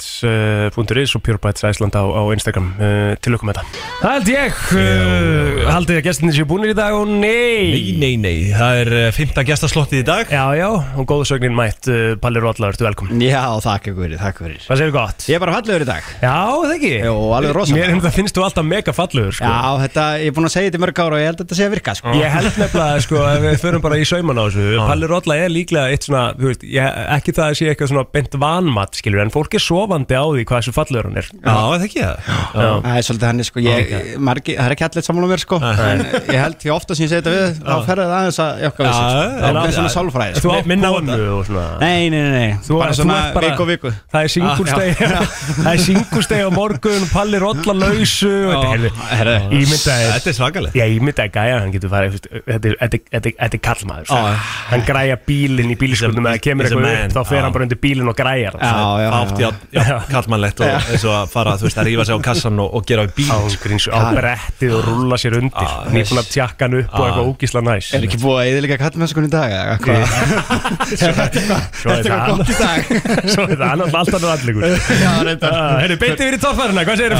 purebytes.is og purebytes Iceland á, á Instagram uh, til okkur með þetta Það held ég uh, Haldið að gestinni séu búinir í dag og nei Nei, nei, nei, það er eh, 15 gestaslottið í dag Já, já, og góðsögnin mætt uh, Palli Róðlar, ertu velkomin Já, takk fyrir, takk fyrir Hvað segir gott? Ég er bara fallegur í dag Já, það ekki Jó, alveg rosa Mér finnst það finnst þú alltaf mega fallegur sko. Já, þetta, ég er búin að segja þetta í mörg ára og ég held að þetta sé að virka sko. Ég held nefnilega, sko, ef við förum bara í sauman á þessu Palli Rólla er líklega eitt svona, þú veist, ég, ekki það að sé eitthvað svona bent vanmat, skilur En fólk er sofandi á því hvað þessu fallegur hann er það ekki það Já. Það er svolítið hann sko, ég, margi, það er ekki allir sammála um mér sko En ég held því ofta sem ég segi þetta við, þá ferði það aðeins að jokka við sér sko. Það er svona sálfræði Þú átt minna á þetta og svona Nei, nei, nei, nei. Þú, bara þú svona ert bara- viku og viku Það er [LAUGHS] [LAUGHS] singulsteg Já, já. Það er singulsteg á morgun Palli rolla lausu Já, herðu. Þetta er svakalega Já, ímyndaði gæja hann getur farið þú veist, Þetta er- þetta er- þetta er- þetta er kallmaður sko. Já. Hann græja bílinn í bílskunum eða kemur he's a eitthvað man. upp þá fer Já. hann bara undir bílinn og græjar sko. Já, já, Fátt, já, já, kallmannlegt og eins og að fara, þú veist, að rífa sig á kassan og, og gera á bíl sko. Ah, Ángríns, á brettið og rulla sér undir Nýbúin að tjakka hann upp og Ah. eitthvað ógísla næs Er ekki búið að eðilega kallmennskun í dag? eða hvað? [LAUGHS] Svo er Þetta er það eitthvað gott í dag annað- [LAUGHS] Svo er það annað allt annar allingur Ah, Já, reyndar Herru, beintið við í torfæruna, hvað segir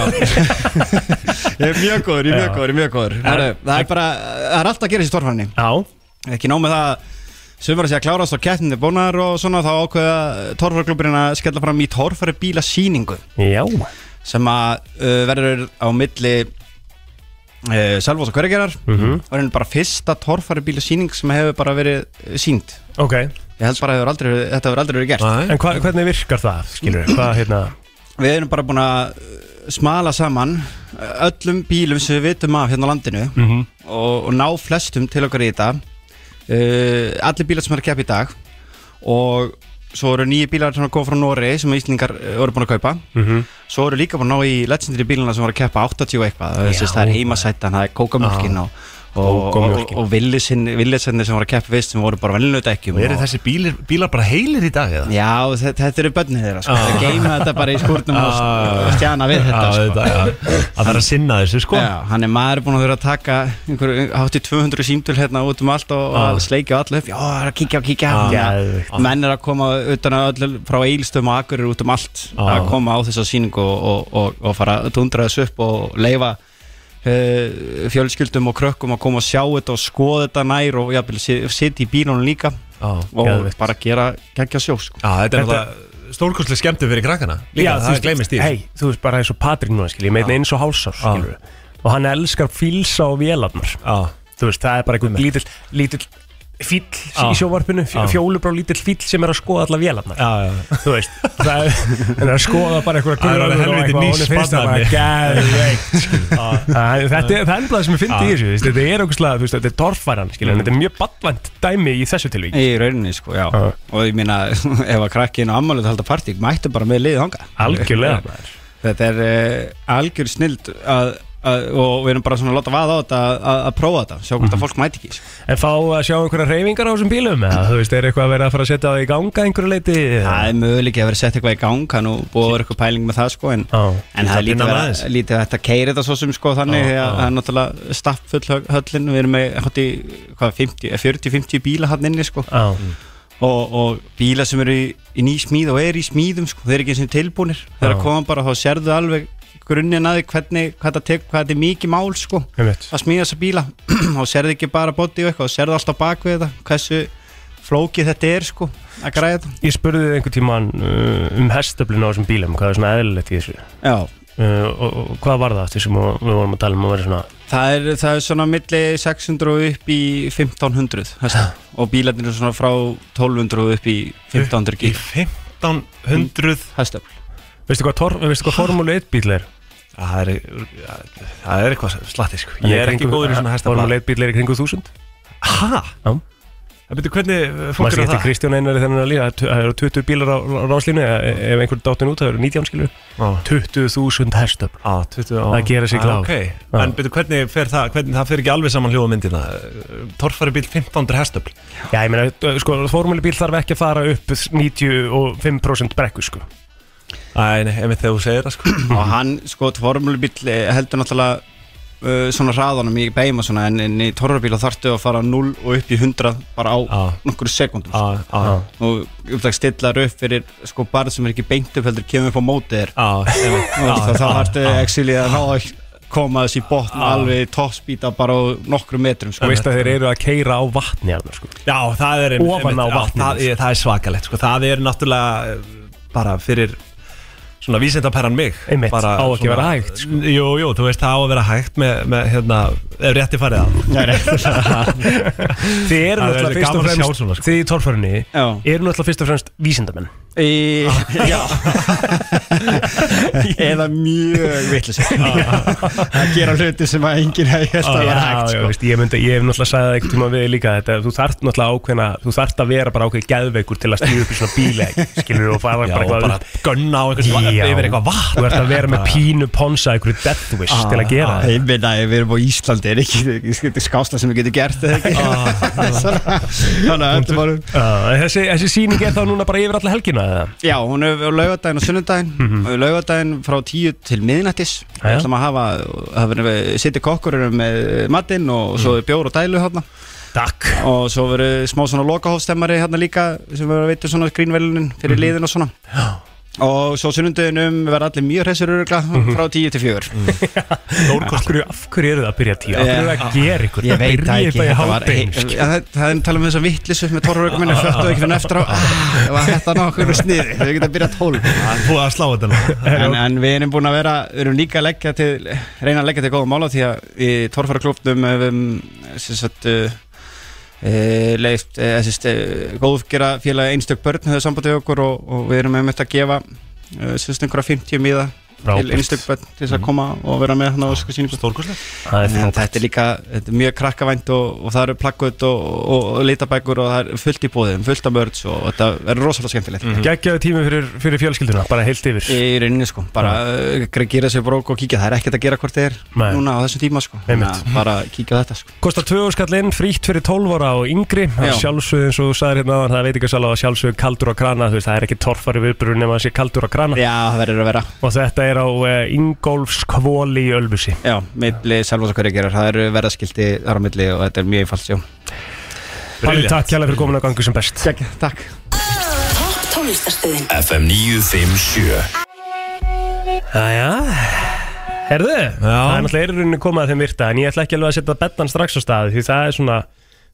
[LAUGHS] Ég er mjög Já. góður, ég er mjög góður, ég er mjög góður Herru, Það er bara, það er allt að gera þessi torfarni Já Ekki nóg með það að Sumar að segja klárast og kettin er bónar og svona þá ákveða torfarklubburinn að skella fram í torfari bíla síningu Já Sem að uh, verður á milli uh, Selvós og Hvergerar Mhm. Og er bara fyrsta torfari bíla síning sem hefur bara verið uh, sínd Ok Ég held bara að hefur aldrei, verið- þetta hefur aldrei verið gert En hva, hvernig virkar það, skilur við? Hvað, hérna Við erum bara búin að uh, smala saman uh, öllum bílum sem við vitum af hérna á landinu Mhm. og, og ná flestum til okkar í þetta uh, Allir bílar sem er að keppa í dag og svo eru nýju bílar sem er að koma frá Nóri sem Íslingar voru búin að kaupa Mhm. Svo eru líka búin að ná í legendary bílana sem voru að keppa 80 og eitthvað Það er sem sagt, það er heimasættan, það er kókamjölkin Já. og, og, og, Kókamjólkin. og villisinn villisinn sem voru að keppa veist sem voru bara velinu dekkjum Og eru þessi bílar, bílar bara heilir í dag eða? Já, þetta, þetta eru bönnið þeirra sko. Ah. Það geima þetta bara í skúrnum og Ah. st- stjana við þetta Ah, sko. þetta, já. Að það er að sinna þessu sko Já, hann er maður búin að vera að taka einhver, hátti 200 símtöl hérna út um allt og, Ah. og sleikja allu upp Já, það er að kíkja og kíkja Ah. Já, Menn er að koma utan að öllu frá eilstöðum og akkurir út um allt Ah. að koma á þessa síningu og, og, og, og fara að tundra þessu upp og leifa uh, fjölskyldum og krökkum að koma og sjá þetta og skoða þetta nær og jafnvel sit- sitja í bílunum líka ah, og geðveikt. bara gera geggja sjó sko. Já, þetta er náttúrulega stórkostlega skemmtu fyrir krakkana Líka, þú það veist, gleymist í Hei, þú veist bara eins og Patrik núna, skilur Ég meina eins og hálsár, skilur Og hann elskar fílsa og vélarnar Þú veist, það er bara einhver lítill lítill fíll Já. í sjóvarpinu Já. Fjólubrá lítill fíll sem er að skoða alla vélarnar Já, já Þú veist, það [LAUGHS] er, hann er að skoða bara einhverja Það er alveg gröfur og eitthvað, helviti nýs honum finnst það barnaefni. bara [LAUGHS] geðveikt, skilur. Já. Æ, Þetta er það er nefnilega það sem ég fyndi í Já. þessu þú Mm. veist, Þetta er ógustlega, þú veist, þetta er torfæran skilur, en Þetta er mjög ballant dæmi í þessu tilvík Í rauninni sko, já Og ég meina, [LAUGHS] ef að krakkin og ammálið halda partí Mættu bara með liðið hanga [LAUGHS] Algjörlega, maður. Þetta er uh, algjör snild að, að, Og við erum bara svona að láta vaða á þetta Að, að prófa þetta, sjá hvort að fólk mæti ekki sko. Mhm. En fá að sjá einhverja reyfingar á þessum bílum eða þú veist, er eitthvað að vera að fara að setja það í ganga einhverju leiti Það er möguleik að vera sett eitthvað í gang Það er nú búið að vera eitthvað pæling með það sko En, en það Það er lítið vinna vera- með þessu. lítið hægt að keira þetta svo sem sko Þannig Já, því að já. það er náttúrulega stappfull höllin Við erum með hátt í, hvað, 50 40-50 bíla hann inni sko Já og, og bíla sem eru í, í ný smíð og eru í smíðum sko, þeir eru ekki eins og tilbúnir þegar Já. að koma bara þá sérðu alveg grunninn að því hvernig, hvað þetta tek- hvað þetta er mikið mál sko, Einmitt. að smíða þessa bíla [CLEARS THROAT] og sérðu ekki bara bóti og eitthvað og sérðu alltaf bak við þetta, hversu flókið þetta er sko, að græða þetta Ég spurði þið einhvern tímann uh, um hestöflin á þessum bílum, hvað er svona eðlilegt í þessu Já uh, og, og hvað var það aftur sem við vorum að tala um að vera svona það er, það er svona milli 600 og upp í 1500 hesta. og bílarnir eru svona frá 1200 og upp í 1500 gíl 1500 Hestöfl Veistu hvað, torf, veistu hvað formúlu 1 bíl er? Það er, það er eitthvað slatti sko Ég er ekki góður í svona hesta Formúlu 1 bíl er í kringu 1000 Hæ? Já. Það byrju hvernig eh, Maður sé fólk er eftir það? Kristján Einar í þennan að líða það eru 20 bílar á, á ráslínu ef ef einhver dáttin út, það eru 19 skilur 20.000 hestöfl á, 20, á. Það gerir sig Ah, glá okay. En byrju hvernig fer það, hvernig það fer ekki alveg saman hljóða myndina Torfari bíl 1500 hestöfl Já, ég meina, uh, sko, formúlubíl þarf ekki að fara upp 95% brekku, sko Æ, nei, einmitt þegar þú segir það sko og hann sko formulubíl heldur náttúrulega uh, svona hraðanum í beim og svona en, en í torfubíla þartu að fara 0 og upp í 100 bara á nokkru sekundum ah, ah. og upptak stillar upp fyrir sko barð sem er ekki beint upp heldur kemur upp á móti þér ah, ah, Já, þá já, þartu já. exilið að ná að koma þessi botn ah. alveg toppspýta bara á nokkru metrum Þú sko. veist að þeir eru að keira á vatni hérna, sko Já, það er Ofan á já, vatninu, það, er- það er svakalegt sko Það er náttúrulega eh, bara fyrir svona vísindaperran mig Einmitt, bara, á ekki að vera hægt, sko. Jú, jú, þú veist það á að vera hægt með, með hérna, ef rétti farið að Já, [LAUGHS] [LAUGHS] rétt. Þið eru Það er náttúrulega gaman fyrst og að sjá fremst svona, Þið í torfærunni eru náttúrulega fyrst og fremst vísindamenn Í, [LAUGHS] [LAUGHS] já [LAUGHS] Eða mjög vitlis [LAUGHS] Að gera hluti sem að enginn hefði held að vera hægt já, sko. veist, ég, myndi, ég hef náttúrulega sagði það einhvern tíma við líka þetta, þú þarft náttúrulega ákveðna þú þarft að vera bara ákveð geðveikur til að stíða upp í svona bíla skilur og fara Já, bara og bara gönna á eitthvað- yfir eitthvað vatn. þú ert að vera með pínu ponsa einhverju death wish til að gera þetta Ah, Ég meina, ef við erum á Íslandi er ekki, ekki, ekki skásla sem við getum gert eða ekki Ah, [LAUGHS] Svona- Þannig að þetta var Já, Ah, þessi, þessi síning er þá núna bara yfir alla helgina eða? Já, hún er á laugardaginn og sunnudaginn mm Mhm. -hmm. Laugardaginn frá 10 til miðnættis Við Jæja. ætlum að hafa, hafa verið- sitja kokkurinn með matinn og svo er bjór og dælu hérna Mhm. Takk Og svo verið smá svona lokahófstemmari hérna líka sem verið að veita svona grínvelunin Mhm. fyrir liðin og svona Já Og svo sunnundeginum verða allir mjög hressir örugla Mhm. frá 10 til 4 [LAUGHS] Af hverju, af hverju eru það að byrja tíu? Af hverju eru það að gera ykkur? Ah, Ég veit það Byrjið ekki bara í þetta var- hádeginu, skilur. Ja, Það það er talað um þess að vittlisu með torfurökum minni Föttu ekki fyrir eftir á ah, Var þetta nákvæmur sniði Þau geta að byrja tólf Búið að slá þetta [LAUGHS] en, en við erum búin að vera Við erum líka að leggja til Reyna að leggja til góða mála Því að í torfuröklubnum Hefum sem sagt uh, uh, Leift uh, uh, Góðgera félag einstök börn Hefur sambandi við okkur Og, og við erum einmitt að gefa uh, Sérst einhverja 50 miða Frábært. Til einstök börn Til þess að koma og vera með hann á Stórkurslega Mhm. Það er En þetta er líka þetta er mjög krakkavænt og, og það eru plakkut og, og, og litabækur og það er fullt í bóðum, fullt af börns og þetta er rosalega skemmtilegt mm Geggjaðu tími fyrir, fyrir fjölskylduna, bara heilt yfir Í rauninni sko, bara uh, gera sér brók og kíkja, það er ekkert að gera hvort þið er Nei. núna á þessum tíma sko Einmitt. Þannig að bara kíkja á þetta sko Kostar tvö skall inn, frítt fyrir 12 ára og yngri Það er Já. Sjálfsögðu eins og þú sagðir hérna áðan, það veit ekki að sala og sjálfsögðu kaldur á krana þú veist, Það er ekki torfari viðbyrður nema að sé kaldur á krana Já, það verður að vera Og þetta er á uh, Ingolfskvóli í Ölbusi Já, milli Selvas og Hverjagerar, það eru verðaskildi þar á milli og þetta er mjög einfalt sjó Palli, takk kjærlega fyrir komin að gangu sem best Takk, takk Topp tónlistarstöðin FM 957 Jæja Herðu, það er náttúrulega erirunni komað þeim virta En ég ætla ekki alveg að setja bettan strax á stað Því það er svona,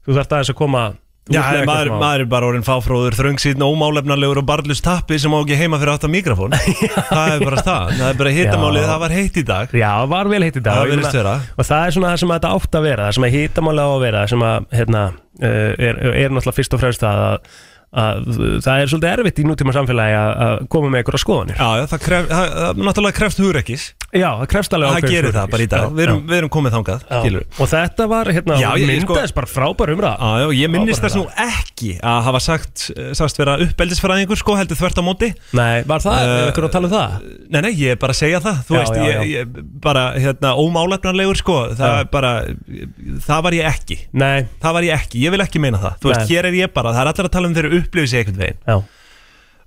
þú þarft aðeins að koma þú Já, ert með en maður, eitthvað smá- maður er bara orðin fáfróður þröngsýtn og ómálefnarlegur og barlust tappi sem á ekki heima fyrir aftan [LAUGHS] mikrofón Það er bara Ah, það, það er bara hittamálið, Já. það var heitt í dag Já, það var vel heitt í dag Það og ég virðist meina- vera. Og það er svona það sem þetta átt að vera Það sem að hitamálega á að vera Það sem að, hérna, eh, er, er náttúrulega fyrst og fremst það að, að það er svolítið erfitt í nútíma samfélagi að, að koma með einhverja skoðanir Já, já það, kref, það, það náttúrulega krefst hugrekkis Já, það krefst alveg Það ákveðins gerir það hugrekkis. bara í dag, Já, við erum, já. við erum komið þangað Já. skilurðu. Og þetta var, hérna, Já, ég- ég sko- myndaðist bara frábær umræða Já, já, ég minnist þess nú umræða. ekki að hafa sagt, sagt vera uppeldisfræðingur sko, heldur þvert á móti Eh, Nei, var það, er ykkur að tala um það? Nei, nei, ég er bara að segja það, þú Já, veist, já, ég, já. ég bara, hérna, ómálefnarlegur sko, Já. það er bara, það var ég ekki Nei Það var ég ekki, ég vil ekki meina það, þú veist, Nei. hér er ég bara, það er allir að tala um þeirra upplifis í einhvern veginn Já.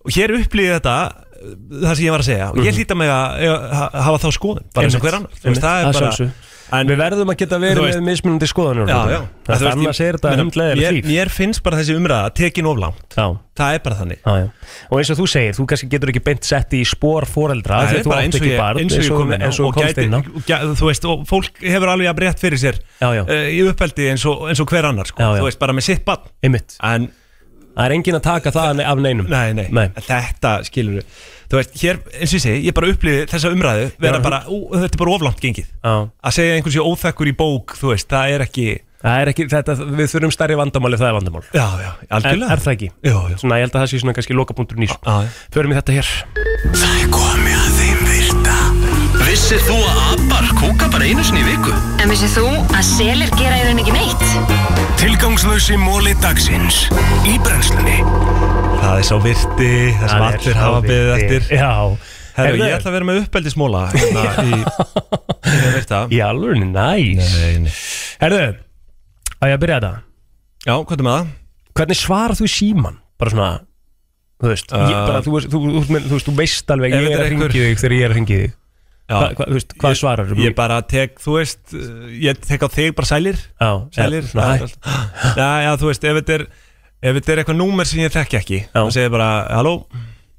Og hér upplifið þetta, uh, það sem ég var að segja, og ég Mhm. hlýta mig að eiga- ha- hafa þá skoðun, bara eins Einmitt, og hver annar, þú veist, einmitt, það að er bara sjálfsögðu. Við verðum að geta verið Þú veist- með mismunandi skoðanir Já, já Það er annars er þetta hundlega líf Mér finnst bara þessi umræða tekin of langt Já. Það er bara þannig Já, já. Og eins og þú segir, þú kannski getur ekki beint sett í spór foreldra Það því er að þú bara átt eins og ekki ég, barn eins og ég kom inn á eins og og þú komst gæti- inn á og gæ- Þú veist, og fólk hefur alveg að breytt fyrir sér Já, já. eh, Í uppeldi eins og, eins og hver annar sko. Já, já. Þú veist, bara með sitt barn Einmitt. En Það er engin að taka það af neinum Nei, nei, Nei. þetta skilur við Þú veist, hér, eins og ég segi, ég bara upplýði þessa umræðu vera Já. bara, ú, þetta er bara oflangt gengið Já. Að segja einhversu óþekkur í bók, þú veist, það er ekki Það er ekki, þetta, við þurfum stærri vandamál ef það er vandamál Já, já, algjörlega. Er, er það ekki? Já, já. Svona, ég held að það sé svona kannski lokapunktur nýs Förum við þetta hér Það er komið að þeim virta Vissir þú að abar kúka bara einu sinni í viku? En vissið þú að selir gera í rauninni ekki neitt? Tilgangslösi móli dagsins Í brennslunni Það er sá virti, það sem Það er allir sá hafa beðið virti. eftir Já Herru, Heyrðu. ég ætla að vera með uppeldismóla hérna, í, í, í virta Í alvörinu, næs Herðu, að ég að byrja þetta Já, hvað er með það? Hvernig svarar þú í síman? Bara svona, þú veist ég, Uh, bara, þú, veist, þú, þú, þú, þú veist, þú veist alveg Ef Ég þetta er er að einhver- ringi þig þegar ég er að ringi þig Já. Hva- hva- þú veist, Hvað svarar þú? Ég bara tek, þú veist, uh, ég tek á þig bara sælir Já, Sælir já, svona, hæ. já, já, þú veist, ef þetta er Ef þetta er eitthvað númer sem ég þekki ekki Já Það segir bara, halló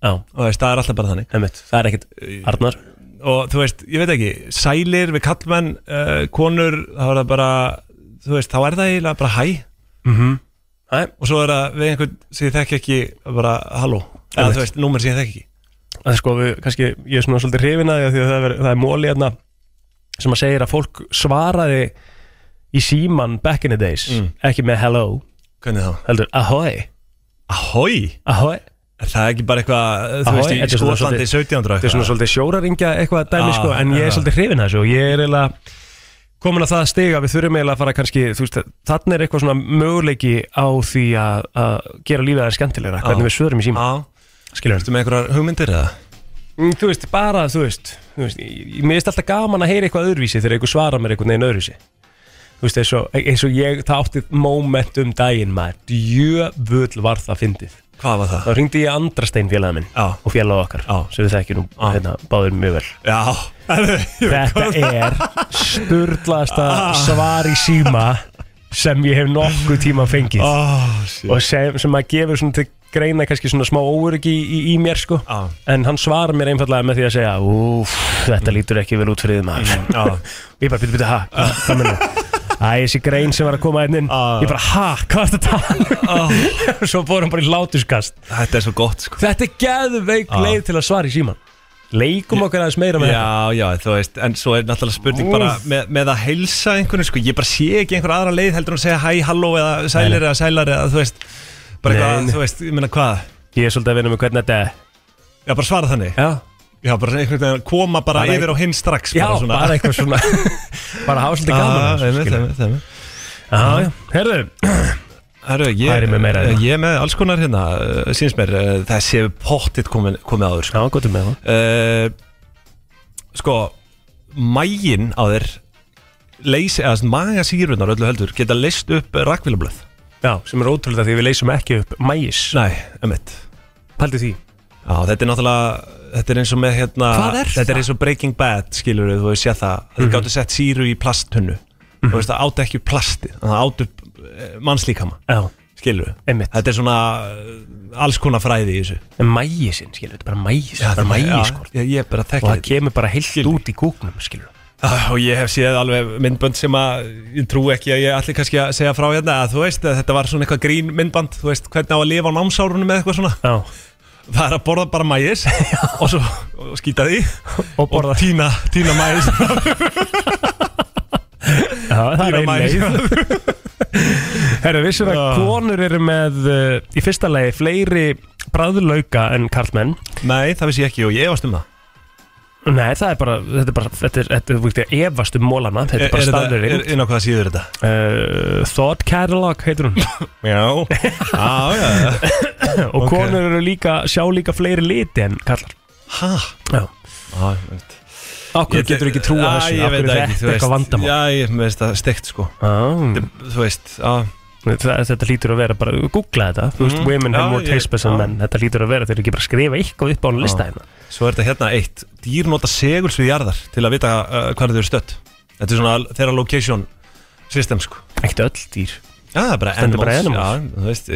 Já Og veist, það er alltaf bara þannig Eh, Einmitt, það er ekkert Arnar Og þú veist, ég veit ekki, sælir við kallmenn, uh, konur Þá er það bara, þú veist, þá er það eiginlega bara hæ Mhm. Hæ Og svo er það við einhvern sem ég þekki ekki Bara, halló Eða Einmitt. þú veist, númer sem ég þekki ekki að sko við, kannski, ég er svona svolítið hrifin að því að því að það er, það er móli hérna sem að segir að fólk svaraði í síman back in the Mm. days ekki með hello Hvernig þá? heldur ahoy ahoy ahoy Er það ekki bara eitthvað, eh, þú Já, veist, þetta í er svona Skotlandi svolítið- 1700 Þetta er svona svolítið sjóraringja eitthvað dæmi Já, sko, en ég já. er svolítið hrifin að þessu og ég er eiginlega komin að það stiga við þurfum eiginlega að fara kannski, þú veist, þannig er eitthvað svona möguleiki á því að að gera lífið aðeins skemmtilegra, Já. hvernig við svörum í síma Skilur Ertu með einhverjar hugmyndir eða? Mm, Þú veist, bara, þú veist, þú veist ég, Mér finnst alltaf gaman að heyra eitthvað öðruvísi Þegar einhver svarar mér einhvern veginn öðruvísi Þú veist, eins og, eins og ég Það átti moment um daginn maður Djöfull var það fyndið Hvað var það? Þá ringdi ég Andrastein félagið minn Já. Og félagið okkar Já. Sem við þekkjum nú hérna, báðir mjög vel Já Þetta er sturglaðasta Ah. svar í síma sem ég hef nokkuð tíma fengið oh, og sem, sem að gefur svona til greina kannski svona smá óöryggi í, í, í mér sko ah. en hann svarar mér einfallega með því að segja úf, þetta lítur ekki vel út fyrir þið maður Ah. [LAUGHS] ég bara, byrju, byrju, ha, hvað- hvað mennum Æ, þessi grein sem var að koma einn inn Ah. Ég bara, ha, hvað er þetta að tala um? [LAUGHS] Svo fórum bara í látuskast Þetta er svo gott sko Þetta er geðveik Ah. leið til að svara í síman Leikum okkur aðeins meira með þetta Já, já, þú veist, en svo er náttúrulega spurning bara Úff. með, með að heilsa einhvern sko, ég bara sé ekki einhver aðra leið heldur en að segja hæ, halló eða sælir eða sælar eða þú veist, bara Nei, eitthvað, nei. þú veist, ég meina hvað Ég er svolítið að vinna með hvernig þetta er Já, bara svara þannig Já Já, bara einhvern veginn að koma bara, Bara yfir ein- á hinn strax Já, bara eitthvað [LAUGHS] svona Bara hafa svolítið gaman að Ah, þessu, einmitt, skilur. einmitt, einmitt. Já, já, herðu Herru, ég, Hvað er ég með meira hérna? ég er með alls konar hérna, uh, síns mér, uh, þessi hefur pottitt komið, komið áður sko. Já, gott um með það Sko, mægin á þér leysi, eða magasýrunar öllu heldur geta leyst upp rakvílablöð Já, sem er ótrúlega því við leysum ekki upp mægis Nei, emitt Paldi því Já, þetta er náttúrulega, þetta er eins og með hérna Hvað er Þetta er eins og Breaking Bad, skilur við, þú veist, séð það Þeir mm Mhm. gáttu sett síru í plasttunnu Þú veist, það átti ekki upp plastið, en það átti upp eh, mannslíkama Já Skilur við Einmitt. Þetta er svona eh, alls konar fræði í þessu En mægisinn, skilur, þetta er bara mægis Já, bara mægis, sko ég, ég er bara að Og þekka það kemur bara heilt út í kúknum, skilur Ah, Og ég hef séð alveg myndbönd sem að ég trú ekki að ég allir kannski að segja frá hérna að þú veist að þetta var svona eitthvað grín myndband þú veist hvernig á að lifa á námsárunum eða eitthvað svona Já. Það er að borða bara [LAUGHS] mægis og svo og skýta því og, borða. tína, tína [LAUGHS] [LAUGHS] mægis Já, það er Dýra ein mæs. leið [LAUGHS] Herra, vissum að Ah. konur eru með uh, í fyrsta lagi fleiri bræðlauka en karlmenn Nei, það vissi ég ekki og ég efast um það Nei, það er bara, þetta er bara, þetta er, þetta er, þetta er efast um mólana, þetta er bara staðurinn Inn á hvað síður þetta? uh, Thought Catalog heitir hún [LAUGHS] Já, [LAUGHS] já, já Og Ok. konur eru líka, sjá líka fleiri liti en kallar Hæ? Já Já, ég veit Akkur Ég- getur ekki trúa Já, þessu ég Akkur veit er það þetta ekki, þú eitthvað veist. vandamál Já, ég veist það steikt sko ah. Þú veist, já Þa, Þetta lítur að vera bara, googla þetta Þú veist, Mhm. women Já, have more ég- taste buds than já. men Þetta lítur að vera, þeir eru ekki bara að skrifa eitthvað upp á hún lista hérna Svo er þetta hérna eitt Dýr nota segulsvið jarðar til að vita uh, hvað þau eru stött Þetta er svona þeirra location system sko Ekkert öll dýr Já, það er bara Stendur bara Já, þú veist,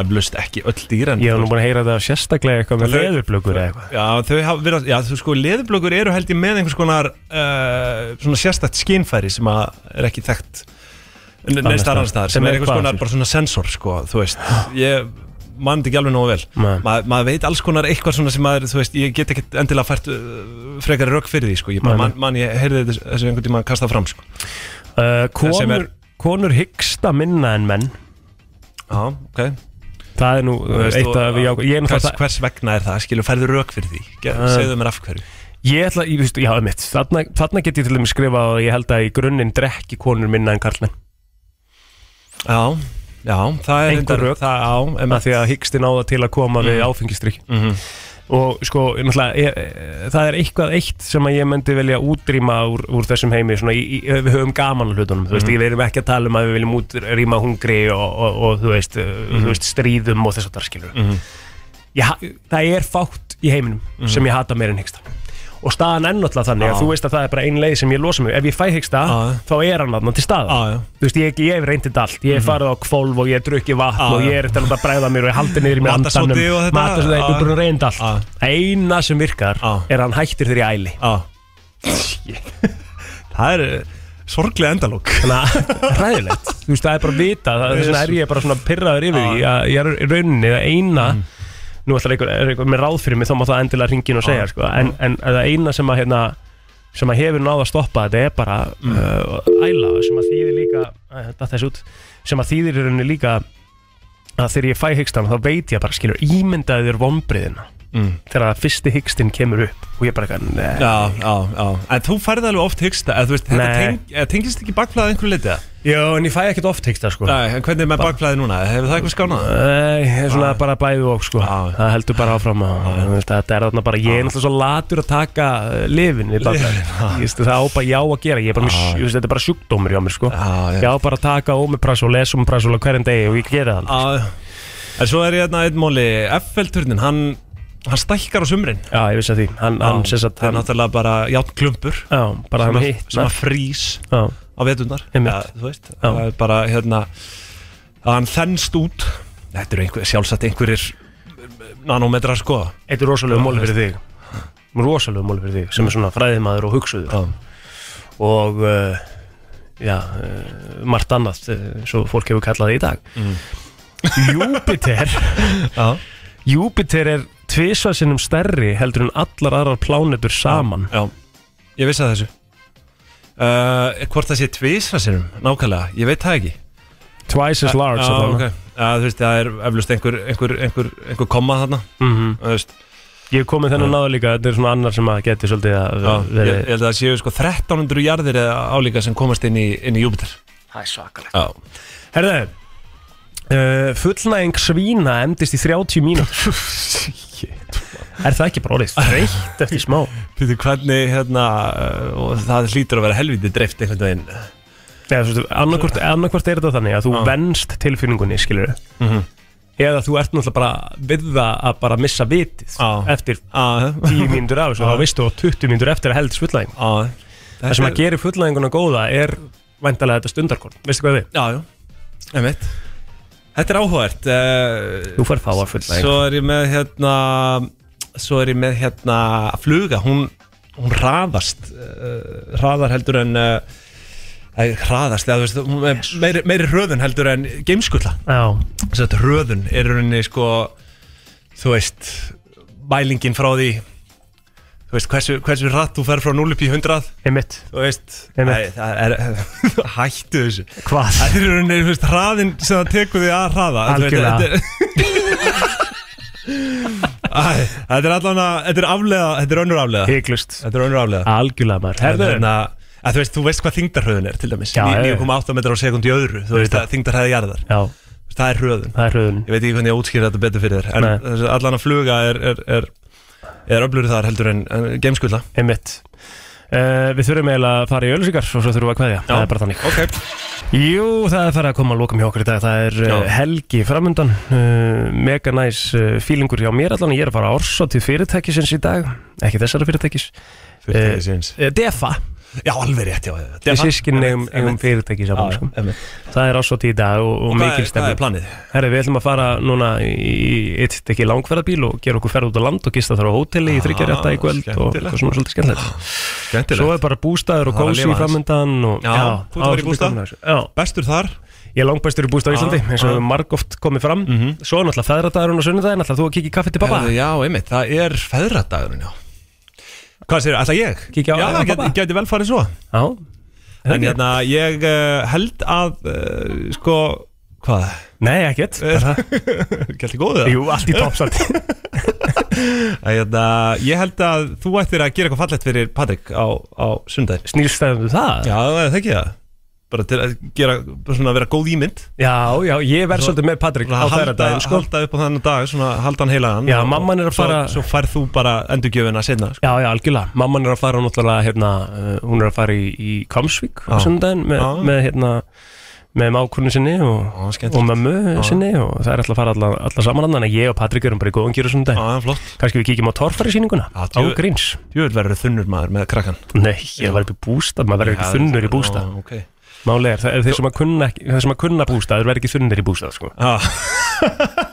eflaust ekki öll dýr en Ég hef nú búin að heyra það sérstaklega eitthvað með leðurblökur eða eitthvað Já, þau hafa verið, já, þú sko, leðurblökur eru held ég með einhvers konar uh, svona sérstætt skinnfæri sem að er ekki þekkt ne- Annars staðar. neins þar annars Sem þar, sem er er einhvers hvað, konar Arthur? bara svona sensor, sko, þú veist ég mann þetta ekki alveg nógu vel Nei. Ma, maður veit alls konar eitthvað svona sem maður, þú veist, ég get ekki endilega fært uh, frekari rögg fyrir því, sko, ég bara Nei, nei. mann, man, ég heyrði þessu, þessu einhvern tíma að kasta fram, sko uh, sem konur, er- konur hyggsta minna en menn Já, ok Það er nú Þú veist, eitt og- af ég, ég, er hvers, náttúrulega- hvers vegna er það, skilur, færðu rök fyrir því Ge- Uh, segðu mér af hverju ég ætla, ég, veist, já, mitt, þarna, þarna get ég til þeim skrifa og ég held að í grunninn drekki konur minna en karlmenn Já, já, það er einhver reyndar- rök það, á, að því að hyggstinn á það til að koma við Mhm. áfengistrykk og sko, náttúrulega, ég, eh, það er eitthvað eitt sem að ég myndi velja útrýma úr, úr þessum heimi, svona, í, í, við höfum gaman af hlutunum, þú veist, Mhm. við erum ekki að tala um að við viljum útrýma hungri og, og, og þú, veist, mm. þú veist, stríðum og þess að það skilur Mhm. ég, ha- það er fátt í heiminum Mhm. sem ég hata meir en hyggsta og staðan enn alltaf þannig Já. að þú veist að það er bara ein leið sem ég losa mig ef ég fæ hyggsta, þá er hann alltaf til staðar Já, já. þú veist, ég, ég hef reyndið allt ég hef farið á kvolv og ég hef drukkið vatn Já, og ég já. er eftir að láta bræða mér og ég haldi niður í mér Matarsódi andanum og þetta, Ah. matasóti, já. ég er búin að reynda allt eina sem virkar er að hann hættir þér í æli það er eh, sorglega endalók [LAUGHS] ræðilegt, þú veist, það er bara að vita það, þess vegna er ég bara svona pirraður yfir því að ég er í rauninni að eina nú ætlar einhver, er einhver með ráð fyrir mig þá má það endilega ringin og segja, sko, en, en að það eina sem að, hérna, sem að hefur náða að stoppa þetta er bara uh, æla sem að þýðir líka, að, þessi út sem að þýðir í rauninni líka að þegar ég fæ hyggstan þá veit ég bara skilur ímyndaði þér vonbriðina Mm. þegar að fyrsti hyggstinn kemur upp og ég bara eitthvað, nei Já, já, já En þú færði alveg oft hyggsta eða, þú veist, Þetta teng, eða, tengist ekki bakflæði einhverju liti eða? Jó, en ég fæ ekkert oft hyggsta sko Nei, en hvernig er með bakflæði núna? Hefur það eitthvað skánað? Ah. Nei, það er svona bara bæði og sko Það heldur bara áfram að þú veist, Þetta er þarna bara, ég er náttúrulega svo latur að taka eh, lyfin við bara Ah. Lyfin, ah. já. Ég veist, Það á bara já að gera, ég er bara með, Já. ég veist, þetta er bara sjúkdómur hjá mér sko Ah, já. Ég á bara að taka ómiprasol, lesumiprasol á hverjum degi og ég gera það Já, en svo er ég hérna einn móli FL-turnin, hann, hann stækkar á sumrin Já, ég vissi að því Hann, hann, já, hann, hann náttúrulega bara játnklumpur Já, bara sem, hann að- hitnar. sem að frýs Já. á veturnar Einmitt. ja, þú veist, Já. það er bara hérna að hann þennst út Þetta eru einhver, sjálfsagt einhverjir nanometrar sko Þetta er rosalega móli fyrir þig Rosalega móli fyrir þig sem er svona fræðimaður og hugsuður Já. Og uh, já, uh, margt annað uh, svo fólk hefur kallað það í dag Mm. [LAUGHS] Júpiter Júpiter er tvisvarsinnum stærri heldur en allar aðrar plánetur saman Já, ég vissi að þessu uh, Hvort það sé tvísra sinum, nákvæmlega, ég veit það ekki Eh, Twice as large, Já, allavega. ok Já, þú veist, það er eflust einhver, einhver, einhver, einhver komma þarna Mhm. Þú veist Ég hef komið þennan náður líka, þetta er svona annar sem að geti svolítið að Já, ég, verið ég held að það séu sko 1300 jarðir eða álíka sem komast inn í, inn í Júpiter Það er svakalegt Já, Herðu, uh, fullnæging svína endist í 30 [LAUGHS] mínútur Er það ekki bara orðið þreytt eftir smá? Pítur, hvernig hérna uh, og það hlýtur að vera helviti dreift einhvern veginn Nei, þú veist, annarkvort, annarkvort er þetta þannig að þú venst tilfinningunni, skilur Mhm. Eða þú ert náttúrulega bara við það að bara missa vitið Já. eftir 10 mínútur af þessu og Já. þá veistu og 20 mínútur eftir að heldist fullnæging Já. Það sem að gera fullnæðinguna góða er væntalega þetta stundarkorn, veistu hvað við? Já, já, einmitt Þetta er áhugavert uh, Þú fær fáar fullnægingu. Svo er ég með hérna Svo er ég með hérna Fluga, hún, hún raðast uh, Raðar heldur en uh, æ, Raðast, eða þú veist hún er meiri, meiri röðun heldur en Geimskulla Já Þetta röðun er rauninni sko Þú veist Mælingin frá því Þú veist hversu, hversu rætt þú fer frá 0 upp í 100 Einmitt Þú veist Einmitt. Æ, það er, [LAUGHS] Hættu þessu Hvað? Þetta er rauninni, þú veist, hraðin sem það tekur því að hraða Þú veist, Algjörlega. þetta er- [LAUGHS] Æ, Þetta er allan að, þetta er aflega, þetta er önnur aflega Hygglust Þetta er önnur aflega Algjörlega maður Herðu. Herðu Þú veist, þú veist hvað þingdarhauðin er til dæmis Já, já, já. 9,8 metrar á sekund í öðru Þú veist að þingdarhæði jarðar Já Það er hröðun Það er hröðun Ég veit ekki hvernig ég útskýra þetta betur fyrir þér En Nei. þessi allan að fluga er, er, er, er öflur þar heldur en, en gameskulla Einmitt uh, Við þurfum eiginlega að fara í öllusikar og svo þurfum við að kveðja Það er bara þannig okay. Jú, það er farið að koma að lokum hjá okkur í dag Það er uh, Já. helgi framundan uh, Mega næs uh, fílingur hjá mér allan Ég er að fara ársá til fyrirtækisins í dag Ekki þessara fyrirtækis Fyrirtækisins uh, Defa Já, alveg rétt, já, já, já. Við Defa. sískinni eigum, Einmitt, eigum einmitt. fyrirtæki saman Já, sko. Það er ásvot í dag og, og, Og hvað er- mikil stemning hvað er planið? Herri, við ætlum að fara núna í eitt ekki langferðabíl og gera okkur ferð út á land og gista þar á hóteli í þryggjar í kvöld og Ah, skemmtilegt. Ah, eitthvað svona svolítið skemmtilegt Skemmtilegt. Svo er bara bústæður og Það er að gósi lifa aðeins. framöndan og, Já, þú ert að fara í svolítið bústað? gaman að þessu. Já. Bestur þar? Ah, Ég er langbæstur í bústað á Já, Íslandi eins og já. hefur margóft komið fram Svo er náttúrulega feðradagurinn og sunnudaginn Ætlar þú að kikið kaffi til pappa? Mhm. Herðu, Já, einmitt, það er feðradagurinn, já Hvað sér, ætla ég? Kíkja á- Já, á það pabba. gæti, gæti vel farið svo Já En hérna, ég uh, held að, uh, sko, hvað? Eh, Nei, ekkert [LAUGHS] Gæti góðu það? Jú, allt í toppsalt [LAUGHS] hérna, Ég held að þú ættir að gera eitthvað fallegt fyrir Patrik á, á sundaginn Snýrstæðum það? Já, það er það ekki það Bara til að gera, bara svona að vera góð ímynd Já, já, ég verð svolítið með Patrik á halda, feðradaginn sko. halda upp á þannig dag, svona halda hann heilagan Já, og- mamman er að svo- fara- Svo færð þú bara endurgjöfina sko. setna Já, já, algjörlega. Mamman er að fara náttúrulega, hérna, uh, hún er að fara í, í Kamsvík á Já. sundaginn með, Já. með, hérna, með mákunni sinni og, skemmtilegt. og mömmu Já. sinni og það er alltaf að fara alla, alla saman andan að ég og Patrik erum bara í góðan kýru sundaginn. Já, flott. Kanski við kíkjum á torfari síninguna, á djú- gríns. Jú, verður þunnur maður með krakkan Nei, ég var upp í bústað, maður verður Já, ekki þunnur í bústað. já, ok. Málega er, það er þeir sem að kunna, ekki- þeir sem að kunna bústað, þeir verður ekki þunnir í bústað, sko. Já.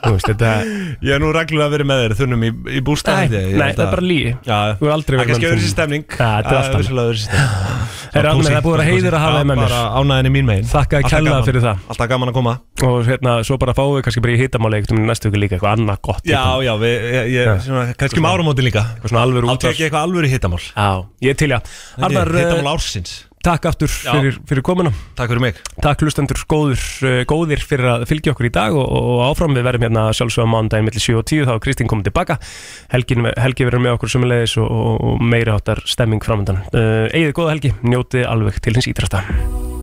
Þú veist, þetta... Ah. [LAUGHS] Ég er nú reglulega verið með þér þunnum í, í bústað Nei, nei, það er bara lygi. Þú hefur aldrei verið með með Kannski þunnum. öðru sér stemning Já, þetta [LAUGHS] er allt annað. Það öðru sér stemning Herra, Árni, það er búið að vera heiður að hafa þig með mér. Bara ánæðin í mín megin Þakka þér Alltaf kærlega gaman. fyrir það. Alltaf gaman að koma og hérna, svo bara fáum við kannski bara í hittamáli einhvern veginn næstu ykkur líka, eitthvað annað gott Já, já, við, ég, ég, svona, kannski um áramótin líka Eitthvað svona alvöru Þá tek ég eitthvað alvöru hittamál Já, ég er til já Arnar, Arnar, eh, hittamál ársins Takk aftur fyrir, fyrir komuna Takk fyrir mig Takk hlustendur góður, eh, góðir fyrir að fylgja okkur í dag og, og áfram við verðum hérna sjálfsögum mándaginn millir 7 og 10 þá er Kristín komið tilbaka Helgin, Helgi verður með okkur sömulegis Eh, og, og, og meiri háttar stemming framöndan uh, Egið góða helgi, njótið alveg til hins ítrasta